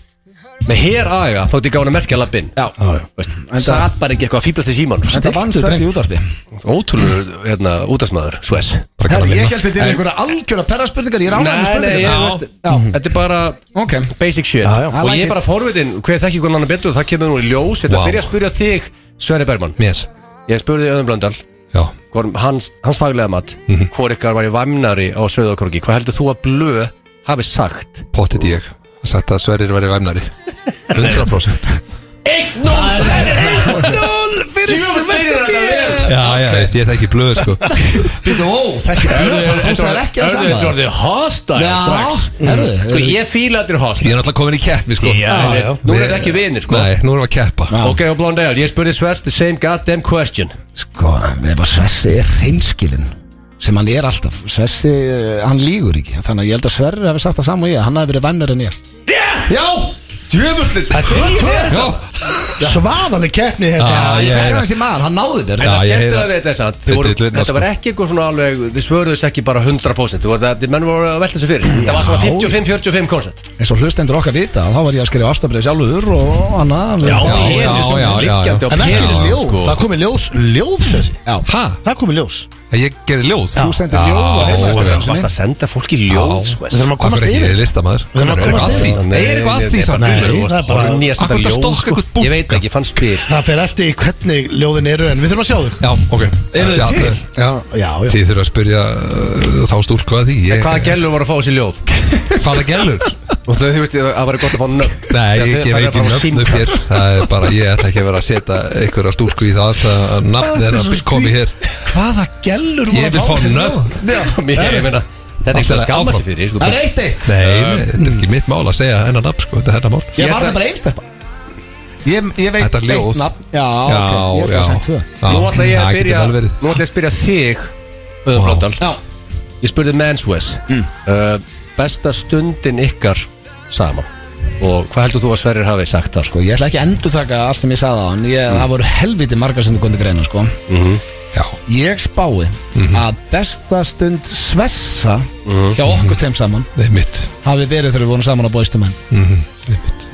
Speaker 3: með hér aðega þótt ég gaf hann að merkja lappin.
Speaker 1: Já,
Speaker 3: Veist, satt bara ekki eitthvað að fýblast í síman.
Speaker 1: þetta vann Svessi í útvarpi
Speaker 3: Ótrúlega, hérna, útastmaður, Sves.
Speaker 1: Herru, ég held þetta er einhverja algjöra perraspurningar Ég er
Speaker 3: Nei,
Speaker 1: ánægð með
Speaker 3: nei, ég,
Speaker 1: spurningar
Speaker 3: veist, þetta er bara
Speaker 1: Ok,
Speaker 3: basic shit.
Speaker 2: Já, já.
Speaker 1: I
Speaker 3: Og
Speaker 1: like
Speaker 3: ég er bara
Speaker 1: it.
Speaker 3: forvitin, hver þekki hvernig hann er betur, það kemur nú í ljós. Þetta
Speaker 5: Wow.
Speaker 3: byrja að spyrja þig, Sverri Bergman.
Speaker 5: Yes,
Speaker 3: Ég spurði Öðum Blöndal,
Speaker 5: já
Speaker 3: hvor, hans, hans faglega mat, hvor ykkar var í vamnari á Söðakorgi, hvað heldur þú að blö hafi sagt?
Speaker 5: Pottit ég Það sagt að Sverrir væri væmnari 100%
Speaker 3: 1-0 fyrir Sverri!
Speaker 5: Já, já, veist, ég þekki blöð sko
Speaker 1: býttu, ó, þetta er blöð Hann fórsar ekki að
Speaker 3: Hörðu, þetta
Speaker 1: sama
Speaker 3: orðið hostile strax
Speaker 1: Já, herru
Speaker 3: Sko ég fíla þetta er
Speaker 5: Ég
Speaker 3: hostile
Speaker 5: er náttúrulega komin í keppi sko
Speaker 3: Já, já. Nú er þetta ekki vinir sko
Speaker 5: Nei, nú erum við að keppa
Speaker 3: Ok, og Blondale, ég spurði Svers the same goddamn question
Speaker 1: Sko, ef að Svessi er hreinskilinn sem hann er alltaf Svessi, eh, hann lígur ekki þannig að ég held að Sverri hefði sagt það saman og ég hann hefði verið vennur en ég Já,
Speaker 3: Djöfullis Þetta
Speaker 5: Já,
Speaker 2: Svaðaleg keppni
Speaker 5: Já,
Speaker 2: hérna
Speaker 1: ég
Speaker 5: ég
Speaker 1: fekk
Speaker 5: heyra.
Speaker 1: hans í maður, hann náði mér
Speaker 5: Já, ég
Speaker 3: skemmtilega
Speaker 5: heyra.
Speaker 3: við þetta er samt Þið
Speaker 5: Þetta
Speaker 3: voru-
Speaker 5: er lilla,
Speaker 3: Þetta var
Speaker 5: sko.
Speaker 3: ekki eitthvað svona alveg Þið svöruðu þess ekki bara 100% Þið voru það, þið menn voru að velta þessu fyrir Það var svona 55-45 koncept
Speaker 1: eins og hlustendur okkar vita þá var ég að skrifa ástabrið sjálfur og hann að
Speaker 5: já,
Speaker 1: já,
Speaker 5: já, já, já.
Speaker 2: En ekki eins
Speaker 5: Já,
Speaker 2: ljóð,
Speaker 5: sko.
Speaker 2: það komið ljós, ljós þessi
Speaker 1: já.
Speaker 5: Hæ?
Speaker 2: Það komið ljós
Speaker 5: Ég gerði ljóð
Speaker 1: Þú sendir ljóð á
Speaker 5: ljóð
Speaker 1: Instagram.
Speaker 3: Vast að senda fólki ljóð sko.
Speaker 2: Við þurfum að komast
Speaker 5: Akkur ekki,
Speaker 2: yfir
Speaker 5: ég er listamæður
Speaker 2: Við erum að komast
Speaker 5: að því
Speaker 2: yfir.
Speaker 5: Nei, Er eitthvað að því samt
Speaker 2: Nei,
Speaker 5: Þú veist,
Speaker 2: það er bara-
Speaker 5: horfni að senda
Speaker 3: Akkur það
Speaker 5: ljóð,
Speaker 3: stokka
Speaker 5: sko.
Speaker 3: eitthvað búka
Speaker 5: Ég veit ekki
Speaker 3: ekki, fann spil
Speaker 2: Það fer eftir í hvernig ljóðin eru en við þurfum að sjá þau
Speaker 5: Já, ok
Speaker 1: Eru þið
Speaker 5: Já,
Speaker 1: til?
Speaker 2: Já, já, já
Speaker 5: Þið þurfa að spyrja uh, þá stúlku að því Ég-
Speaker 3: Hvaða gælur voru að fá þessi ljóð?
Speaker 5: Hvaða gælur?
Speaker 3: Og þau, þú veist, það var gott að fá nöfn [laughs]
Speaker 5: Nei, ég gef
Speaker 3: Það er
Speaker 5: ekki
Speaker 3: að fá
Speaker 5: nöfnu
Speaker 3: símtal.
Speaker 5: hér Það er bara, ég ætla ekki að vera að setja einhverja stúlku í það aðstæða að nafn er að koma hér
Speaker 1: Hvaða gellur
Speaker 5: Ég vil fá nöfn
Speaker 3: Já, mér, [laughs] ég meina Þetta er eitthvað að skamma sig fyrir sko. þú
Speaker 1: Það er
Speaker 3: bara-
Speaker 1: eitt eitt
Speaker 5: Nei, nei, þetta er ekki mitt mál að segja hennar nafn, sko, þetta er hennar mál
Speaker 1: Ég var
Speaker 3: ætla-
Speaker 1: það bara einstakpa Ég, ég veit
Speaker 5: Þetta er ljóð.
Speaker 1: eitt nafn. Já, ok, ég ætla að segja tvö
Speaker 5: Já.
Speaker 3: Nú ætla ég
Speaker 5: Já,
Speaker 3: að
Speaker 5: getur
Speaker 3: byrja
Speaker 5: vel verið.
Speaker 3: Nú ætla ég að spyrja þig Öðum
Speaker 5: Vá.
Speaker 3: Blöndal
Speaker 1: Já,
Speaker 3: Ég spurði Manswes uh, Besta stundin ykkar saman Og hvað heldur þú að Sverrir hafi sagt þar?
Speaker 1: Sko, ég ætla ekki að endurtaka allt sem ég sagði á hann ég,
Speaker 5: Mm.
Speaker 1: Það voru helviti margar sem þú kundi greina sko.
Speaker 5: Já,
Speaker 1: Ég spái
Speaker 5: Mhm.
Speaker 1: að besta stund svessa hjá okkur tveim saman
Speaker 5: nei, mitt
Speaker 1: hafi verið þegar við vorum saman á bóistumenn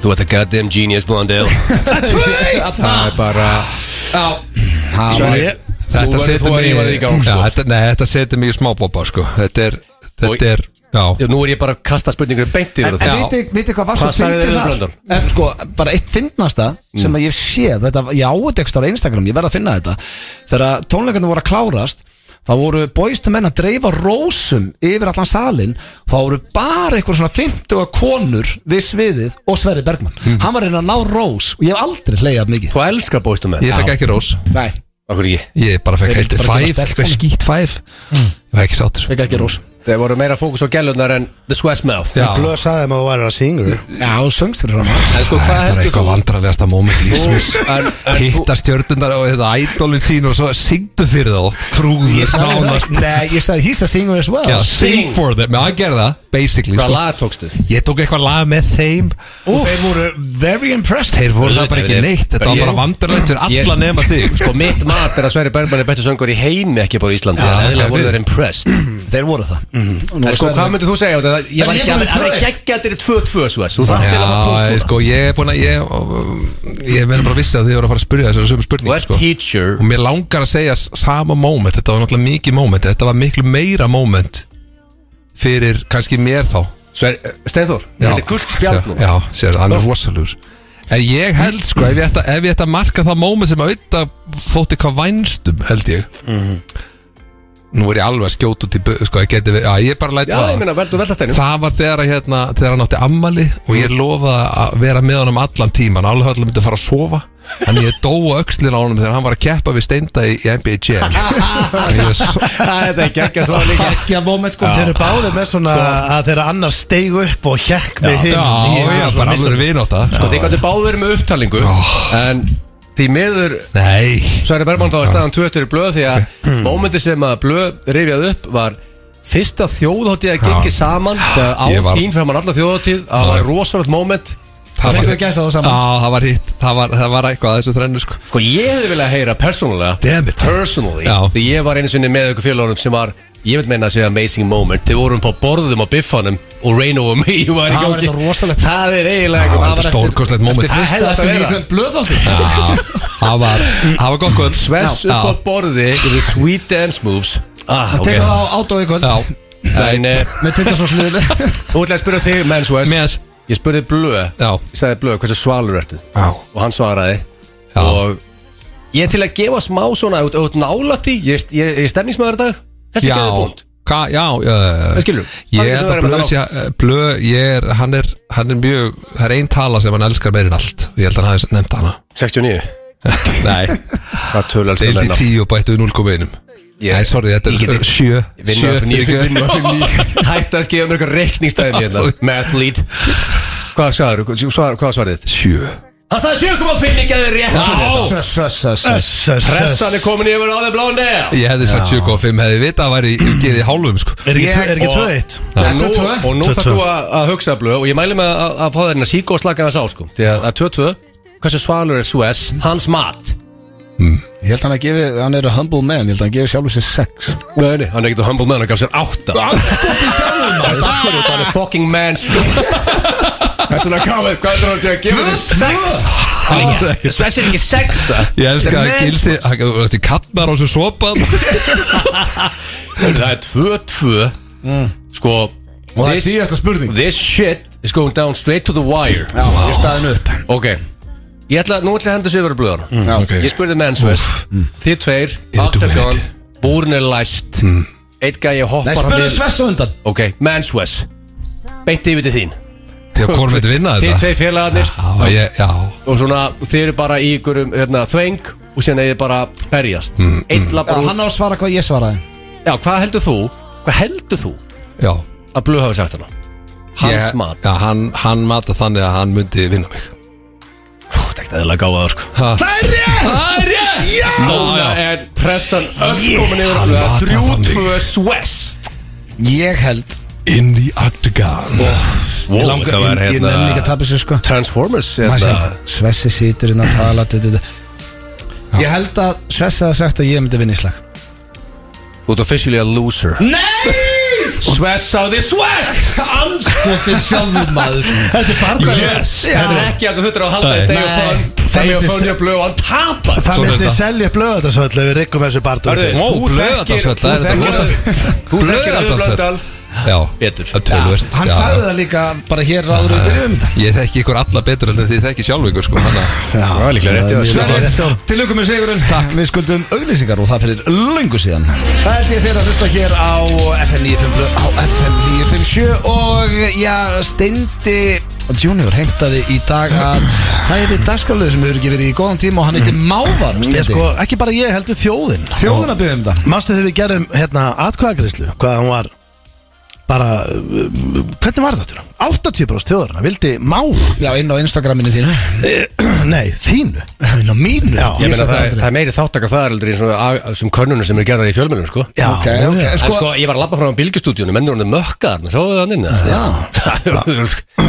Speaker 3: Þú ert að goddamn genius [laughs] Blondale Það er bara
Speaker 2: Svo ég-
Speaker 3: Þú
Speaker 5: Þetta
Speaker 3: verður-
Speaker 5: setur
Speaker 3: þú
Speaker 5: mig
Speaker 3: verður í gang,
Speaker 5: Já,
Speaker 3: sko.
Speaker 5: þetta- Nei, þetta setur mig í smábópa, sko Þetta er,
Speaker 3: Og-
Speaker 5: þetta er, já
Speaker 3: Nú er ég bara að kasta spurningur beint yfir
Speaker 1: En,
Speaker 3: það
Speaker 1: en veitir veitir hvað var
Speaker 3: Hvað
Speaker 1: svo
Speaker 3: sagði
Speaker 1: fyndið
Speaker 3: þið við
Speaker 1: þar?
Speaker 3: Blöndal?
Speaker 1: En, sko, bara eitt fyndnasta sem að ég sé þetta, Ég áutekst ára Instagram, ég verð að finna þetta Þegar tónleikarnir voru að klárast þá voru bóistumenn að dreifa rósum yfir allan salin þá voru bara einhver svona 50 konur við sviðið og Sverri Bergmann Hann var að reyna að ná rós og ég hef aldrei hleyjað mikið
Speaker 3: Þú elskar bóistum með
Speaker 5: Ég fekk ekki rós
Speaker 1: Nei,
Speaker 3: Akkur ekki
Speaker 5: Ég bara fekk
Speaker 1: Þeir
Speaker 5: heilt
Speaker 1: bara gefa
Speaker 5: fæf,
Speaker 1: stelpunum.
Speaker 3: Mm.
Speaker 5: eitthvað skýtt fæf Ég var ekki sáttur
Speaker 1: fekk ekki rós
Speaker 3: Þeir voru meira fókus á gælunar en The Sweat Mouth
Speaker 2: Ég blösaði þeim að þú væri að syngur Já, þú söngst fyrir hann
Speaker 3: En sko, hvað
Speaker 5: Þetta er
Speaker 3: heldur
Speaker 5: eitthvað
Speaker 3: þú?
Speaker 5: vandrarlegasta moment lífsins
Speaker 3: En- en þú-
Speaker 5: Hitta stjörnundar og þetta ædolin sín og svo syngdu fyrir þá Trúðu nánast
Speaker 1: Nei, ég sagði he's a singer as well
Speaker 5: Já, sing for them, já, hann gerði það, basically
Speaker 3: Hvað
Speaker 5: sko.
Speaker 3: lag tókstu?
Speaker 5: Ég tók eitthvað lag með þeim
Speaker 1: Og þeir voru very impressed
Speaker 5: Þeir voru það bara ekki
Speaker 3: Ég-
Speaker 5: neitt Þetta var
Speaker 3: ég-
Speaker 5: bara vandrarlegt fyrir alla
Speaker 3: Ég-
Speaker 5: nema þig
Speaker 3: Sko, mitt mat er að Sverri Bergman er bestu söngur í heimi ekki bara í Íslandi
Speaker 5: Já,
Speaker 3: Það er eða
Speaker 5: ok,
Speaker 3: voru
Speaker 5: fyrir.
Speaker 3: þeir impressed
Speaker 1: [clears throat] Þeir voru það Mhm.
Speaker 3: En sko, hvað myndir þú segja? á þetta? Ég
Speaker 1: En
Speaker 3: var
Speaker 1: ég
Speaker 3: ekki
Speaker 1: er bara
Speaker 3: að
Speaker 1: með
Speaker 3: það er
Speaker 1: 2-1.
Speaker 3: geggja þetta er 2-2 svo Þú þarf til að fá
Speaker 5: [laughs] Já,
Speaker 3: punkt núna.
Speaker 5: sko, ég er búin að Ég, ég verður bara að vissi að þið voru að fara að spyrja þessar sömu
Speaker 3: sko. Þú
Speaker 5: spurning
Speaker 3: ert teacher
Speaker 5: Og mér langar að segja s- sama moment Þetta var náttúrulega mikið moment Þetta var miklu meira moment Fyrir kannski mér þá
Speaker 3: Sverri, Steinþór, þetta er gullt spjald
Speaker 5: sér-
Speaker 3: nú
Speaker 5: Já, sér, hann er rosalur En ég held sko, ef ég ætta, ef ég ætta að marka það moment sem að auðvitað þótti hvað vænstum, held ég
Speaker 3: Mhm.
Speaker 5: Nú er ég alveg að skjóta út í bu- sko, ég geti, við- já, ég bara læt
Speaker 3: Já,
Speaker 5: það
Speaker 3: ég meina, veldu veldasteinu
Speaker 5: Það var þegar, að, hérna, þegar hann átti ammali og ég lofaði að vera með honum allan tíman alveg höll að myndi að fara að sofa en ég dó á öxlin á honum þegar hann var að keppa við steinda í, í NBA
Speaker 3: [laughs]
Speaker 5: Jam Og ég s-
Speaker 3: Þetta er geggja svo líka
Speaker 1: Gekkja moment sko
Speaker 2: Þeir eru báðið með svona að þeirra annars steig upp og hjekk með hinn
Speaker 5: Já, ég er bara alveg vinóta
Speaker 3: Sko, þið gætu báður með upptalingu En því miður
Speaker 5: Nei
Speaker 3: Sverri Bergman þá er staðan 20 í blöð Því að mómenti sem að blöð rifjað upp var Fyrsta þjóðháttíð að gengi
Speaker 5: Já.
Speaker 3: saman þegar Á
Speaker 5: Ég var-
Speaker 3: þín framan alla þjóðháttíð Það var rosalegt móment
Speaker 5: Það
Speaker 1: Fengu að gæsa það saman.
Speaker 5: Já, það var hitt Það var, það var eitthvað að þessu þrennu sko
Speaker 3: Sko ég hefði viljað heyra persónulega
Speaker 5: Damn it.
Speaker 3: Personally
Speaker 5: Já.
Speaker 3: Því ég var einu sinni með ykkur félagunum sem var Ég veit meina að segja amazing moment Þið vorum á borðum á biffanum Og Reino og mig [laughs] var
Speaker 1: Það
Speaker 3: í
Speaker 1: var
Speaker 3: gangi
Speaker 1: þetta rosalegt.
Speaker 3: Það er eiginlega
Speaker 5: Það
Speaker 3: eitthvað-
Speaker 5: var þetta
Speaker 3: eftir-
Speaker 5: stórkostlegt moment
Speaker 3: Eftir
Speaker 1: Það
Speaker 3: fyrsta
Speaker 1: hefði
Speaker 3: þetta
Speaker 1: þetta
Speaker 3: að vera
Speaker 1: verið blöðhaldi
Speaker 5: Já, Það var Það var gott gott
Speaker 3: Svess upp á borði Í the sweet dance moves Ah, ok
Speaker 1: Tekur það á átói kvöld
Speaker 5: Já
Speaker 3: En eh,
Speaker 1: Með
Speaker 3: [laughs]
Speaker 1: tindasvarsliðinu
Speaker 3: nú ætla ég að spyrja þig menn svo
Speaker 5: Mens
Speaker 3: Ég spurði Blöð
Speaker 5: Já.
Speaker 3: Ég sagði Blöð hversu svalur ertu
Speaker 5: Já
Speaker 3: Og hann svaraði
Speaker 5: Já.
Speaker 3: Og ég er til að gefa smá svona Út, út nála því Ég, ég, ég er stemningsmaður í dag Þessi
Speaker 5: Já
Speaker 3: geði búnt
Speaker 5: Hva, já, uh,
Speaker 3: Það skilur.
Speaker 5: Ég
Speaker 3: Hann er
Speaker 5: er
Speaker 3: sem
Speaker 5: það
Speaker 3: verður með
Speaker 5: blöð,
Speaker 3: þá.
Speaker 5: sé, eh, blöð Ég er, hann er, hann er mjög Það er ein tala sem hann elskar meirinn allt Ég held að hann hafi nefnt hana [laughs]
Speaker 3: 69 Nei Það tölur alls
Speaker 5: Deilt í tíu og bættu við 0,1 Nei, sorry, þetta
Speaker 3: Ég get
Speaker 5: er
Speaker 3: ekki-
Speaker 5: sjö
Speaker 3: Vinna fyrir nýju
Speaker 5: fyrir
Speaker 3: Vinna fyrir
Speaker 5: [laughs]
Speaker 3: nýju Hætti að skifa mér eitthvað reikningstæðin hérna
Speaker 5: Sorry.
Speaker 3: Math lead Hvað svarður? Hvað svarður þitt?
Speaker 5: Sjö
Speaker 3: Það sagði 7,5 ekki að þið rétt fyrir þetta.
Speaker 1: Sjössössöss
Speaker 3: Pressan
Speaker 2: Pressan
Speaker 3: er komin yfir á þeim blá nef
Speaker 5: Ég hefði sagt 7,5 hefði vitað að væri Ég gefið hálfum sko
Speaker 2: Er ekki tvö- er ekki
Speaker 3: og-
Speaker 2: 2-1?
Speaker 3: Og nú,
Speaker 1: 22.
Speaker 3: og
Speaker 2: 22.
Speaker 3: nú þarf þú að, að hugsa blöð og ég mæli með að, að fá þeirna sík og slaka þess á sko því að að 22, hversu svalur er Suez hans mat
Speaker 1: Ég held hann að gefi, hann er a humble man Ég held hann að gefi sjálfur sér sex
Speaker 3: Nei, nei, hann er ekkert að humble man, hann gaf sér 8 Hann er fucking man sko. Þess vegna gafið, hvað er það að segja, gefa þér 6 Hann er ekki, Suez er ekki 6
Speaker 5: Ég elska að gilsi hann- Þú veist, ég kattnar á svo sopa
Speaker 3: Það er 22 Sko,
Speaker 1: Mm. Og það er
Speaker 3: this-
Speaker 1: síðasta spurning
Speaker 3: this shit is going down straight to the wire
Speaker 1: Já, ég staðin upp
Speaker 3: Ok Ég ætla, nú ætla ég að henda sig yfir að blöðan
Speaker 1: Já,
Speaker 5: ok.
Speaker 3: Ég spurði mennsveð Þið tveir, Octagon, búrin er læst Eitt gæi
Speaker 1: Nei,
Speaker 3: hoppar hann
Speaker 1: spurðu
Speaker 3: yfir-
Speaker 1: Svess á undan
Speaker 3: Ok, mennsveð Beint yfir til þín
Speaker 5: Þegar hvort veit vinna
Speaker 3: Þið
Speaker 5: þetta
Speaker 3: tveir félagarnir
Speaker 5: Já, ég, já
Speaker 3: Og svona, þið eru bara í ykkur um hérna, þveng Og síðan eða bara berjast Eitt
Speaker 1: Já,
Speaker 3: lappar út
Speaker 1: hann á að svara hvað ég svaraði
Speaker 3: Já, hvað heldur þú? Hvað heldur þú
Speaker 5: Já
Speaker 3: að blöð hafi sagt hana? Hans
Speaker 5: Ég-
Speaker 3: mat
Speaker 5: Já, hann, hann mata þannig að hann myndi vinna mig
Speaker 3: Pú, Það er ekki eðla gáðaður sko
Speaker 5: Ha.
Speaker 3: Það er rétt Það er rétt Já Núna er pressan öll komin yfir
Speaker 5: Hann
Speaker 3: alveg
Speaker 5: var það
Speaker 3: Þrjú,
Speaker 5: þannig.
Speaker 3: tvö, sves
Speaker 1: Ég held
Speaker 5: In the octagon
Speaker 1: Ég langar, ég, ég nefn ekki að tapa sér sko
Speaker 3: Transformers
Speaker 1: Maður
Speaker 3: hérna.
Speaker 1: segir, Svessi situr inn að tala du, du, du. Ég held að Svessi hafa sagt að ég myndi vinna í slag
Speaker 3: Þú ert officially a loser
Speaker 1: Nei
Speaker 3: Sves á því sves
Speaker 1: Anskotin sjálfur maður
Speaker 2: Þetta er barndaginn
Speaker 3: Yes Það er ekki það sem þurftur að halda
Speaker 5: Nei.
Speaker 3: þetta Þegar
Speaker 1: Nei.
Speaker 3: fón Þegar fón ég blöð og hann tapar
Speaker 2: Það
Speaker 5: Svo
Speaker 2: myndi
Speaker 5: þetta.
Speaker 2: selja blöðatarsöll ef við riggum þessu
Speaker 3: Hörðu,
Speaker 2: barndaginn
Speaker 5: Ó,
Speaker 3: Þú
Speaker 5: blöðatarsöll,
Speaker 3: þekkir-
Speaker 5: það
Speaker 3: þú
Speaker 5: er þetta
Speaker 3: þekkir-
Speaker 5: rosa
Speaker 3: þú þekkir Auður Blöndal.
Speaker 5: Já,
Speaker 3: Betur.
Speaker 5: Það er tölvöld
Speaker 1: Hann sagði það líka bara hér ráður við byrjuðum þetta
Speaker 5: Ég þekki ykkur alla betur heldur en þið þekki sjálf ykkur sko Þannig að
Speaker 3: Það er líklega rétt hjá þér.
Speaker 1: Til ykkur með sigurinn Takk Við skuldum auglýsingar og það fyrir löngu síðan Það held ég þeir að hlusta hér á FM 957 á FM 957 og já, Steindi Junior heimtaði í dag að það er dagskalöð sem hefur ekki verið í góðan tíma og hann heitir Mávar
Speaker 2: Ég
Speaker 1: Steindi
Speaker 2: sko, ekki bara ég heldur þjóðin
Speaker 1: Þjóðuna Mm. byggðum það
Speaker 2: Manstu þegar við gerðum hérna atkvæðagreyslu Hvað hann var bara, uh, hvernig var þetta? 80% þjóðurna vildi mára
Speaker 1: Já, inn á Instagraminu þínu
Speaker 2: [clears throat] Nei, þínu Ná mínu Já,
Speaker 3: Ég meina það, er- það er meiri þáttaka það er aldrei eins og að- sem könnunum sem eru gerðar í fjölmjölum sko.
Speaker 2: Já,
Speaker 1: Ok, ok,
Speaker 2: já.
Speaker 3: En
Speaker 1: sko,
Speaker 3: sko, ég var að labba fram á bylgjustúdíunum, mennur hann er mökkaðar, með þáðu það inn Já [laughs] Það er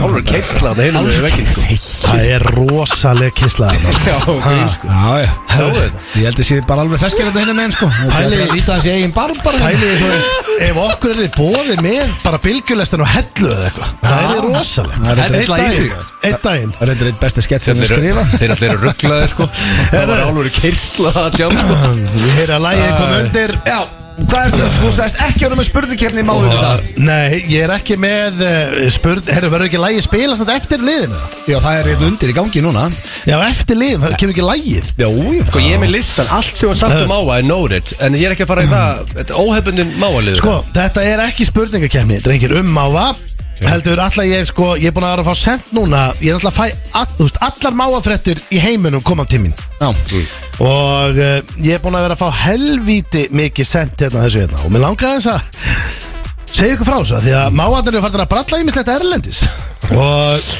Speaker 3: alveg keisla Það heilum við vekkin sko
Speaker 2: Það er rosaleg kislað
Speaker 3: [laughs] Já, ok, sko
Speaker 1: Já, já, ég held að sé bara alveg feskir þetta hinn en sko Það er að líta hans í eigin barm bara
Speaker 2: Pæli, þú veist, ef okkur er þið bóðið með bara bylgjulestin og hellu eða eitthvað Það er rosalegt
Speaker 1: Það er illa
Speaker 2: Einn
Speaker 1: í
Speaker 2: daginn,
Speaker 1: sig.
Speaker 2: Einn daginn
Speaker 1: Það er eitthvað eitt besti skett sem við skrifa
Speaker 3: Þeir allir eru rugglaðir [laughs] sko Það var alveg keisla að jam sko
Speaker 2: Ég heyri að lægið kom undir
Speaker 1: Já, hvað er þetta? Þú sagðist ekki að vera með spurningkeppni í máðu þetta
Speaker 2: Nei, ég er ekki með uh, spurn, herru, verður ekki lægið spilast þetta eftir liðinu?
Speaker 1: Já, það er eitthvað undir í gangi núna
Speaker 2: Já, eftir liðinu, það kemur ekki lægið
Speaker 1: Já, já
Speaker 3: Sko ég er með listan, allt sem var sagt um áa er noted En ég er ekki að fara í það, þetta óhefbundin máalið
Speaker 2: Sko, þetta er ekki spurningakefni, drengir, um máva Heldur, allar ég, sko, ég er búin að vera að fá sent núna Ég er allar að fæ, all, þú veist, allar máafrættir í heiminum koma til mín
Speaker 1: Já,
Speaker 2: Og uh, ég er búin að vera að fá helvíti mikið sent hérna þessu hérna Og mér langaði eins að segja ykkur frá þessu af Því að máarnir eru farin að bralla ímislegt erlendis Og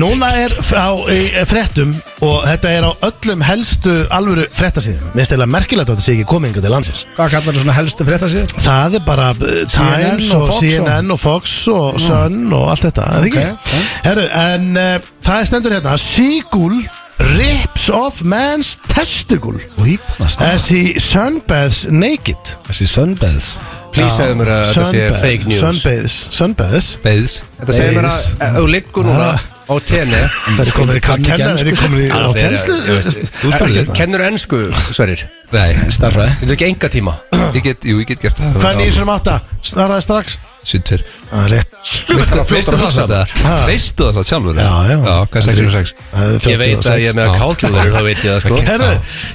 Speaker 2: núna er á í, fréttum Og þetta er á öllum helstu alvöru fréttasíðum Mér stela merkilegt að þetta sé ekki komið yngur til landsins
Speaker 1: hvað kallar það svona helst að frétta sér?
Speaker 2: Það er bara eh, Times
Speaker 1: og
Speaker 2: og,
Speaker 1: Fox og-
Speaker 2: CNN og Fox og Sun og allt þetta okay,
Speaker 1: ok.
Speaker 2: okay. Herru, en uh, það er stendur hérna Seagull rips off man's testicle
Speaker 1: Ípanast
Speaker 2: as he sunbaths naked
Speaker 1: Þessi söndaðs
Speaker 3: Please segðu mér að þetta sé
Speaker 2: Sunbath-
Speaker 3: fake news
Speaker 2: Sunbaths, sunbaths
Speaker 5: Beðs
Speaker 3: Þetta segir mér að ef þú liggur núna á tenni
Speaker 2: Það er komin í
Speaker 1: kann ekki
Speaker 2: kennar, það
Speaker 1: ensku,
Speaker 3: sko.
Speaker 2: er komin í á kennslu
Speaker 5: Þú spurðir þetta.
Speaker 3: Kennur ennsku, Sverir?
Speaker 5: Nei,
Speaker 1: Starfræði
Speaker 3: Þetta er ekki enga tíma
Speaker 5: ég get, jú, ég get gert það
Speaker 2: Hvað er
Speaker 3: hérna.
Speaker 2: nýjum sem átta? Snarraði strax
Speaker 5: Sýttur
Speaker 2: Það er rétt
Speaker 5: Veistu
Speaker 3: bara
Speaker 5: veistu
Speaker 3: fljótur að
Speaker 5: það
Speaker 3: hugsa.
Speaker 5: samt
Speaker 2: Ha.
Speaker 5: það? Veistu það samt sjálfur?
Speaker 2: Já, já.
Speaker 5: Já, hvað er 606?
Speaker 2: Það er
Speaker 3: Ég veit að ég er með
Speaker 5: Já.
Speaker 3: kálkjóður, þá veit ég það sko
Speaker 2: Herru,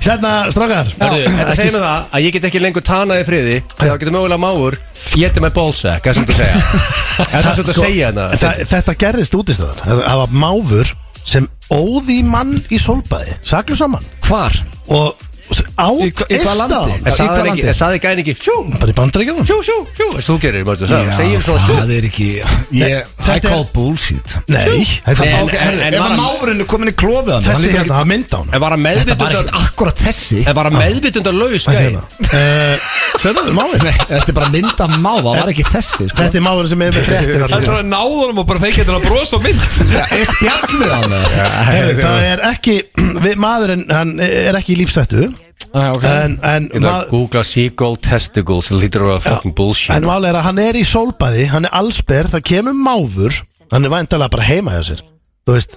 Speaker 2: hérna strákar
Speaker 3: Hörðu, Þetta
Speaker 2: Ekki-
Speaker 3: segir mér það að ég get ekki lengur tanað í friði Þá getur mögulega máur Geti með bólsæk, það sem þú segja Er það sem þú
Speaker 2: sko,
Speaker 3: segja hérna?
Speaker 2: Þa, Þetta gerðist út í stráðan Það var máfur sem óði mann í solbæði Saklu saman
Speaker 1: Hvar?
Speaker 2: Og á
Speaker 1: Í hva- í hvaða landi? í
Speaker 3: En
Speaker 1: hvaða
Speaker 3: sagði hann ekki-
Speaker 1: landi?
Speaker 3: en sagði gæðin ekki Sjú,
Speaker 2: Bara í bandaríkjum
Speaker 3: sjú, sjú, sjú Veist þú gerir, mörgðu, segjum svona sjú
Speaker 1: það er ekki ég, I
Speaker 2: Þetta er-
Speaker 1: call bullshit
Speaker 2: Nei, þetta
Speaker 3: En-
Speaker 2: var
Speaker 1: Ok, herru,
Speaker 3: en
Speaker 1: Ef
Speaker 3: var
Speaker 1: að
Speaker 3: hann-
Speaker 1: máurinn er komin í klófið hann
Speaker 2: Þessi
Speaker 1: hann
Speaker 2: hérna,
Speaker 1: lítur
Speaker 2: það mynda hún
Speaker 3: En var hann
Speaker 1: ekki- Þetta var
Speaker 3: meðvitundar
Speaker 1: ekkert akkurat þessi
Speaker 3: En var hann meðvitundar laus
Speaker 2: Hvað
Speaker 3: gæði?
Speaker 2: segir það? Segðu það, máfur
Speaker 1: Nei, Þetta er bara mynd af máva, það var ekki þessi sko.
Speaker 2: Þetta er máfur sem er með fréttir hérna.
Speaker 5: Það er
Speaker 2: allir.
Speaker 5: að náða honum og bara feikja þetta að brosa á mynd
Speaker 1: Það er spjallið hann
Speaker 2: Herru, Eh, Það er ekki, við, maðurinn, hann er ekki í lífsættu
Speaker 1: Eh,
Speaker 2: En, en, ma-
Speaker 3: Google Seagull Testicles Lítur að fucking bullshit
Speaker 2: en málega er að hann er í sólbæði, hann er allsber, það kemur máfur Hann er væntalega bara heima hjá sér Þú veist,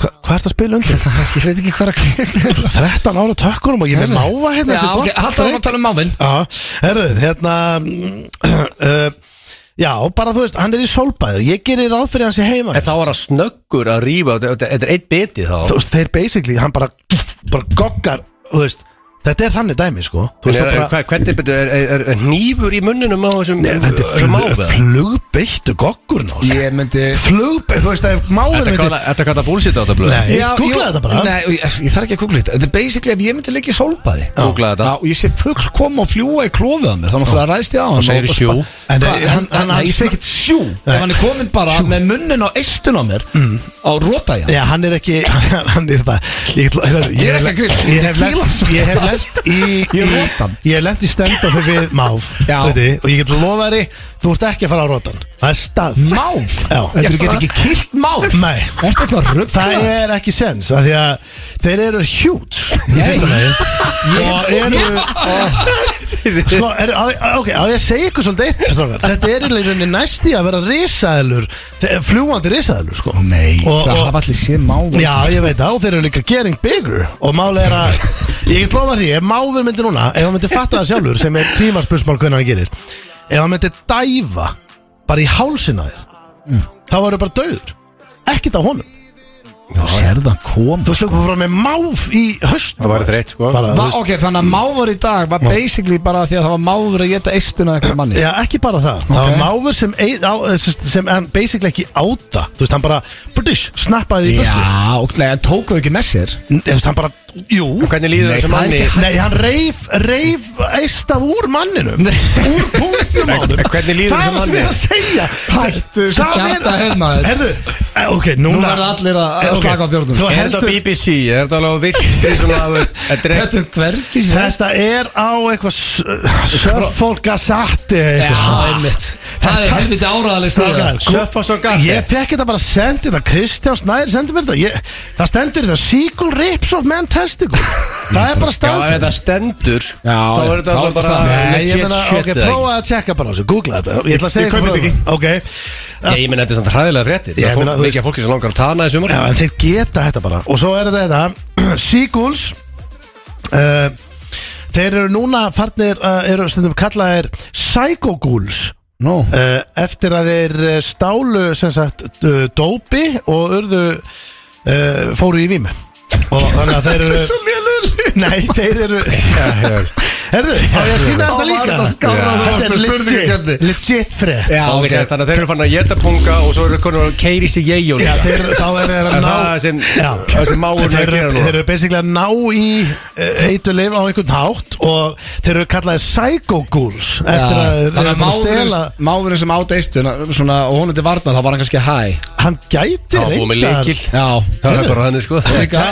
Speaker 2: hva, hvað er það að spila undir?
Speaker 1: Ég veit ekki hvað að klika
Speaker 2: 13 ára tökkunum og ég er með máva hérna
Speaker 1: Já, ok, haldur hann að tala um mávinn
Speaker 2: Já, herru, hérna [clears throat] uh, Já, bara þú veist, hann er í solbæðu Ég gerir ráð fyrir hans í heima
Speaker 3: En þá var hann snöggur að rífa Þetta þetta er eitt biti þá
Speaker 2: Þú veist, þeir basically, hann bara bara goggar, þú veist Þetta er þannig dæmi, sko Þú veist,
Speaker 3: En er-
Speaker 2: það
Speaker 3: en
Speaker 2: bara
Speaker 3: hvað- Hvernig betur, er- er er- er hnífur í munninum á þessum
Speaker 2: Nei, Þetta er flug,
Speaker 3: þessum máva?
Speaker 2: flugbeittu goggur ná
Speaker 1: Ég myndi
Speaker 2: Flugbeittu, þú veist, ef máður
Speaker 3: Þetta
Speaker 2: myndi
Speaker 3: kalla- Þetta kallar bullshit á þetta blöð
Speaker 2: Nei,
Speaker 1: Já,
Speaker 2: sko. googlaði
Speaker 1: jú,
Speaker 2: þetta bara
Speaker 1: Nei, ég, ég þarf ekki að googla þetta Þetta er basically ef ég myndi leikja í sólbæði
Speaker 3: Googlaði þetta.
Speaker 1: Já, og ég sé fugl koma og fljúa í klófið á mér Þá náttúrulega ræðst ég á hann
Speaker 3: segirðu sjú.
Speaker 2: En
Speaker 1: En
Speaker 2: nei, hann-
Speaker 1: hann,
Speaker 2: hann-
Speaker 1: hann, ég sé ekkert sjú Ef hann er komin bara með munnin á eistun á mér
Speaker 2: Mm.
Speaker 1: Á róta ég
Speaker 2: Já, hann er ekki, [laughs] hann er það Ég, ætla- heyrðu,
Speaker 1: Ég er ekki að grilla,
Speaker 2: Ég hef
Speaker 1: ég er
Speaker 2: lent-
Speaker 1: að
Speaker 2: ég hef lent í
Speaker 1: Ég er
Speaker 2: í-
Speaker 1: rotan.
Speaker 2: Ég hef lent í stend og þau við máf
Speaker 1: [laughs] Já.
Speaker 2: veitu, Og ég get lofað þér, þú ert ekki að fara á rotan Það er stað
Speaker 1: Máf
Speaker 2: Já.
Speaker 1: Þetta er ekki ekki kilt máf
Speaker 2: Nei.
Speaker 1: Þetta er eitthvað
Speaker 2: Það
Speaker 1: ruggla
Speaker 2: er ekki sens af Því að þeir eru hjút Í fyrsta
Speaker 1: [laughs]
Speaker 2: lagi Og eru og, Sko, er, á, á- ok, á ég að segja ykkur svolítið eitt strákar. Þetta er í rauninni næsti að vera risaðlur Fljúandi risaðlur, sko
Speaker 1: Nei,
Speaker 2: Og-
Speaker 1: það
Speaker 2: og-
Speaker 1: hafa allir sé máf
Speaker 2: Já, ég veit það, og þeir eru líka getting bigger og máli er að, ég get lofa því ef máður myndi núna, ef hann myndi fatta það sjálfur sem er tímarspursmál hvernig hann gerir ef hann myndi dæfa bara í hálsina þér, þá varu bara döður ekkert á honum
Speaker 1: Þú sér
Speaker 2: er það kom Þú slökum frá með máf í höst
Speaker 3: Það var þreitt sko
Speaker 2: Bara,
Speaker 1: Va,
Speaker 2: þú veist-
Speaker 1: ok, þannig að mávar í dag var basically bara því að það var mávar að geta eistuna eitthvað manni
Speaker 2: Já, ekki bara það Það
Speaker 1: Ok.
Speaker 2: var máfur sem, ei, á, sem, sem hann basically ekki áta Þú veist, hann bara, fyrtish, snappaði í höstu
Speaker 1: Já, ok, nei, en tók þau ekki með sér
Speaker 2: Þú veist, hann bara, jú
Speaker 3: Og hvernig líður
Speaker 1: Nei, það
Speaker 3: þessu
Speaker 1: er
Speaker 3: manni
Speaker 1: ekki
Speaker 2: Nei, hann reif, reif eistað úr manninum
Speaker 1: Nei.
Speaker 2: Úr punktnum á honum
Speaker 3: En hvernig líður
Speaker 2: Það er
Speaker 3: þessum
Speaker 2: það sem ég er að segja
Speaker 3: manni?
Speaker 1: Hættu þessu
Speaker 2: Það er-
Speaker 1: kjafta hef, maður.
Speaker 2: Herðu, eh, ok, núna
Speaker 1: Nú verða allir að- að
Speaker 2: Eh, ok,
Speaker 1: slaka á bjórnum.
Speaker 2: Þú
Speaker 1: Er
Speaker 3: Er þetta
Speaker 2: heldur
Speaker 3: BBC, er þetta alveg virkið sem að [laughs] Þetta er
Speaker 1: Þetta er hvergi sér
Speaker 2: Þetta er á eitthvað Sjöfólk að satti
Speaker 1: Já, einmitt Það er helviti áraðaleg stöða
Speaker 3: Surface og Gaffi.
Speaker 2: Sko, Ég fekk þetta bara sendið það Kristján Snæður sendi mér þetta ég, Það stendur þetta Sequel Rips of Man [laughs] Testicle Það er bara
Speaker 3: Já, ef þetta
Speaker 2: staðfest
Speaker 3: stendur
Speaker 1: Já,
Speaker 3: Þá er þetta
Speaker 1: þá er þetta
Speaker 3: alveg bara
Speaker 1: samt.
Speaker 2: Nei, ég
Speaker 3: legit
Speaker 2: meina,
Speaker 3: shit,
Speaker 2: ok,
Speaker 3: eða ekki?
Speaker 2: prófaði að tjekka bara á þessu Googla þetta Ég ætla að segja
Speaker 3: Ég kaupi
Speaker 2: ykkur frá það. Ok,
Speaker 3: Ég meina, þetta er samt hræðilega fréttir
Speaker 2: Ég
Speaker 3: Það er
Speaker 2: meina,
Speaker 3: fólk-
Speaker 2: þú
Speaker 3: mikið af fólki sem langar að tana í sumar
Speaker 2: Já, en þeir geta þetta bara Og svo er þetta þetta Seagulls uh, Þeir eru núna farnir uh, eru stundum kallaðir Psychogulls
Speaker 1: Nú,
Speaker 2: uh, Eftir að þeir eh, stálu sem sagt uh, dópi og urðu uh, fóru í vímu Og þannig að þeir eru Nei, þeir eru Herðu, á ég að sína
Speaker 1: Þá
Speaker 2: þetta
Speaker 1: var
Speaker 2: líka
Speaker 1: þetta skárra, þú varst
Speaker 2: Þetta er
Speaker 1: með
Speaker 2: legit,
Speaker 1: spurningakeppni.
Speaker 2: legit frétt
Speaker 1: já,
Speaker 3: Ok,
Speaker 1: ok
Speaker 3: Þannig að þeir eru fann að geta punga og svo eru konur að keiri sig ég og
Speaker 2: Já,
Speaker 3: líka
Speaker 2: þeir, þá er þeir að
Speaker 3: En
Speaker 2: ná
Speaker 3: það er sem-
Speaker 2: Já.
Speaker 3: það er sem mágur
Speaker 2: Þeir
Speaker 3: er að
Speaker 2: eru-
Speaker 3: gera núna.
Speaker 2: Þeir eru basically að ná í eitulif á einhvern hátt og þeir eru kallaði psychogools eftir
Speaker 1: Já,
Speaker 2: að þeir
Speaker 1: Þannig
Speaker 2: eru
Speaker 1: að
Speaker 2: búin að
Speaker 1: máfurinn máfurinn
Speaker 2: stela
Speaker 1: sem át eistuna svona, og hún er til varnar, þá var hann kannski hæ
Speaker 2: Hann gæti
Speaker 3: Það var búið með
Speaker 2: reyndar-
Speaker 3: leikil
Speaker 1: Já
Speaker 3: Það er bara þannig sko
Speaker 1: Og líka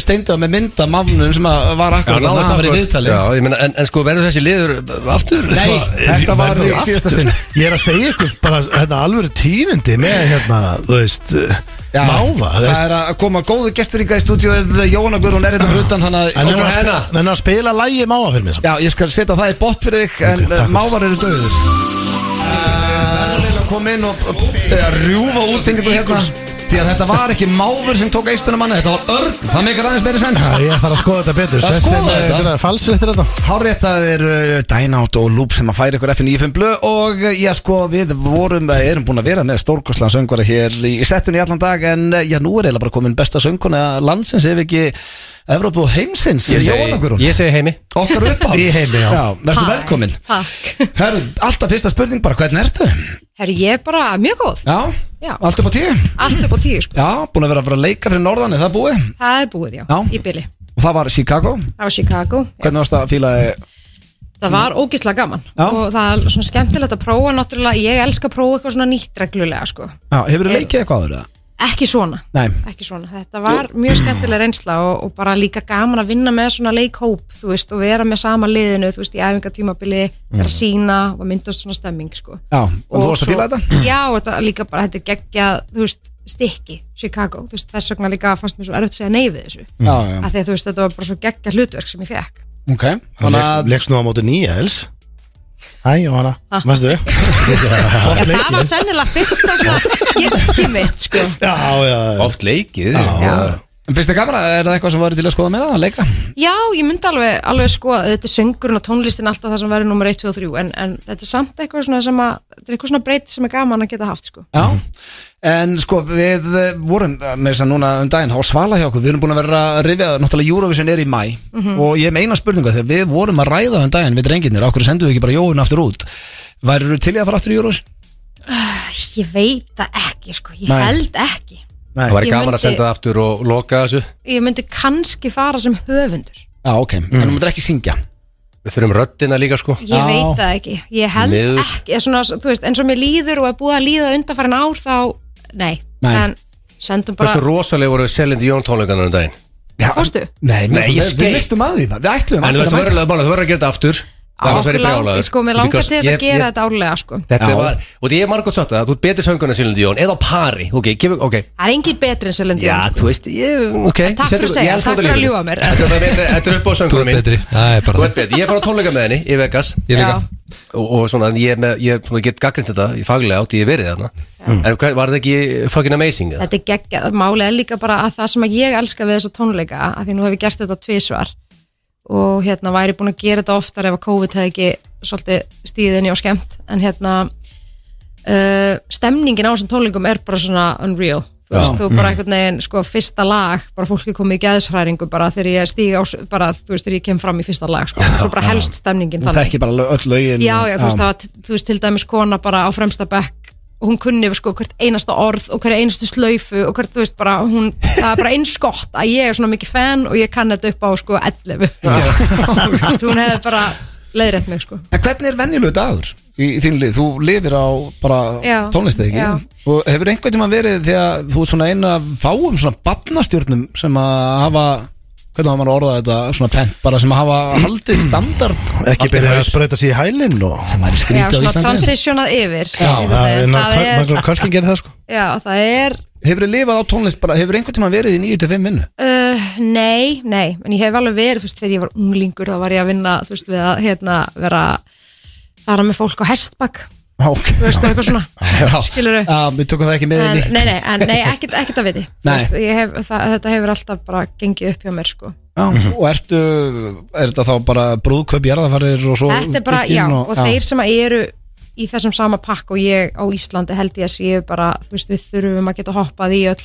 Speaker 1: steinduða með mynda mafnum sem að var akkurat að hann var í
Speaker 3: akkurat.
Speaker 1: viðtali
Speaker 3: Já, ég meina, en, en sko, verður þessi liður aftur? Sko,
Speaker 1: Nei, þetta var
Speaker 2: Verður
Speaker 1: í síðasta sinn
Speaker 2: Ég er að segja ykkur bara hérna, alvöru tíðindi með hérna, þú veist,
Speaker 1: Já,
Speaker 2: máva þú
Speaker 1: Það
Speaker 2: veist.
Speaker 1: er að koma góðu gestur í stúdíóið Jóhanna Guðrún er þetta frutan þannig
Speaker 2: En
Speaker 1: að
Speaker 2: hann er að
Speaker 3: hennar.
Speaker 2: sp- hann er að spila lægi máva fyrir mér samt.
Speaker 1: Já, ég skal setja það í bótt fyrir þig En
Speaker 2: takk
Speaker 1: okay,
Speaker 2: fyrir.
Speaker 1: mávar eru döður Verðurlega kom inn og eða, rjúfa útsengingu hérna Því að þetta var ekki máfur sem tók eistunum manni Þetta var örn, það meikar aðeins meiri sens
Speaker 2: Já, Ég þarf að skoða þetta betur
Speaker 1: Að
Speaker 2: Þessi-
Speaker 1: skoða þetta?
Speaker 2: þetta er Falsréttir þetta
Speaker 1: Hárrétt að er uh, Dynout og Loop sem að færa ykkur FN95 blöð og uh, já sko við vorum, eh, erum búin að vera með stórkostlan söngvara hér í í settunni í allan dag en eh, já nú er eiginlega bara komin besta söngkona landsins ef ekki Evrópu og heimsins
Speaker 3: Ég
Speaker 1: Jóhanna
Speaker 3: segi,
Speaker 1: Guðrún.
Speaker 3: ég segi heimi
Speaker 1: Okkar uppáð
Speaker 2: Í heimi, já.
Speaker 1: verðstu
Speaker 6: Hæ,
Speaker 1: velkomin
Speaker 6: Takk
Speaker 1: [laughs] Herru, alltaf fyrsta spurning bara, hvernig ertu?
Speaker 6: Herri, ég er bara mjög góð
Speaker 1: Já,
Speaker 6: Já.
Speaker 1: allt upp á tíu
Speaker 6: Allt upp á tíu sko
Speaker 1: Já, búin að vera að vera að leika fyrir norðan, er það búið?
Speaker 6: Það er búið já,
Speaker 1: Já.
Speaker 6: í byli
Speaker 1: Og það var Chicago
Speaker 6: Það var Chicago
Speaker 1: Hvernig varst að fíla þig?
Speaker 6: Það var ógislega gaman
Speaker 1: Já.
Speaker 6: Og það er svona skemmtilegt að prófa Náttúrulega, ég elska að prófa eitthvað svona nýtt reglulega sko
Speaker 1: Já, hefur leikið eitthvað áður? eða?
Speaker 6: Ekki svona
Speaker 1: Nei.
Speaker 6: Ekki svona, þetta var mjög skemmtileg reynsla og, og bara líka gaman að vinna með svona leikhóp Þú veist, og vera með sama liðinu Þú veist, í æfingatímabili Það er að sína og myndast svona stemming sko
Speaker 1: Mhm. Já, og þú varst að fíla þetta?
Speaker 6: Já, þetta er líka bara, þetta er geggja Þú veist, stikki, Chicago Þú veist, þess vegna líka fannst mér svo erfitt að segja nei við þessu
Speaker 1: Já, já,
Speaker 6: að því að þú veist þetta var bara svo geggja hlutverk sem ég fekk
Speaker 1: ok Þannig að
Speaker 2: Leggst nú á móti nýja, els Hæ, Jóhanna, [laughs] varstu?
Speaker 6: Já, það var sennilega fyrsta svona geggið mitt sko
Speaker 2: Já, já, já
Speaker 3: Oft leikið
Speaker 6: Já.
Speaker 1: En finnst þið gamla, er það eitthvað sem var til að skoða meira að leika?
Speaker 6: Já, ég myndi alveg, alveg sko að þetta er söngurinn og tónlistin alltaf það sem verður nummer 1, 2 og 3 en, en þetta er samt eitthvað svona sem að þetta er eitthvað svona breytt sem er gaman að geta haft sko
Speaker 1: Já En sko, við eh, vorum eh, með þess að núna um daginn, þá svala hjá okkur, við erum búin að vera að rifja, náttúrulega Eurovision er í mæ
Speaker 6: Mhm.
Speaker 1: og ég hef með eina spurningu, þegar við vorum að ræða um daginn við drengirnir, okkur sendu við ekki bara Jóhun aftur út Værið þú til í að fara aftur í Eurovision?
Speaker 6: Ég veit það ekki sko, ég
Speaker 1: Nei.
Speaker 6: held ekki
Speaker 1: Nei
Speaker 3: Það væri
Speaker 6: Ég
Speaker 3: gaman að
Speaker 6: myndi-
Speaker 3: senda það aftur og loka þessu
Speaker 6: Ég myndi kannski fara sem höfundur
Speaker 1: Já, ok, en þú myndir ekki syngja
Speaker 3: Við þurfum röddina líka sko
Speaker 6: Ég
Speaker 1: Já.
Speaker 6: veit það ekki, ég held
Speaker 3: Miður.
Speaker 6: ekki eða svona, þú veist, eins og mér líður og er búið að líða undanfærin ár þá, nei,
Speaker 1: Nei.
Speaker 6: en sendum bara
Speaker 3: Hversu rosalega voru Selindi Jón tónleikanar um daginn
Speaker 1: Já,
Speaker 6: Fórstu?
Speaker 1: Nei, mér
Speaker 3: Nei,
Speaker 1: finnst-
Speaker 3: ég
Speaker 1: við-
Speaker 3: skeit.
Speaker 1: Við viltum að því, það- við ætlum
Speaker 3: En þú veist, þú verður alveg þú verður að gera þetta aftur Það var
Speaker 6: Okkur
Speaker 3: sverið
Speaker 6: lang-
Speaker 3: brjálaður
Speaker 6: Sko, mér langar
Speaker 3: Because
Speaker 6: til þess
Speaker 3: ég-
Speaker 6: að gera
Speaker 3: ég-
Speaker 6: þetta árlega sko.
Speaker 3: Þetta
Speaker 1: Já.
Speaker 3: var, og því ég er margótt sagt að þú ert betur söngun en Silindi Jón eða á pari, ok, kemur, ok
Speaker 6: Það er engin betri en Selin
Speaker 3: Já,
Speaker 6: Dion sko.
Speaker 3: þú veist, ég, ok
Speaker 6: En takk
Speaker 3: ég sendi-
Speaker 6: fyrir að segja,
Speaker 3: ég elska
Speaker 6: takk
Speaker 3: þetta
Speaker 6: fyrir að
Speaker 3: líka.
Speaker 6: ljúga mér.
Speaker 3: Þetta er- þetta er- þetta er upp á
Speaker 5: Þú
Speaker 3: söngunum
Speaker 5: ert betri, það er
Speaker 3: Þú
Speaker 5: bara
Speaker 3: ert betri, ég fór á tónleika með henni í Vegas
Speaker 5: það Ég líka
Speaker 6: Já.
Speaker 3: og, og svona, ég, er með, ég er svona, get gaggrind þetta í faglega átti ég verið þarna en hvað, var það ekki fucking amazing eða?
Speaker 6: Þetta er geggjað, málið er líka bara að það sem að ég elska við þessa tónleika að því nú hef ég gert þetta tvisvar og hérna væri búin að gera þetta oftar ef að COVID hefði ekki svolítið stíðinni og skemmt en hérna uh, stemningin á þessum tónleikum er bara svona unreal þú veist, þú bara einhvern veginn, sko, fyrsta lag bara fólki komið í geðshræringu bara þegar ég stíg á, s- bara, þú veist, þegar ég kem fram í fyrsta lag, sko, svo bara helst stemningin
Speaker 1: Þú
Speaker 6: þannig
Speaker 1: þekki bara lög- öll lögin
Speaker 6: já, já, þú veist, það var, t- þú veist, til dæmis kona bara á fremsta bekk og hún kunni sko hvert einasta orð og hverja einustu slaufu og hvert, þú veist, bara hún, það er bara eins gott að ég er svona mikið fan og ég kann þetta upp á sko 11 þú hún hefði bara leiðrætt mig sko
Speaker 1: En hvernig er venjulegu dagur í, í þínu lið? Þú lifir á bara
Speaker 6: Já.
Speaker 1: tónlistið, ekki?
Speaker 6: Já.
Speaker 1: Og hefur einhvern tímann verið þegar þú ert svona einu af fáum svona barnastjórnum sem að hafa hvernig hafa maður orðað þetta, svona pent bara sem að hafa haldið standard
Speaker 2: Ekki byrja að sprauta sér í hælinn og
Speaker 1: sem væri
Speaker 6: já,
Speaker 1: skrítið á
Speaker 6: svona
Speaker 1: Íslandi
Speaker 6: transitionað yfir
Speaker 2: Já, það er
Speaker 6: það er,
Speaker 2: náttúrulega kölking gerir það sko
Speaker 6: já, það er
Speaker 1: Hefur þið lifað á tónlist bara, hefur einhvern tímann verið í 9-5 vinnu?
Speaker 6: Uh, nei, nei, en ég hef alveg verið, þú veist, þegar ég var unglingur þá var ég að vinna, þú veist, við að hérna, vera fara með fólk á hestbakk,
Speaker 1: Já, ok
Speaker 6: þú veist, og eitthvað svona,
Speaker 1: [laughs] Já.
Speaker 6: skilurðu?
Speaker 1: Já, við tökum það ekki með
Speaker 6: en,
Speaker 1: henni
Speaker 6: nei, nei, en, nei, ekkert,
Speaker 1: [laughs]
Speaker 6: ekkert að viti Þú
Speaker 1: Nei.
Speaker 6: veist, ég hef, það, þetta hefur alltaf bara gengið upp hjá mér sko.
Speaker 1: Já, og ertu, er þetta þá bara brúðköp jarðafarir og svo
Speaker 6: þetta er bara,
Speaker 1: bygging
Speaker 6: já, og,
Speaker 1: já.
Speaker 6: þeir sem eru í þessum sama pakk og ég á Íslandi held ég að séu bara, þú veist, við þurfum að geta hoppað í öll,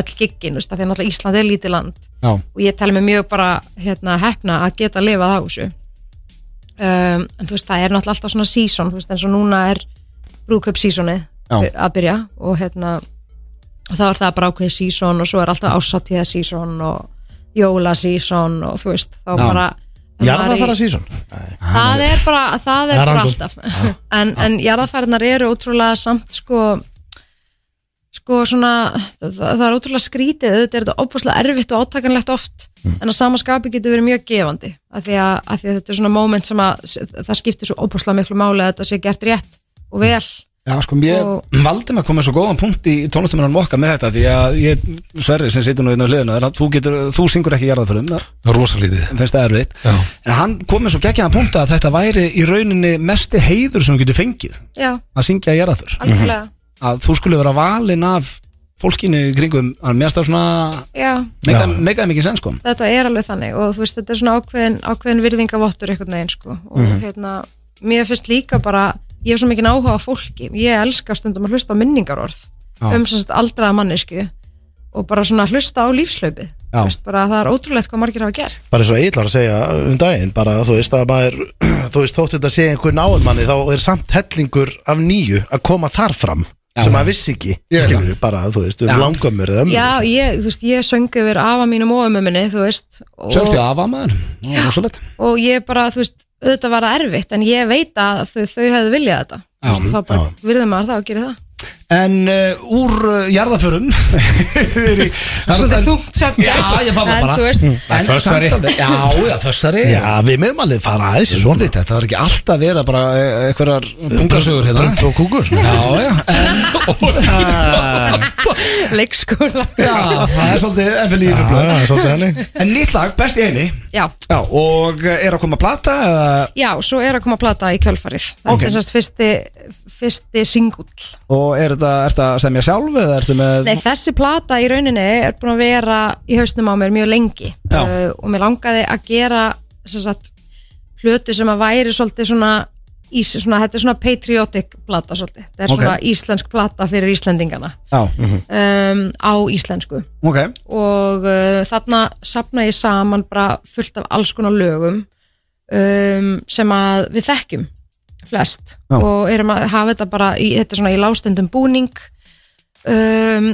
Speaker 6: öll giggin, þú veist, af því að náttúrulega Ísland er lítið land
Speaker 1: Já,
Speaker 6: og ég tala mig mjög bara hérna, hefna að geta lifað á þessu um, en þú veist, það er náttúrulega alltaf svona season, þú veist, eins og núna er brúðköp seasonið
Speaker 1: Já.
Speaker 6: að byrja og hérna og þá er það bara ákveðið season og svo er alltaf ásattíða season og jóla season og þú veist, þá bara
Speaker 2: Jarðarfara sísón
Speaker 6: það er bara,
Speaker 2: Það
Speaker 6: það er
Speaker 2: er
Speaker 6: bara
Speaker 2: random.
Speaker 6: alltaf [laughs] en, en jarðafærinar eru ótrúlega samt sko sko svona, það, það er ótrúlega skrítið auðvitað er þetta opaslega erfitt og átakanlegt oft en að samaskapi getur verið mjög gefandi af því að, af því að þetta er svona moment sem að það skiptir svo opaslega miklu máli að þetta sé gert rétt og vel
Speaker 1: Já, sko, ég
Speaker 6: Og-
Speaker 1: valdi með að koma með svo góðan punkt í tónlistamennan mokka með þetta því að ég, Sverri sem situr nú inn á hliðinu er að þú, getur, þú syngur ekki jarðaförum það
Speaker 5: rosalítið
Speaker 1: finnst það erfitt
Speaker 5: Já.
Speaker 1: en hann kom með svo geggjaðan punkt að þetta væri í rauninni mesti heiður sem þú getur fengið
Speaker 6: já,
Speaker 1: að syngja jarðaför
Speaker 6: algjörlega,
Speaker 1: að þú skulle vera valinn af fólkinu í kringum að mér stað svona
Speaker 6: já
Speaker 1: meikaði meika mikið sens sko
Speaker 6: þetta er alveg þannig og þú veist þetta er svona ákveðin, ákveðin virðingavottur einhvern veginn sko og
Speaker 1: Mhm.
Speaker 6: hérna, mér finnst líka bara ég hef svo mikið áhuga á fólki ég elska stundum að hlusta á minningarorð um sem sagt aldraða mannesku og bara svona hlusta á lífslaupið
Speaker 1: Já.
Speaker 6: Þú veist, bara það er ótrúlegt hvað margir hafa gert
Speaker 2: Bara eins og Egil var að segja um daginn Bara þú veist að maður Þú veist þótt þetta sé einhver náðum manni Þá er samt hellingur af nýju Að koma þar fram Sem maður vissi ekki
Speaker 1: Ég er
Speaker 2: Skilur bara þú veist um langömmur
Speaker 1: Mm.
Speaker 2: eða ömmur
Speaker 6: já, ég, þú veist, ég söng yfir afa mínum og ömmu minni, þú veist og,
Speaker 1: söngstu af að maður Já, rosalegt.
Speaker 6: og ég bara, þú veist, auðvitað var það erfitt en ég veit að þau, þau hefðu viljað þetta Þú veist, þá bara virðum maður það og gerir það
Speaker 1: en uh, úr uh, jarðaförum [laughs] er í- það er-
Speaker 6: Svolítið
Speaker 1: en-
Speaker 6: þungt subject
Speaker 1: Já, ég fann það
Speaker 6: En
Speaker 1: bara. Mm.
Speaker 6: þú veist,
Speaker 1: En
Speaker 3: Fössari.
Speaker 1: samt alveg- Já, já, þessari
Speaker 2: Já, við meðum alveg fara aðeins í svona
Speaker 1: Svona þetta, það er ekki alltaf að vera bara eh, einhverjar bungasögur hérna
Speaker 2: Brönd og kúkur
Speaker 1: Já, já, en,
Speaker 6: [laughs] leikskóla
Speaker 1: [laughs] já, það er svolítið ennfell í
Speaker 2: Já,
Speaker 1: yfirblöð
Speaker 2: já, svolítið henni
Speaker 1: En nýtt lag, best í eini
Speaker 6: já,
Speaker 1: Já, og eh, er að koma að plata eða-
Speaker 6: já, svo er að koma að plata í kjölfarið þetta
Speaker 1: Ok.
Speaker 6: er sérst fyrsti, fyrsti singull
Speaker 1: og er þetta, er þetta sem ég sjálf eða ertu með
Speaker 6: Nei, þessi plata í rauninni er búin að vera í hausnum á mér mjög lengi
Speaker 1: Já.
Speaker 6: uh, og mér langaði að gera sem sagt, hlutu sem að væri svolítið svona, ís, svona þetta er svona patriotic plata svolítið þetta er
Speaker 1: Ok.
Speaker 6: svona íslensk plata fyrir Íslendingana
Speaker 1: Já, ok,
Speaker 6: um, á íslensku og uh, þarna sapna ég saman bara fullt af alls konar lögum um, sem að við þekkjum flest
Speaker 1: Já.
Speaker 6: og erum að hafa þetta bara í, þetta er svona í lástendum búning um,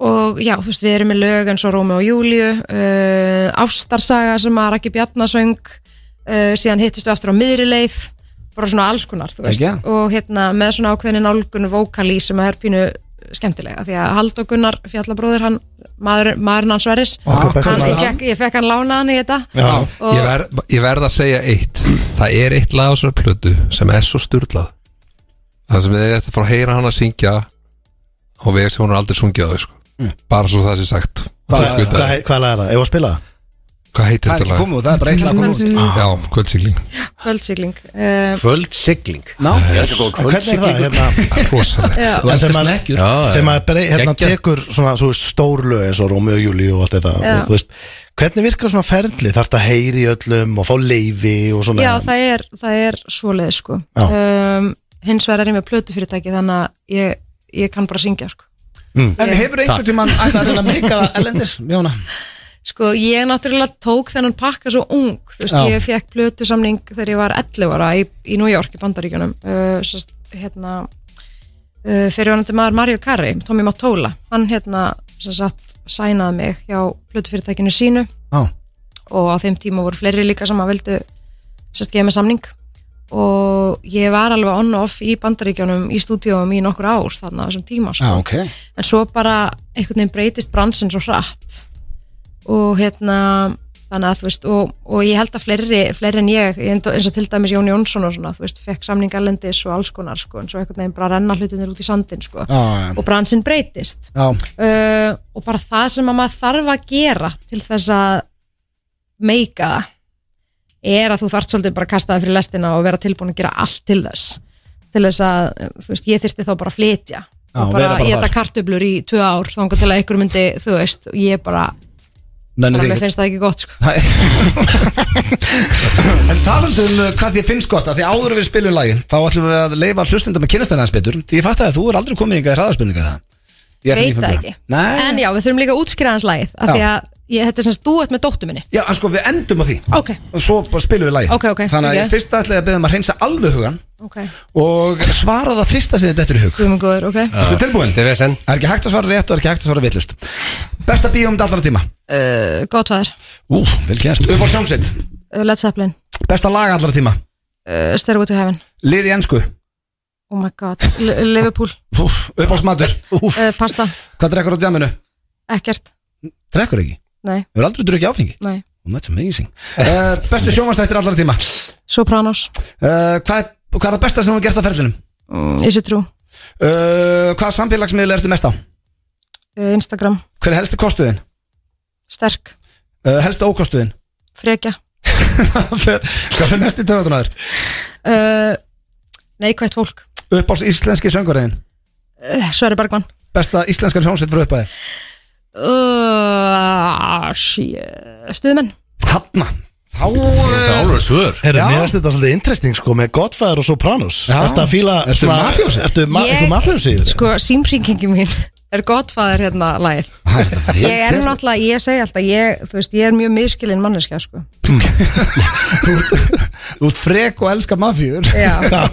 Speaker 6: og já, þú veist, við erum með lög eins og Rómi og Júliu uh, Ástarsaga sem að Raki Bjarnasöng uh, síðan hittist við aftur á miðrileið bara svona alls konar, þú veist
Speaker 1: Ekki, ja.
Speaker 6: og hérna með svona ákveðin nálgun vókali sem er pínu skemmtilega því að Halldór Gunnar, fjallabróður hann maður, maðurinn hans Sverris
Speaker 2: Okkar besti
Speaker 6: hann, ég,
Speaker 2: maður.
Speaker 6: fekk, ég fekk hann lánaðan í þetta
Speaker 2: Já,
Speaker 6: og
Speaker 5: ég, ver, ég verð að segja eitt Það er eitt lag á svona plötu sem er svo sturlað Það sem þið eftir að fara að heyra hann að syngja og vegið sem hún er aldrei sungið á þau sko. bara svo það sé sagt
Speaker 2: Hvað
Speaker 5: Fólk veit
Speaker 2: hvað-
Speaker 5: að-
Speaker 2: hvað lag er það? Ef að spila það?
Speaker 5: Hvað heitir
Speaker 1: það er
Speaker 5: þetta
Speaker 1: ekki
Speaker 5: lag?
Speaker 1: komið út, það er bara eitt lag komið út
Speaker 5: Já, kvöldsigling
Speaker 6: kvöldsigling um,
Speaker 4: Kvöldsigling
Speaker 1: Ná,
Speaker 4: Ég elskar góða
Speaker 2: En Hvernig er það?
Speaker 4: kvöldsigling
Speaker 2: Hérna,
Speaker 5: Rosalegt
Speaker 1: þú
Speaker 6: já,
Speaker 2: En
Speaker 1: elskar
Speaker 2: þegar maður-
Speaker 1: snekkjur
Speaker 4: Já,
Speaker 2: þegar maður brey- hérna,
Speaker 4: Geggjað.
Speaker 2: tekur svona, svona stór lög eins og Rómi og Júli og allt þetta
Speaker 6: Já.
Speaker 2: og, þú veist, hvernig virkar svona ferli þarf þetta að heyri öllum og fá leifi og svona
Speaker 6: já, það er, það er svoleið sko
Speaker 2: Já.
Speaker 6: um, hins vegar er ég með plötu fyrirtæki þannig að ég, ég kann bara syngja sko
Speaker 2: Mm.
Speaker 1: En hefur einhvern tímann ætlað að reyna að meika það ellendis, Jóna?
Speaker 6: Sko, ég náttúrulega tók þennan pakka svo ung, þú veist,
Speaker 1: Já.
Speaker 6: ég fekk blötu samning þegar ég var 11 ára í, í New York í Bandaríkjunum, uh, sérst, hérna, uh, fyrir honandi maður Mario Carri, Tommy Mottola, hann hérna, sem sagt, sænaði mig hjá blötufyrirtækinu sínu
Speaker 1: Já.
Speaker 6: og á þeim tíma voru fleiri líka sem að vildu, sérst, gefa mig samning og ég var alveg on-off í Bandaríkjunum í stúdíum í nokkur ár þarna á þessum tíma, sko. en svo bara einhvern veginn breytist bransin svo hratt og hérna þannig að þú veist og, og ég held að fleiri, fleiri en ég eins og eins og til dæmis Jón Jónsson og svona þú veist, fekk samning erlendis og alls konar sko, en svo einhvern veginn bara renna hlutinir út í sandin
Speaker 1: Já,
Speaker 6: sko,
Speaker 1: já.
Speaker 6: og bransin breytist
Speaker 1: Já.
Speaker 6: uh, og bara það sem að maður þarf að gera til þess að meika það er að þú þart svolítið bara að kasta það fyrir lestina og vera tilbúin að gera allt til þess til þess að, þú veist, ég þyrfti þá bara að flytja
Speaker 1: Já,
Speaker 6: og
Speaker 1: vera
Speaker 6: bara,
Speaker 1: bara
Speaker 6: ég þetta
Speaker 1: þar.
Speaker 6: kartöflur í tvö ár þangar til að ykkur myndi, þú veist, og ég bara
Speaker 1: Nenni
Speaker 6: bara
Speaker 1: því
Speaker 6: mér
Speaker 1: ekki.
Speaker 6: finnst það ekki gott, sko
Speaker 1: En talandi um uh, hvað þér finnst gott að því áður en við spilum lagi þá ætlum við að leifa hlustundum að kynast þennan betur því ég fatt að þú er aldrei komið yngið hraðarspilningar það Ég er
Speaker 6: veit
Speaker 1: 9.5.
Speaker 6: það ekki,
Speaker 1: Nei,
Speaker 6: en já, við þurfum líka að útskýra hans lagið, af
Speaker 1: Já.
Speaker 6: því að ég, þetta er semst duett með dóttu minni,
Speaker 1: já, en sko við endum á því
Speaker 6: ok,
Speaker 1: og svo bara spilum við lagi
Speaker 6: Ok, ok,
Speaker 1: Þannig að
Speaker 6: ok.
Speaker 1: ég fyrst ætla ég að beða um að hreinsa alveg hugan
Speaker 6: ok
Speaker 1: og svara það fyrsta sem þetta er í hug
Speaker 6: guðmur góður, ok
Speaker 1: Erstu tilbúin?
Speaker 3: Þetta er vesen
Speaker 1: Það er ekki hægt að svara rétt og er ekki hægt að svara villust Besta bíómynd allra tíma
Speaker 6: uh, gott fæður,
Speaker 1: Ú, vel kjæst Upp á hljómsveit
Speaker 6: uh, Led Zeppelin
Speaker 1: Besta lag allra tíma
Speaker 6: uh, Stairway to Heaven,
Speaker 1: Lið í ennsku
Speaker 6: oh my god L Liverpool,
Speaker 1: Upp á smatur
Speaker 6: uh, pasta,
Speaker 1: Hvað drekkur á djaminu?
Speaker 6: ekkert
Speaker 1: Drekkur ekki
Speaker 6: nei,
Speaker 1: Við erum aldrei drukkið áfengi
Speaker 6: nei,
Speaker 1: Oh, That's amazing uh, Bestu sjómanstættir allra tíma
Speaker 6: Sopranos
Speaker 1: uh, hvað, er, hvað er það besta sem þú hefur gert á ferlinum?
Speaker 6: mm, Is it true,
Speaker 1: Uh, hvað samfélagsmiðl ertu mest á?
Speaker 6: uh, Instagram
Speaker 1: Hver er helstu kostuðin?
Speaker 6: sterk,
Speaker 1: Uh, helstu [laughs] ókostuðin?
Speaker 6: frekja
Speaker 1: hvað fer hvað fer mest í töðunar?
Speaker 6: uh, neikvægt fólk
Speaker 1: Uppáls íslenski söngurðin
Speaker 6: uh, Sverri Bergman
Speaker 1: Besta íslenskan sjónsett fyrir uppæði
Speaker 6: uh, shit. stuðmenn
Speaker 1: Hanna Þá uh,
Speaker 3: alveg svör
Speaker 2: Herru,
Speaker 1: Já.
Speaker 2: mér finnst þetta svolítið interesting sko með Godfather og Sopranos
Speaker 1: Já.
Speaker 2: Ertu að fíla
Speaker 1: Ertu
Speaker 2: svona-
Speaker 1: mafíósi?
Speaker 2: Ertu ma
Speaker 6: Ég-
Speaker 2: eitthvað mafjósi í þér?
Speaker 6: sko, símringingi mín er gottfæður hérna lagið
Speaker 1: Það er þetta
Speaker 6: ég er
Speaker 1: vel gert.
Speaker 6: náttúrulega, ég segi alltaf ég, þú veist, ég er mjög miskilinn manneskja sko.
Speaker 1: Þú ert frek og elskar mafjur
Speaker 6: [laughs] Já.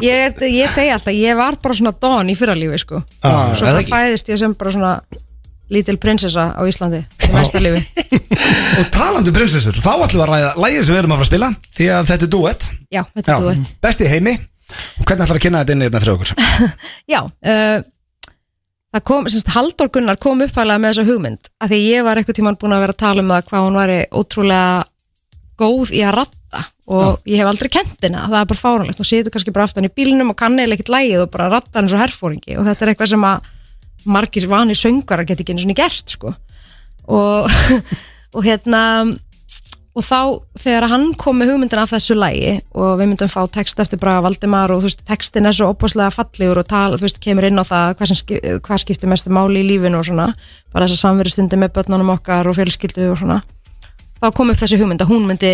Speaker 6: ég, ég segi alltaf ég var bara svona don í fyrralífi sko.
Speaker 2: Ah,
Speaker 6: svo bara fæðist ég sem bara svona lítil prinsessa á Íslandi í næsta lífi
Speaker 1: Og talandi um prinsessur Þá ætlum við að ræða lægið sem við erum að fara að spila Því að þetta er duett
Speaker 6: já, þetta er þú veit
Speaker 1: Besti í heimi Og Hvernig ætlar að kynna þetta inn í þetta fyrir okkur?
Speaker 6: Já, uh, það kom, semst Halldór Gunnar kom upphæðlega með þessa hugmynd af því ég var eitthvað tíman búin að vera að tala um það hvað hún væri ótrúlega góð í að ratta og ég hef aldrei kent henni það er bara fáranlegt, hún situr kannski bara aftan í bílnum og kann eða ekkert lægið og bara ratta henni svo herfóringi og þetta er eitthvað sem að margir vani söngvarar geti ekki einu svona gert sko og, [laughs] og hérna og þá þegar hann kom með hugmyndin af þessu lægi og við myndum fá text eftir Braga Valdimar og þú veist, textin er svo opaslega fallegur og tal, þú veist, kemur inn á það hvað, sem, skip- hvað skiptir mestu máli í lífinu og svona bara þess að samveru stundi með börnunum okkar og fjölskyldu og svona þá kom upp þessi hugmynd að hún myndi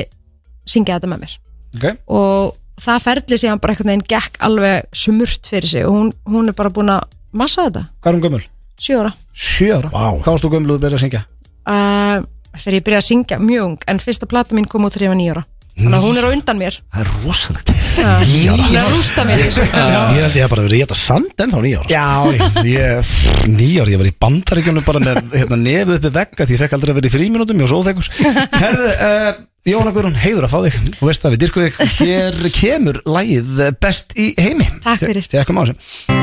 Speaker 6: syngja þetta með mér
Speaker 1: Okay.
Speaker 6: og það ferli síðan bara einhvern veginn gekk alveg smurt fyrir sig og hún, hún er bara búin að massa þetta,
Speaker 1: Hvað er hún gömul?
Speaker 6: sjö ára
Speaker 1: Sjö ára?
Speaker 2: Vá.
Speaker 1: Hvað varst þú gömul að byrja að syngja?
Speaker 6: uh, þegar ég byrjaði að syngja mjög ung en fyrsta plata mín kom út þegar ég var nýja ára þannig að hún er á undan mér
Speaker 1: Það er rosalegt
Speaker 6: hún er að rústa mér í þessu.
Speaker 2: Ég held ég að bara verið rétt að sand ennþá nýja ára
Speaker 1: Já, ég, nýjar, ég var í bandaríkjunum bara með hérna, nefið uppi vegga því ég fekk aldrei að vera í fríminútum, ég var svo óþekkus Herðu, uh, Jóhanna Guðrún, heiður að fá þig Þú veist að við dyrkum þig Hér kemur lægið eh, best í heimi
Speaker 6: Takk fyrir.
Speaker 1: Tekum á þessu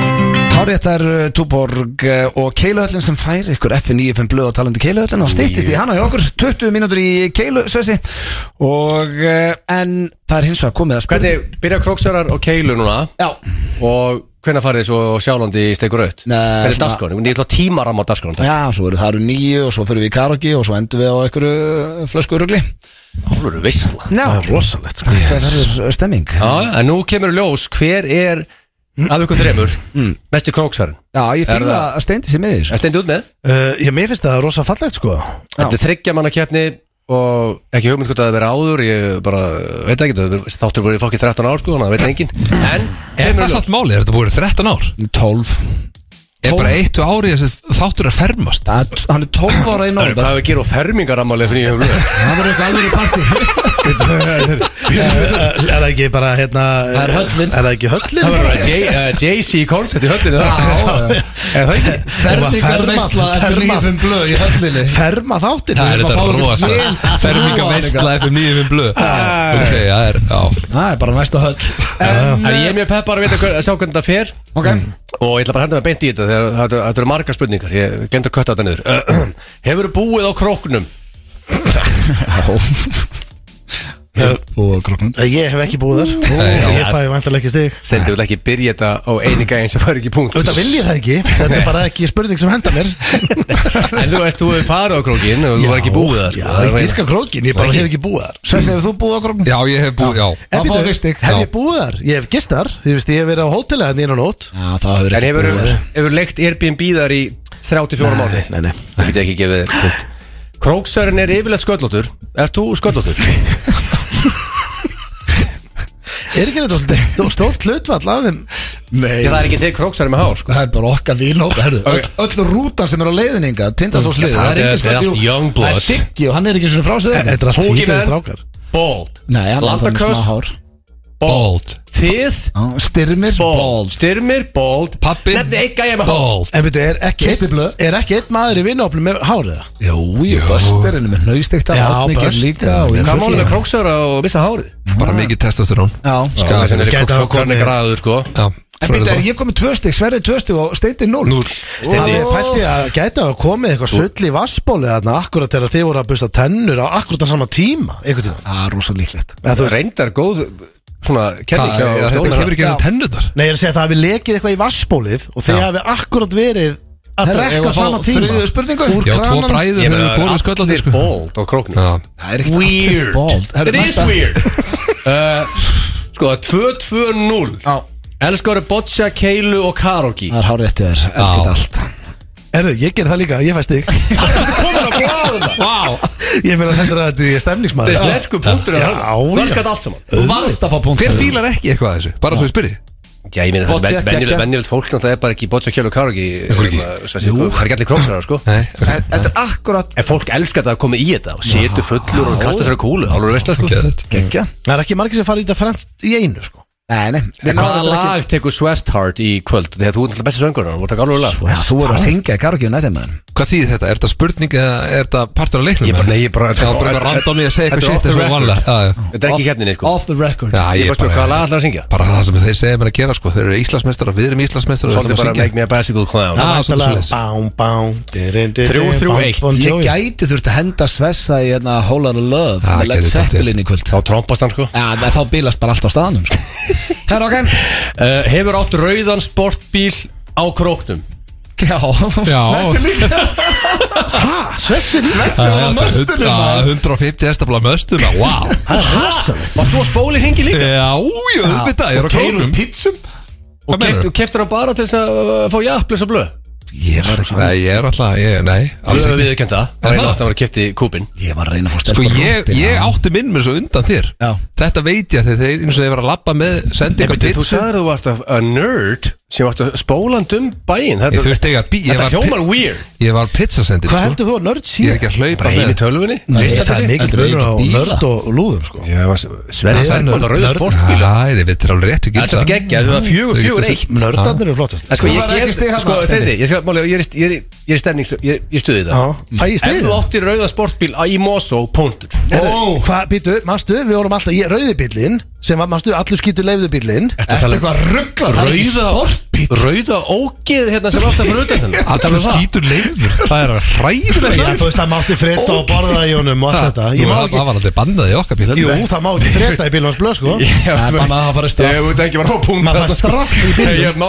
Speaker 1: Háréttar uh, Túborg eh, og Keiluhöllin sem fær ykkur F95 blöð og talandi Keiluhöllin og stýttist í hana hjá okkur 20 mínútur í Keiluhössi og uh, en það er hins vegar komið að spurning
Speaker 3: Hvernig byrja króksarar og keilu núna
Speaker 1: Já,
Speaker 3: og hvenær farið þið svo á sjálfandi í steikur auð?
Speaker 1: Nei,
Speaker 3: Hvernig er
Speaker 1: svona-
Speaker 3: dasgráðin? Ég ætla að tíma ramma á dasgráðin
Speaker 1: Já, svo eru það eru nýju og svo fyrir við í karaoke og svo endum við á einhverju eh, flöskurugli
Speaker 3: Það er veistla
Speaker 1: Já, það er rosalegt
Speaker 2: sko.
Speaker 1: Þetta verður stemming
Speaker 3: Já, en nú kemur í ljós hver er af ykkur þremur mesti króksarinn
Speaker 1: Já, ég
Speaker 3: Er
Speaker 1: fýla
Speaker 3: það-
Speaker 1: að steindi sér með því sko.
Speaker 3: En stendi Mm. út með,
Speaker 2: uh, Ég mér finnst það rosa fallegt sko
Speaker 3: þetta er þryggja manna keppni og ekki hugmynd hvort að það verið áður ég bara, veit ekki, það hefur- þáttur voru í fokki 13 ár sko, þannig að það veit engin En
Speaker 5: Er
Speaker 3: kemur í
Speaker 5: það
Speaker 3: ljós
Speaker 5: satt málið? Er þetta búið 13 ár?
Speaker 1: 12
Speaker 5: er bara eitt og ári þessi þáttur að fermast
Speaker 1: Hann er 12 ára í
Speaker 3: Hvað er að gera á fermingarammalið fyrir nýjum blöð? [laughs]
Speaker 1: Það verður eitthvað alveg í partí
Speaker 2: Eh, Er það ekki bara hérna
Speaker 1: Það er höllin.
Speaker 2: Er það ekki höllin?
Speaker 3: Það verður að J- eh, JC koncert í höllinu
Speaker 1: Já, já.
Speaker 3: Er það ekki?
Speaker 1: Fermingar veistla eftir
Speaker 2: ferma,
Speaker 1: maður blöð í höllinni
Speaker 2: ferma þáttin
Speaker 5: Það
Speaker 1: erum
Speaker 5: er
Speaker 1: að
Speaker 5: þetta
Speaker 1: fá okkur
Speaker 5: rosa
Speaker 1: vel til
Speaker 5: Ferminga
Speaker 1: trúa á
Speaker 5: veistla FM 9 minn blöð Ok, það er, já
Speaker 1: Það er bara næsta höll En,
Speaker 3: Ég er mjög peppar að, vita hver- að sjá hvernig þetta fer
Speaker 1: Ok,
Speaker 3: Og ég ætla bara að henda mig beint í þetta Þegar þetta- þetta eru margar spurningar Ég glemt að kötta þetta niður [clears throat] Hefur búið á króknum?
Speaker 2: Eh,
Speaker 4: Og kroppnum
Speaker 2: Ég hef ekki búið þar
Speaker 5: Nei, já.
Speaker 2: Ég fæ vantarlega ekki stig
Speaker 3: Þeir vil ekki byrja þetta á einiga eins og fara ekki punkt
Speaker 2: Þetta vil ég það ekki Þetta er bara ekki spurning sem henda mér
Speaker 3: En þú veist, þú hefur farið á krókin og þú var ekki búið það
Speaker 2: Já,
Speaker 3: sko.
Speaker 2: ég dyrka krókin Ég bara
Speaker 3: Ekki.
Speaker 2: hef ekki búið þar
Speaker 1: Svens, hefur þú búið á kroknum?
Speaker 5: Já, ég hef búið, já
Speaker 1: Þá
Speaker 2: En
Speaker 1: fá
Speaker 2: býtu,
Speaker 1: þau stig.
Speaker 2: Hef
Speaker 5: Já.
Speaker 2: ég búið þar? Ég hef gist þar Ég veist, ég hef verið á hótela hérna inn á nótt
Speaker 1: Já, það hefur
Speaker 3: En
Speaker 1: ekki
Speaker 3: hefur,
Speaker 1: búið
Speaker 3: hefur leikt Airbnb þar í 34 mánu?
Speaker 2: Nei, nei
Speaker 3: Það geti ekki gefið þér punkt Króksarinn er yfirleitt sköllóttur Ert þú sköllóttur?
Speaker 2: Er ekki þetta svolítið stórt hlutvall af þeim?
Speaker 3: Ég það
Speaker 1: Nei
Speaker 3: er ekki til króksarinn með hár sko.
Speaker 1: Það er bara okkar vinhóp
Speaker 3: Ok.
Speaker 1: öll, öll rútan sem er á leiðninga Tindast á slið
Speaker 3: Já, það er-
Speaker 1: engin
Speaker 3: þetta er
Speaker 1: sko-
Speaker 3: allt
Speaker 1: jú,
Speaker 3: Youngblood.
Speaker 1: Það er Siggi og hann er ekki svona frá sig
Speaker 2: Eh, Þetta er allt
Speaker 3: Tóki
Speaker 2: tvítuðið
Speaker 3: menn.
Speaker 2: strákar
Speaker 3: Bald
Speaker 1: Nei, hann er alltaf með
Speaker 3: Landaköst.
Speaker 1: smá hár
Speaker 5: Bald
Speaker 3: Þið
Speaker 1: Já, Styrmir
Speaker 3: Bald Styrmir Bald
Speaker 5: Pabbi
Speaker 3: Nefni einn gæja með hár
Speaker 5: Bald
Speaker 2: En veitu, er ekki
Speaker 1: Kitty Blöð.
Speaker 2: Er ekki einn maður í vinnaopnum með hárið?
Speaker 1: Jú, jú Bösterinn er með hnaustekta
Speaker 2: Já,
Speaker 1: Átningir
Speaker 2: Buster.
Speaker 1: líka og
Speaker 2: Hvað
Speaker 1: í
Speaker 3: Hvað
Speaker 1: fullu.
Speaker 3: málum með króksara og missa hárið?
Speaker 5: Bara mikið testosterón
Speaker 1: Já
Speaker 5: Ska-
Speaker 3: Það er
Speaker 2: gæti hafa
Speaker 3: króksarinn
Speaker 2: komið-
Speaker 3: græður sko
Speaker 5: Já,
Speaker 1: En
Speaker 5: svona
Speaker 1: býta, er
Speaker 5: það.
Speaker 1: ég komið tvö stygg, sverrið tvö stygg og steindi núl? Núl
Speaker 2: Það
Speaker 3: Steindi
Speaker 2: er pælt í að gæta að komið eitthvað sull í vassbóli þarna akkurat þegar þið voru að busta tennur á akkurat þann sama tíma einhvern tíma
Speaker 1: Ah, Það er rosa líklegt
Speaker 2: Eða, þú veist,
Speaker 3: Reyndar góð Svona kenning
Speaker 5: Hvað,
Speaker 3: hjá
Speaker 5: Þetta kemur
Speaker 3: stjórnarna.
Speaker 5: ekki ennum tennur þar
Speaker 2: Nei, ég er að segja að það hafi lekið eitthvað í vassbólið og þið hafi akkurat verið að
Speaker 1: Herra, eigum
Speaker 2: drekka
Speaker 1: við að fá
Speaker 2: sama tíma
Speaker 1: þriðju spurningu?
Speaker 2: Úr
Speaker 5: Já, tvo
Speaker 2: kranan-
Speaker 5: bræður
Speaker 3: Ég meina,
Speaker 5: hefur búið sköllandi
Speaker 3: allir
Speaker 5: sko
Speaker 3: Bald á króknum
Speaker 5: Já,
Speaker 1: Það er
Speaker 3: Weird It is weird uh, Sko, 2-2-0
Speaker 1: Já.
Speaker 3: Elskar Boccia, Keilu og Karogi
Speaker 1: Það er hár réttið þér,
Speaker 5: Já.
Speaker 1: elskar allt
Speaker 2: Herðu, ég ger það líka, ég fæst
Speaker 1: [laughs]
Speaker 2: þig
Speaker 3: Komin á bláðuna
Speaker 5: Vá
Speaker 2: Ég meina þetta er að þetta er
Speaker 3: Það
Speaker 2: stemningsmaður
Speaker 3: er sterkur punktur
Speaker 2: Já, já.
Speaker 3: Varskat allt saman
Speaker 1: Þú varst að fá punkt
Speaker 5: Hver fílar ekki eitthvað að þessu? Bara svo ég spyrir
Speaker 3: Já, ég meina
Speaker 1: Boccia,
Speaker 3: þessi
Speaker 1: geggja.
Speaker 3: venjulegt fólk Það er bara ekki Boccia, Keilu og hérna, Karogi
Speaker 5: Af hverju ekki?
Speaker 3: Það er ekki allir króksarar, sko
Speaker 5: Nei, ok
Speaker 1: Þetta er akkurat
Speaker 3: En fólk elskar það að koma í þetta og setu fullur og kasta sér að kúlu Það er veistlega, sko
Speaker 5: Geðveikt.
Speaker 1: Gengja
Speaker 2: Það er ekki margir sem fara í þetta fremst í einu sko
Speaker 1: Nei, nei
Speaker 3: En hvaða lag tekur Swestheart í kvöld? Þegar þú er alltaf besti söngur Þú ert að taka alveg lag
Speaker 1: Já, þú voru að syngja í karaoke nættið maður
Speaker 5: Hvað þýðir þetta? Er þetta spurning eða er þetta partur af leiknum?
Speaker 3: Ég bara- nei, ég bara-
Speaker 5: Já, bara eitthvað random í að segja
Speaker 3: Þetta
Speaker 5: eitthvað
Speaker 3: er off the record.
Speaker 5: shit eins og vanlega Já, já.
Speaker 3: Þetta er ekki hérna, sko
Speaker 1: Off the record
Speaker 5: Já,
Speaker 3: Ég
Speaker 5: ég
Speaker 3: bara spyr hvaða lag
Speaker 5: bara
Speaker 3: ætlar að syngja
Speaker 5: Bara það sem þeir segja mér að gera sko Þeir eru Íslandsmeistar Við erum Íslandsmeistar
Speaker 3: Svolítið bara make me a bicycle clown
Speaker 5: Já, svolítið
Speaker 2: Væntanlega,
Speaker 5: svoleiðis.
Speaker 2: Bám, bám dirinn, dirinn,
Speaker 3: Þrjú, þrjú,
Speaker 2: bám,
Speaker 3: eitt.
Speaker 2: bám,
Speaker 1: Ég
Speaker 2: tjói.
Speaker 1: gæti þurft að henda Svessa í hérna Whole Lotta Love
Speaker 5: Ah,
Speaker 1: með Led
Speaker 5: gæti þetta
Speaker 1: Zeppelin í kvöld
Speaker 3: Þá trompast hann sko
Speaker 1: Já, nei, þá bílast bara allt á staðanum [laughs] sko. Herra, ok
Speaker 5: Eh,
Speaker 3: uh, Hefur átt rauðan sportbíl á króknum
Speaker 1: Já,
Speaker 5: Já.
Speaker 1: Svessi líka
Speaker 2: Svessi líka
Speaker 5: Möstunum 150 establa möstuna Wow
Speaker 3: Og þú spólið hengi líka
Speaker 5: Já, jú, þetta Ég er á kónum
Speaker 3: pítsum
Speaker 5: Hvað
Speaker 3: Og keft,
Speaker 5: meinarðu?
Speaker 3: keftur hann bara til þess að uh, fá jafnlis að blöð
Speaker 1: Ég var, ekki-
Speaker 5: Nei, ég er alltaf ég- sko, Nei,
Speaker 3: Alveg
Speaker 5: alls ekki
Speaker 3: við erum kemta
Speaker 5: Er
Speaker 3: Það
Speaker 5: það?
Speaker 3: reynast að hann var að kefti kúpin
Speaker 1: ég var að reyna að fá
Speaker 5: Sko
Speaker 1: stelpa
Speaker 5: ég, ég átti minn mér svo undan þér
Speaker 1: Já.
Speaker 5: Þetta veit ég að þeir eins og þeir var að labba með sendi eitthvað
Speaker 3: Þú
Speaker 5: pitsu
Speaker 3: sagður að þú varst að a nerd sem varst að spóland um bæinn
Speaker 5: Ég
Speaker 3: Þetta,
Speaker 5: þurfti ekki að bí ég
Speaker 3: þetta
Speaker 5: var
Speaker 3: hjómar
Speaker 5: pi-
Speaker 3: weird
Speaker 5: Ég var pizzasendir
Speaker 2: Hvað
Speaker 5: sko.
Speaker 2: heldur þú að nörd
Speaker 5: Ég er
Speaker 2: síðan?
Speaker 5: ekki að hlaupa
Speaker 3: Bara
Speaker 5: með
Speaker 3: einn í tölvunni
Speaker 2: Það er mikill
Speaker 1: Heldur þú
Speaker 2: munur á
Speaker 1: ekki bíla?
Speaker 2: nörd og lúðum sko
Speaker 3: Sverðið
Speaker 5: Það
Speaker 3: er
Speaker 5: er
Speaker 3: bara
Speaker 5: nörd-
Speaker 3: rauða
Speaker 5: nörd-
Speaker 3: sportbíl
Speaker 5: Æ, þið veitir alveg rétt
Speaker 3: Það er þetta geggja, þú var fjögur, fjögur, eitt
Speaker 2: Nördarnir eru flottast
Speaker 3: En sko,
Speaker 1: Þú
Speaker 3: ég
Speaker 1: færð ekki
Speaker 3: gef,
Speaker 1: stig þarna,
Speaker 3: sko,
Speaker 1: Steindi.
Speaker 3: stendi, ég, skal, máli, ég, er, í- ég, er, í- ég er í stemning, ég, er- ég stuði það
Speaker 2: Fæ ég
Speaker 3: Ef
Speaker 2: stegið
Speaker 3: þú áttir rauða sportbíl á- í Mosó, póntur
Speaker 2: Hvað, býtu, mannstu, við vorum alltaf í rauðibillin sem var, mannstu, allur skýtu leiðubillin
Speaker 1: Ertu
Speaker 5: um
Speaker 1: eitthvað ruggla
Speaker 3: Rauða, rauða ógeð hérna sem átt að fyrir utan þennan
Speaker 5: Alltaf skýtur leiður Það er hræðilega
Speaker 2: Þú veist, það mátti fretta og borða í honum og allt þetta Ég má
Speaker 5: Það
Speaker 2: ekki,
Speaker 5: var aldrei bannað í okkar bíl
Speaker 2: jú, það má ekki fretta í bílum hans blöð, [laughs] sko
Speaker 1: Það er bannað að það fari straff.
Speaker 3: Ég veit ekki var á punkt
Speaker 2: Maður fær straff
Speaker 3: [laughs]
Speaker 2: í bílnum.
Speaker 3: Ég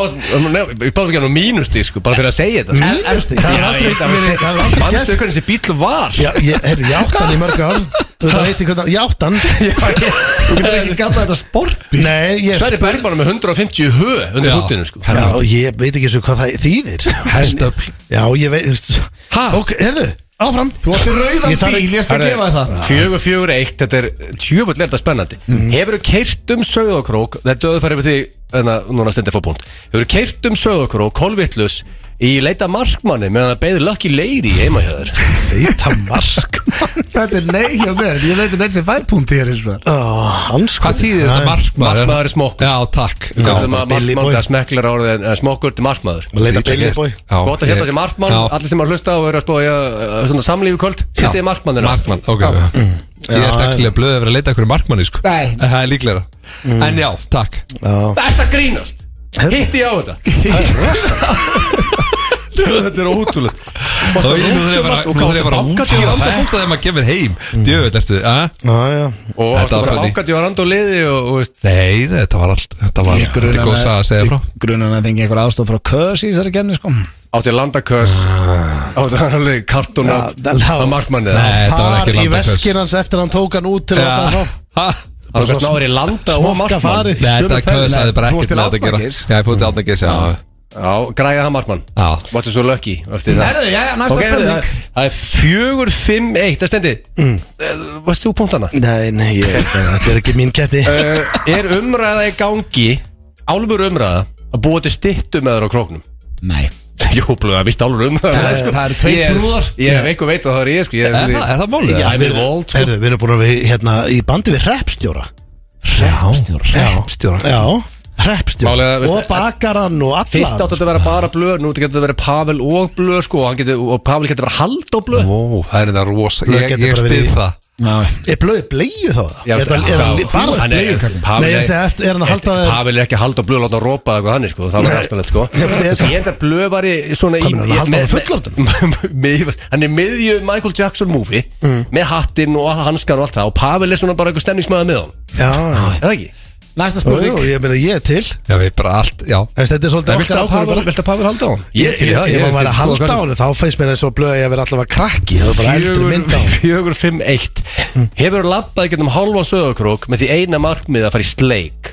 Speaker 3: báði ekki hann á mínusti, sko, bara fyrir að segja þetta
Speaker 2: Mínusti? Það er aldrei- það er aldrei gerst.
Speaker 3: Manstu hvernig þessi bíl var? [laughs]
Speaker 2: Já, ég, herri, ég átt hann í mörg ár Þú veit, það heiti hvernig, ég átt hann [laughs]
Speaker 1: Þú getur ekki gata þetta sport
Speaker 2: Nei, ég,
Speaker 3: Sverri Bergmann með 150 hö undir
Speaker 5: Já.
Speaker 3: húttinu, sko
Speaker 2: já, ég veit ekki svo hvað það þýðir
Speaker 5: Hestöfl
Speaker 2: Já, ég veit, þú veist
Speaker 5: Ha?
Speaker 2: Ok, herðu, áfram
Speaker 1: Þú átti rauðan
Speaker 2: Ég þarf
Speaker 1: bíl, ég skal
Speaker 3: Herðu,
Speaker 1: gefa þér það
Speaker 3: Fjögur, fjögur, eitt, þetta er tjöfull er þetta spennandi
Speaker 2: Mm.
Speaker 3: Hefur þú keirt um hérna, sögðokrók Þetta er döðu farið við því, en að núna stendir fór búnd Hefur þú keirt um sögðokrók, kolvittlus Í leita markmanni meðan það beði Lucky Lady heima hjá þér
Speaker 2: Leita
Speaker 1: [laughs]
Speaker 2: mark
Speaker 1: Þetta er nei hjá mér, ég leiti með þessi færpunkt hér eins og það.
Speaker 2: oh, Hans
Speaker 5: Hvað þýðir þetta markmaður?
Speaker 3: Markmaður er smokkur.
Speaker 5: Já, takk
Speaker 3: Kallum að
Speaker 2: Billy
Speaker 3: markmann,
Speaker 2: Boy.
Speaker 3: að smeklar orðið en- en smokkur til markmaður
Speaker 2: Leita Billy
Speaker 5: gert.
Speaker 2: Boy
Speaker 5: Já,
Speaker 3: Gott að setja
Speaker 5: ég-
Speaker 3: þessi markmann,
Speaker 5: Já.
Speaker 3: allir sem að hlusta og eru að spója uh, svona samlífi kvöld,
Speaker 5: Já.
Speaker 3: setja þið markmannina
Speaker 5: Markmann, ok Ég er dagslega blöðið að vera að leita ykkur markmanni sko.
Speaker 1: Nei.
Speaker 5: En Það er líklega
Speaker 3: Mm.
Speaker 5: En já, takk
Speaker 3: Þetta grínast, hitti ég á þetta Þetta er ótrúlega
Speaker 5: Þá er ég nú þegar ég bara-
Speaker 3: Og
Speaker 5: nú þegar ég bara
Speaker 3: gáttu bankað
Speaker 5: út
Speaker 3: í
Speaker 5: Ég er
Speaker 3: randa
Speaker 5: fólk að þeim að gefa mér heim Djöfut, ertu eh? að?
Speaker 2: Já, já
Speaker 3: Og
Speaker 5: Þetta
Speaker 3: þetta
Speaker 5: var
Speaker 3: var
Speaker 5: funny.
Speaker 3: ákvæmt í að randa og liði og og veist
Speaker 5: Nei, þetta var allt Þetta var
Speaker 1: Ég
Speaker 5: þetta er
Speaker 1: gruna
Speaker 5: góð saga að segja frá
Speaker 1: ég gruna hann að fengi einhver aðstof frá köðs í þessari kemni sko
Speaker 3: Átti að landa kös
Speaker 5: Ah.
Speaker 3: Átti að hann alveg kartun af
Speaker 2: Já, það lá-
Speaker 3: af markmanni
Speaker 5: Nei, þetta var
Speaker 2: Far
Speaker 5: ekki
Speaker 2: í
Speaker 5: landaköss.
Speaker 2: veskin hans eftir að hann tók hann út til að láta hann
Speaker 5: Já.
Speaker 2: fá
Speaker 5: Ha?
Speaker 3: Það var snáður í landa og
Speaker 2: Smokka
Speaker 3: markmann
Speaker 2: farið
Speaker 5: Nei, Þetta
Speaker 1: Sömu ferðina,
Speaker 5: köðsaði bara
Speaker 1: þú varst
Speaker 5: ekkert
Speaker 1: til
Speaker 5: með þetta að gera
Speaker 1: Árnagils.
Speaker 5: Já, ég fór til átnækis, já
Speaker 3: Já, græða það markmann
Speaker 5: Já.
Speaker 3: Vartu svo lökki eftir það
Speaker 1: Herðu, já, næsta
Speaker 3: Ok,
Speaker 1: spurning
Speaker 3: það það er fjögur, fimm, eitt, það stendi Eh, Varst þú punktana?
Speaker 2: Nei, nei, ég, þetta er ekki mín keppni
Speaker 3: Uh, er umræða í gangi Álfur umræða að búa til styttum með þér á króknum?
Speaker 1: Nei
Speaker 3: [laughs] Jú, blöð, það er sko- vist álfur umræða
Speaker 1: Það eru- það eru tveir
Speaker 3: Ég er-
Speaker 1: trúðar.
Speaker 3: Ég hef einhver veit að það er ég, sko ég,
Speaker 5: Er það- er það málið?
Speaker 3: Já, ég er vold, sko
Speaker 2: Herðu, við erum búin að við hérna í bandi við hreppstjóra
Speaker 1: Stjórn
Speaker 2: Hreppstjóra Já, hreppstjóra
Speaker 3: Málega, veistu,
Speaker 2: Og bakarann og alla
Speaker 3: Fyrst átt þetta að vera bara blöð, nú getur þetta að vera Pavel og blöð, sko Og, hann getur, og Pavel getur að vera hald og blöð
Speaker 5: Ó, það er þetta rosa
Speaker 2: Það
Speaker 5: Ég,
Speaker 2: getur
Speaker 5: ég
Speaker 2: bara verið
Speaker 5: stið
Speaker 2: í-
Speaker 5: það
Speaker 2: Er blöðið bleju þá?
Speaker 3: Já,
Speaker 2: er það er
Speaker 3: já,
Speaker 2: hann li-
Speaker 3: þú-
Speaker 2: bara
Speaker 3: hann er-
Speaker 2: bleju?
Speaker 3: Pavel
Speaker 2: Nei, ég
Speaker 3: er-
Speaker 2: segi eftir, er hann að halda það
Speaker 3: Pavel er ekki hald og blöð, láta hann rópa eitthvað þannig, sko Það var rastalegt, sko
Speaker 2: Ég veit það.
Speaker 3: Ég held að blöð var í svona í
Speaker 2: Hvað meinar, hann haldi hann á
Speaker 3: [laughs] fullorðum? Hann er miðju Michael Jackson movie
Speaker 2: Mm.
Speaker 3: Með hattinn og hanskan og allt það Og Pavel er svona bara eitthvað stemningsmaður með hann
Speaker 2: Já, já,
Speaker 3: Er það ekki?
Speaker 1: Næsta
Speaker 2: Jú, jú,
Speaker 1: spurning
Speaker 2: ég meina ég er til
Speaker 5: Já, við bara allt, já
Speaker 2: Þess, Þetta er
Speaker 3: Nei,
Speaker 2: svolítið
Speaker 3: viltu
Speaker 2: okkar
Speaker 3: að
Speaker 2: ákvörðu
Speaker 3: Pavel,
Speaker 2: bara
Speaker 3: viltu að Pavel halda á hann?
Speaker 2: Ég, ég, ég, ég var að halda á henni, þá feist mér eins og blöð að ég verið alltaf að krakki Það var bara eldri mynd á
Speaker 3: Fjögur,
Speaker 2: henni
Speaker 3: fjögur, fimm, eitt Hefur labbað getum hálfa sögurkrók með því eina markmið að fara í sleik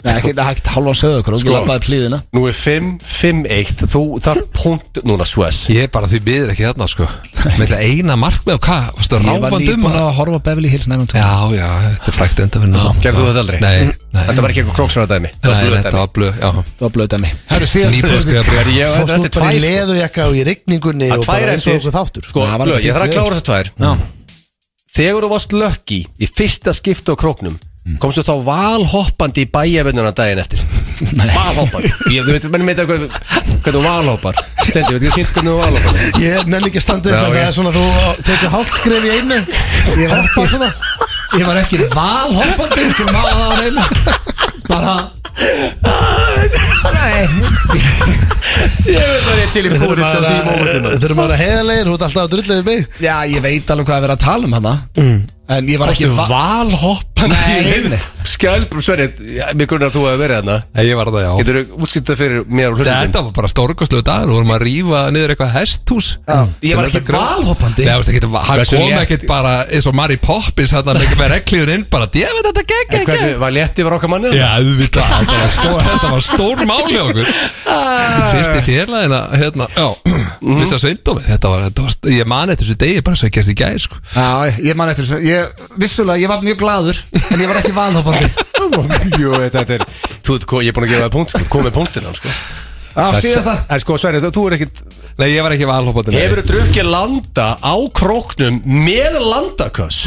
Speaker 1: Nei, ekki það hægt halva söðu okkur Ég
Speaker 3: Sko.
Speaker 1: labbaði plíðina
Speaker 3: Nú er fimm, fimm, eitt Þú þarf punkt núna, Sves
Speaker 5: Ég er bara því miður ekki þarna, sko Með það eina markmið og hvað, varstu
Speaker 1: Ég var
Speaker 5: ráfandi um
Speaker 1: nýbúin
Speaker 5: hana?
Speaker 1: að horfa á Beverly Hills 902
Speaker 5: Já, já, þetta er frækt enda fyrir náttúrulega
Speaker 3: Gerðu þú þetta aldrei?
Speaker 5: Nei, nei,
Speaker 3: Þetta var ekki eitthvað króksarðardæmi
Speaker 5: nei, þetta var blöð, já
Speaker 1: Það var blöð dæmi Hörru, síðast
Speaker 5: Nýbúin að skrifa bréf.
Speaker 3: Ég var
Speaker 2: Fórst
Speaker 3: þetta
Speaker 2: út bara í
Speaker 3: tvær sko.
Speaker 2: leðujekka og í rigningunni
Speaker 3: Að
Speaker 2: og bara
Speaker 3: tvær
Speaker 2: eins og
Speaker 3: eftir
Speaker 2: okkur þáttur
Speaker 3: Sko,
Speaker 1: Það var
Speaker 3: blöð,
Speaker 1: alveg
Speaker 3: ég þarf að
Speaker 1: fínt
Speaker 3: klára þetta tvær Þegar þú varst lökki í fyrsta skipti á króknum komstu þá valhoppandi í bæjavinnuna daginn [laughs] eftir valhoppandi ég þú veit, menn meita hvernig hvernig þú valhoppar stendi, veit ekki sýnt hvernig þú [laughs] valhoppar
Speaker 2: Ég nenni ekki að standa
Speaker 3: Já,
Speaker 2: upp en
Speaker 3: ok.
Speaker 2: það er svona þú tekur hálft skref í einu Ég hoppa svona
Speaker 1: Ég var ekki valhoppandi Ég var að það á reyna Bara
Speaker 3: ég veit það ég til í fórið sem því mómentina
Speaker 2: Þurfum að vera heiðarlegir, þú ert alltaf að drulla við mig
Speaker 1: Já, ég veit alveg hvað að vera að tala um hana
Speaker 2: Mm.
Speaker 1: En ég var ekki va-
Speaker 3: valhoppandi
Speaker 1: Nei.
Speaker 3: skjálbrum sverið, mér grunar að þú hefur verið þarna
Speaker 5: Nei, Ég var það, já
Speaker 3: getur þú útskipt það fyrir mér og hlustundum
Speaker 5: Þetta var bara stórkostlegu dagur, við vorum að rífa niður eitthvað hesthús
Speaker 1: Ég var ekki valhoppandi
Speaker 5: Nei, þú veist ekki, hann
Speaker 3: Hversu
Speaker 5: kom
Speaker 3: létt-
Speaker 5: ekkert bara eins og Mary Poppins hann með með regliður inn bara, ég veit þetta gegg, gegg, gegg
Speaker 3: hversu, var létti var okkar mannið?
Speaker 5: Já, auðvitað, þetta var stór, þetta var stór máli okkur Fyrsti félagina, hérna, [clears throat] já, vissi að sveindómi Þetta var, þetta var, ég mani eftir þessu degi bara svo ég gerst í gæði, sko
Speaker 1: Já, ég man eftir þessu Ég, vissulega, ég var mjög gladur En ég var ekki valhoppandi
Speaker 3: Jú, þetta er, þú veit, ég er búin að gefa það punkt, sko, komið punktina, sko.
Speaker 1: Já, síðast það
Speaker 3: En sko, Sverri, þú, þú er ekkit,
Speaker 5: Nei, ég var ekki valhópandi
Speaker 3: hefur þú drukkið landa á króknum með landaköss?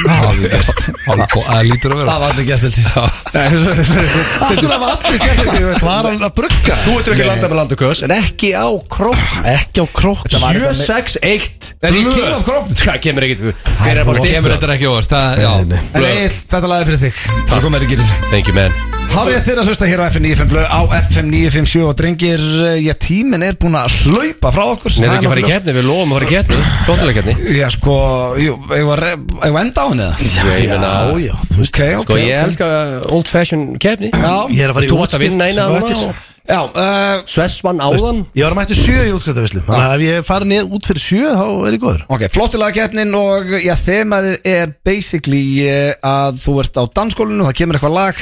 Speaker 5: Það lítur að vera
Speaker 1: Það var þetta gestildi
Speaker 3: Nei, Sverri, Sverri,
Speaker 1: Akkur að var allir gestildi
Speaker 2: Var hann að brugga?
Speaker 3: þú er drukkið landa með landaköss, en ekki á króknum.
Speaker 2: Ekki á krók
Speaker 1: Þetta var-
Speaker 3: 761
Speaker 1: Er ég king of króknum?
Speaker 3: Það kemur ekkit, þeir eru að fá
Speaker 5: Kemur
Speaker 3: styrst.
Speaker 5: þetta ekki óvart, það,
Speaker 2: Nei,
Speaker 5: já
Speaker 2: nei.
Speaker 1: En Egil, þetta laði fyrir þig Það kom er ekki
Speaker 3: Thank you, man.
Speaker 1: Hárið að þeirra hlusta hér á FM 95 blöð á FM 957 og drengir, ég tíminn er búinn að hlaupa frá okkur
Speaker 3: Nei, það er ekki að fara í keppni, við lofum að fara í keppni, svolítilega keppni.
Speaker 1: Já, sko, jú, ég var, ég var enda á henni það
Speaker 3: Ég meina,
Speaker 2: Já, já, þú veist
Speaker 1: Ok, ok,
Speaker 3: sko, ég
Speaker 1: ok
Speaker 3: elska old fashion keppni.
Speaker 2: Ég er að fara í
Speaker 3: Þú varst að vinna eina
Speaker 2: útskrift
Speaker 3: núna
Speaker 2: sem
Speaker 3: og-
Speaker 2: á eftir.
Speaker 1: Já, uh,
Speaker 3: Sves vann áðan.
Speaker 2: Ég var að mættu sjö í útskriftafislu Þannig að ef ég fari niður út fyrir sjö þá er ég góður
Speaker 1: ok, flottilega keppnin og já, þemaðið er basically eh, að þú ert á dansskólinu og það kemur eitthvað lag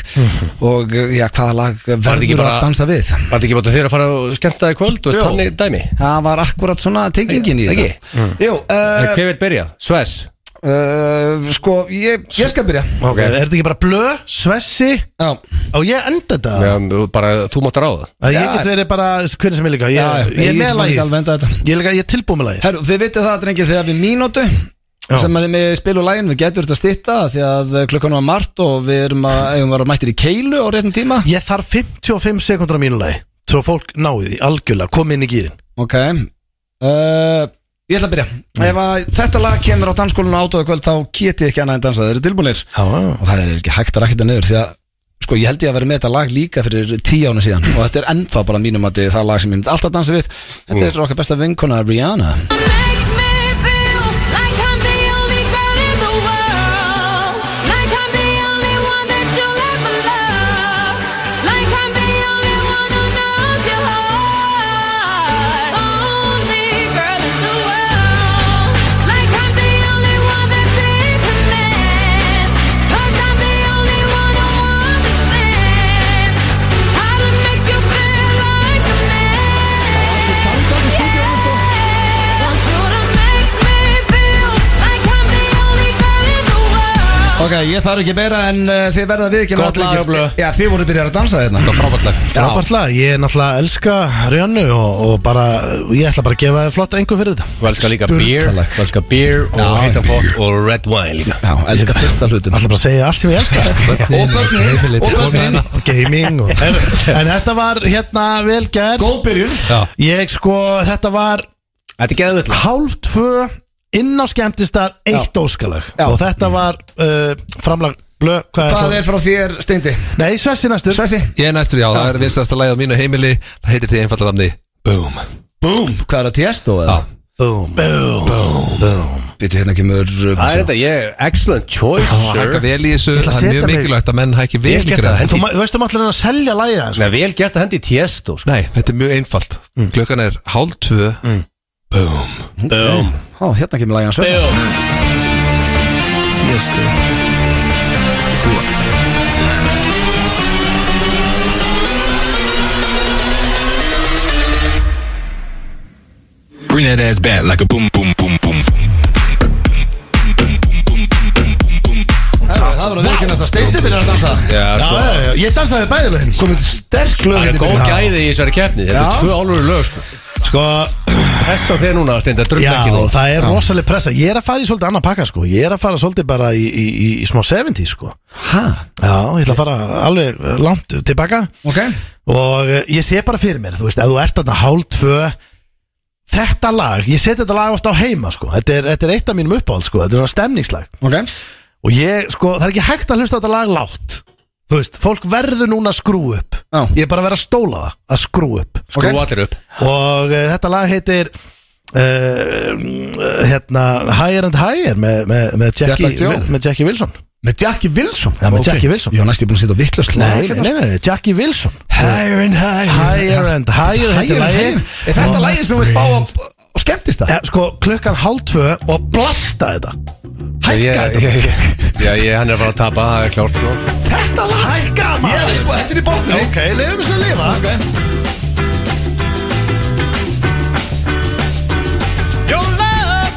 Speaker 1: og eh, já, hvaða lag
Speaker 3: Mhm. þetta ekki
Speaker 1: verður
Speaker 3: bara-
Speaker 1: að dansa við
Speaker 3: Var þetta ekki bátt að þeirra að fara á skemmstæði kvöld
Speaker 1: Jú.
Speaker 3: og þannig dæmi?
Speaker 1: Það var akkurat svona tengingin í
Speaker 3: Ekki?
Speaker 2: Mm.
Speaker 1: þetta Jú,
Speaker 3: Uh,
Speaker 1: uh,
Speaker 3: Hver vil byrja? Sves?
Speaker 1: uh, Sko, ég, ég skal byrja
Speaker 2: Ok, er þetta ekki bara blö, svessi
Speaker 1: Já,
Speaker 2: og ég enda þetta
Speaker 3: Meðan þú bara, þú mátt ráða
Speaker 2: að ég
Speaker 1: Já.
Speaker 2: get verið bara hvernig sem ég líka
Speaker 1: Já,
Speaker 2: ég, ég er
Speaker 1: ég
Speaker 2: með
Speaker 1: get ekki alveg endað
Speaker 2: lagið
Speaker 1: þetta.
Speaker 2: ég, er líka- ég er tilbúið með lagið
Speaker 1: Herru, þið vitið það, drengir, þegar við mínútu sem að þið með spilu lægin, við getur þetta að stytta því að eh, klukkan var margt og við erum að, eigum að vera mættir í keilu á réttum tíma
Speaker 2: ég þarf 55 sekundur á mínu lagi svo fólk náði því algjörlega kom inn í gýrin
Speaker 1: Ok uh, Ég ætla að byrja
Speaker 2: Mm.
Speaker 1: Ef að þetta lag kemur á dansskólinu átóðu kvöld þá get ég ekki annað en dansa, þeir eru tilbúinir og það er ekki hægt að rækta niður því að sko ég held ég að vera með þetta lag líka fyrir tíu ána síðan og þetta er ennþá bara mínum að það lag sem ég myndi alltaf dansa við Þetta er okkar besta vinkona Rihanna
Speaker 7: Make me feel like I'm the only girl in the world. Like I'm the only one that you'll ever love. Like I'm the only one who knows your heart. Only girl in the world. Like I'm the only one that's even man. 'Cause I'm the only one who understands how to make you feel like a man. Want you to make me feel like I'm the only girl in the world.
Speaker 1: Ok, ég þarf ekki meira en uh, þið verða við ekki
Speaker 3: Gott lag, Blö.
Speaker 1: Já, þið voru byrjar að dansa hérna? þérna
Speaker 5: Það er frábært lag
Speaker 2: frábært lag ég er náttúrulega að elska Rihannu og, og bara ég ætla bara að gefa þér flotta engum fyrir þetta
Speaker 3: Þú elskar líka beer Þú elskar beer og heita fólk og red wine líka
Speaker 1: Já, elska fyrsta hlutum
Speaker 2: ætla bara að segja allt sem ég elska
Speaker 1: Og börnin, og börnin
Speaker 2: [laughs] gaming og, en þetta var hérna vel gert
Speaker 1: Góð byrjun
Speaker 2: ég sko þetta var
Speaker 3: Þetta er geðvöld
Speaker 2: hálf tvö inn á skemmtistað eitt óskalag
Speaker 1: Já.
Speaker 2: og þetta var uh, framlag blö, hvað,
Speaker 1: Hvað
Speaker 2: það?
Speaker 1: er frá þér, Steindi?
Speaker 2: Nei, Svessi næstur
Speaker 1: Svessi?
Speaker 5: Ég er næstur, já, það er vinstast að á mínu heimili Það heitir því einfalda namni Boom
Speaker 1: Búm Hvað er að tjast og eða?
Speaker 2: Boom, boom, boom, boom.
Speaker 1: Býtu hérna kemur uh,
Speaker 3: Það er þetta, ég, excellent choice
Speaker 5: Það hækka
Speaker 3: sir.
Speaker 5: vel í þessu
Speaker 2: Ég ætla að
Speaker 5: Það er
Speaker 2: setja
Speaker 5: mjög
Speaker 2: mig-
Speaker 5: mikilvægt að menn hækki vel
Speaker 3: Ég
Speaker 5: í
Speaker 3: get
Speaker 5: græða
Speaker 3: það.
Speaker 2: Þú, ma- þú veist um allir að selja lagið hans
Speaker 3: Nei, vel gert að hendi í tiesto sko.
Speaker 5: Nei, þetta er mjög einfalt
Speaker 1: Mm.
Speaker 5: Klukkan er hálf tvö
Speaker 3: Boom
Speaker 1: Ó, hérna kemur lagið hans Svessi
Speaker 4: Bring that ass back like a boom, boom, boom, boom.
Speaker 1: Það var að viðkennast að Steindi byrjar að dansa
Speaker 3: Já,
Speaker 2: Já,
Speaker 3: sko
Speaker 2: já, já, ég dansaði bæði lögin
Speaker 1: Komið sterk lög
Speaker 3: Það er
Speaker 1: hérna
Speaker 3: góð
Speaker 1: byrjun.
Speaker 3: gæði í þessari keppni Þetta
Speaker 1: Já.
Speaker 3: er tvö álur lög sko.
Speaker 2: Sko,
Speaker 3: Press á þér núna, Steinda, drull
Speaker 2: já,
Speaker 3: ekki nú
Speaker 2: það er rosaleg pressa Ég er að fara í svolítið annan pakka, sko Ég er að fara svolítið bara í, í, í, í smá 70, sko
Speaker 1: Ha?
Speaker 2: Já, ég ætla að fara alveg langt tilbaka
Speaker 1: Ok
Speaker 2: Og eh, ég sé bara fyrir mér, þú veist, ef þú ert þarna hálf tvö Þetta lag, ég seti þetta lag oft á heima, sko Þetta er, þetta er eitt af mínum uppáhald, sko Þetta er svona stemningslag
Speaker 1: Ok
Speaker 2: Og ég, sko, það er ekki hægt að hlusta á þetta lag látt Þú veist, fólk verður núna að skrú upp
Speaker 1: Já.
Speaker 2: Ég er bara að vera að stóla það, að skrú upp
Speaker 3: Skrú allir upp
Speaker 2: Og uh, þetta lag heitir uh, Hérna, Higher and Higher Með, með, með, Jackie,
Speaker 1: Jack and Joe.
Speaker 2: með, með Jackie Wilson
Speaker 1: Með Jackie Wilson hérna-
Speaker 2: Já, með Jackie Wilson.
Speaker 1: Já, næst ég búin að setja vittlust
Speaker 2: Nei, nei, nei, nei, Jackie Wilson
Speaker 1: Higher and higher
Speaker 2: Higher and Higher
Speaker 1: Higher
Speaker 2: heitir
Speaker 1: and higher
Speaker 2: lagið.
Speaker 1: Er þetta lagið sem við spá á á skemmtist það?
Speaker 2: Eh, Sko, klukkan hálf tvö og blasta þetta Hækka
Speaker 3: Ég-
Speaker 2: þetta
Speaker 3: ég- ég- Já, ég, hann er að fara að tapa, það er klárt sko.
Speaker 2: Þetta lag Hækka maður
Speaker 1: Þetta er í bótni
Speaker 2: Ok, leiðum við svo að lifa
Speaker 8: Your love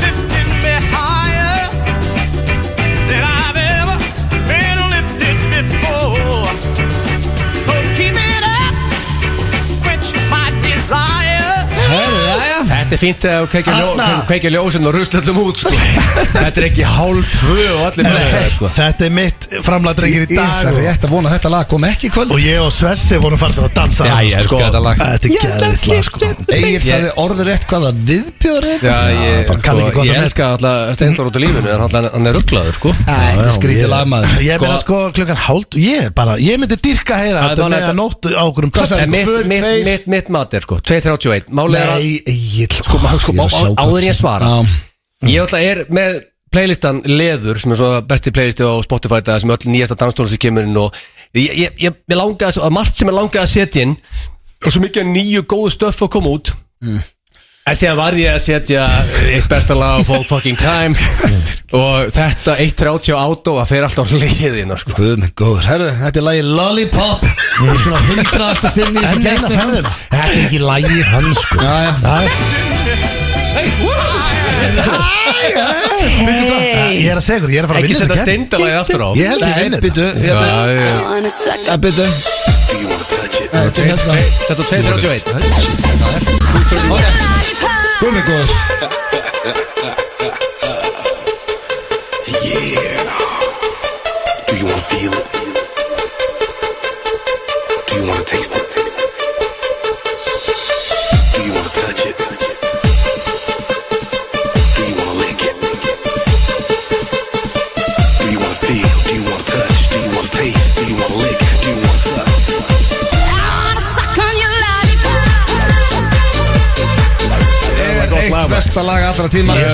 Speaker 8: lifted me higher than I've ever been lifted before. So keep it up, quench my desire.
Speaker 3: Þetta er fínt að kveikja ljó-
Speaker 2: Anna.
Speaker 3: kveikja ljósin og rusla allum út sko. Þetta er ekki hálf tvö og allir með það sko.
Speaker 2: Eh, Þetta er mitt framlæðdrengir
Speaker 1: Ég
Speaker 2: í dag
Speaker 1: ætla
Speaker 2: og-
Speaker 1: rétt að vona að þetta lag kom ekki í kvöld
Speaker 2: Og ég og Svessi vorum farnir að dansa sko.
Speaker 5: Já, ég elska þetta lag
Speaker 2: Þetta er gæðið lag sko
Speaker 1: Egil sagði orður rétt hvaða viðbjör er
Speaker 3: Já, ég,
Speaker 2: bara kann
Speaker 3: sko,
Speaker 2: ekki gott
Speaker 3: ég
Speaker 2: að
Speaker 3: elska alltaf Steindor út í lífinu en hann, hann er rugglaður sko.
Speaker 1: Æ, Þetta er skrítið lagmaður
Speaker 2: Ég meina sko klukkan hálf Ég er bara, ég myndi dyrka að heyra
Speaker 3: Það er
Speaker 2: þetta
Speaker 3: bara
Speaker 2: með
Speaker 3: þetta-
Speaker 2: að nóttu á um okkurum
Speaker 1: Hvað sagði-
Speaker 3: En mitt,
Speaker 2: sko.
Speaker 1: Tvö,
Speaker 3: mitt,
Speaker 1: tveir.
Speaker 3: mitt, mitt mat er sko 2.31 Málið er að
Speaker 1: Nei, Egil
Speaker 3: Sko, maður, sko, á- á- áður en ég svara Ég alltaf er með playlistan Leður sem er svo besti playlisti á Spotify það sem öll nýjasta danstóla sem kemur inn og ég, ég, ég, ég langaði svo- að margt sem ég langaði að setja inn og svo mikið af nýju góðu stöff að koma út
Speaker 1: Mm.
Speaker 3: En síðan var ég að setja eitt besta lag of all fucking
Speaker 1: [laughs]
Speaker 3: time og þetta 1.30 átó að þeir alltaf á leiðina sko.
Speaker 1: Guð minn góður, herru, þetta er lagi Lollipop Svona hundraðasta sinni í
Speaker 2: En
Speaker 1: þessum
Speaker 2: eina sko.
Speaker 1: keppni.
Speaker 2: ferðina.
Speaker 1: Þetta er ekki lagi hans sko Já, já,
Speaker 2: Já, já.
Speaker 8: Hey, woo!
Speaker 2: Ég er að segja ykkur, ég er að fara að
Speaker 3: Ekki
Speaker 2: vinna
Speaker 3: setja
Speaker 2: þessa keppni.
Speaker 3: steindalagið aftur á
Speaker 2: Ég held ég vinna þetta
Speaker 1: Býtu, hérna, að býtu Þetta er hérna
Speaker 3: Þetta er 231
Speaker 1: Gumi góður
Speaker 9: Do you wanna feel it? Do you wanna taste it? Do you wanna touch it? Do you wanna lick it? Do you wanna feel? Do you wanna touch? Do you wanna taste? Do you wanna lick? Do you wanna suck?
Speaker 1: Eitt besta lag allra tíma
Speaker 2: Já,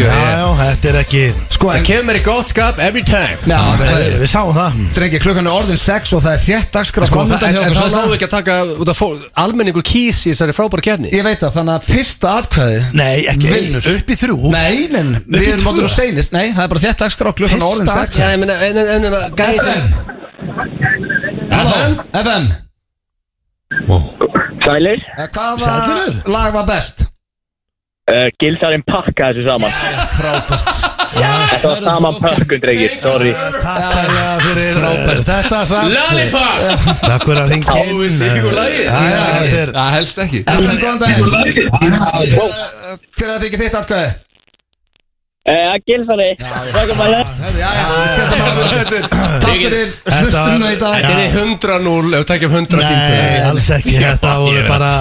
Speaker 2: já, þetta er ekki
Speaker 1: Sko,
Speaker 3: Það
Speaker 1: en
Speaker 3: kemur í gott skap every time
Speaker 1: Já,
Speaker 2: Herri, Við sáum það
Speaker 1: Drengi, klukkan er orðin 6 og það er þétt dagskrá
Speaker 3: Sko, það,
Speaker 1: framundan hjá
Speaker 3: en, en
Speaker 1: okkur,
Speaker 3: það
Speaker 1: Salla.
Speaker 3: náðu ekki að taka út af fólk Almenningur kýs í þessari frábæra kefni
Speaker 1: Ég veit það, þannig að fyrsta atkvæði
Speaker 2: Nei, ekki
Speaker 1: Vinnur.
Speaker 2: eitt, upp í þrjú
Speaker 1: Nei, nei, nei, við
Speaker 2: í
Speaker 1: erum
Speaker 2: tvö.
Speaker 1: áttur og seinist Nei, það er bara þétt dagskrá, klukkan er orðin 6
Speaker 2: Fyrsta
Speaker 3: Já, ég meina, en, en, en, en, gæs
Speaker 1: FM Halló, FM
Speaker 10: Sælir,
Speaker 1: Eh, Hvaða lag var best?
Speaker 10: uh, gildarinn pakka þessu saman Þetta var saman pökkun, drengir, sorry
Speaker 2: Takk hella
Speaker 1: Eh,
Speaker 2: fyrir Frábært. þetta samt
Speaker 3: Lollipop
Speaker 2: Takk fyrir að ringa inn
Speaker 1: Já, já,
Speaker 2: Þetta er
Speaker 5: Það helst ekki
Speaker 1: FM, góðan daginn Eh, Hver er það ekki þitt atkvæði?
Speaker 10: uh, Gildarinn, takk um að þetta
Speaker 1: Herri, Já, já, við skellum bara á Ah. [laughs] þetta. Takk fyrir hlustuna í dag
Speaker 3: Þetta er 100 núl ef við tekjum 100
Speaker 2: Nei,
Speaker 3: síntöð
Speaker 2: alls ekki Þetta voru
Speaker 3: Ég veit.
Speaker 2: bara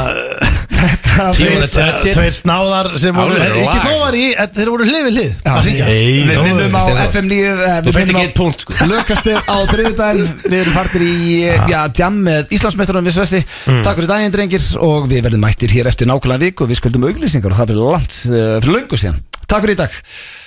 Speaker 1: Þetta
Speaker 2: tveir,
Speaker 1: er-
Speaker 3: touch it.
Speaker 2: tveir snáðar sem voru
Speaker 3: Alveg
Speaker 2: ekki
Speaker 3: lag.
Speaker 2: tóvar í en Þeir voru hlið við hlið að hringja.
Speaker 3: nei,
Speaker 1: Við minnum á
Speaker 3: Stefán.
Speaker 1: FM 9 eh,
Speaker 3: Þú
Speaker 1: Við
Speaker 3: fyrst
Speaker 1: minnum á
Speaker 3: ekki eitt punkt sko
Speaker 1: Lökastir á þriðudaginn Við erum fartir í eh, já, jam með Íslandsmeisturum við Svesti Takk fyrir daginn drengir og við verðum mættir hér eftir nákvæmlega vik og við skuldum auglýsingar og það fyrir langt eh, fyrir löngu síðan Takk fyrir í dag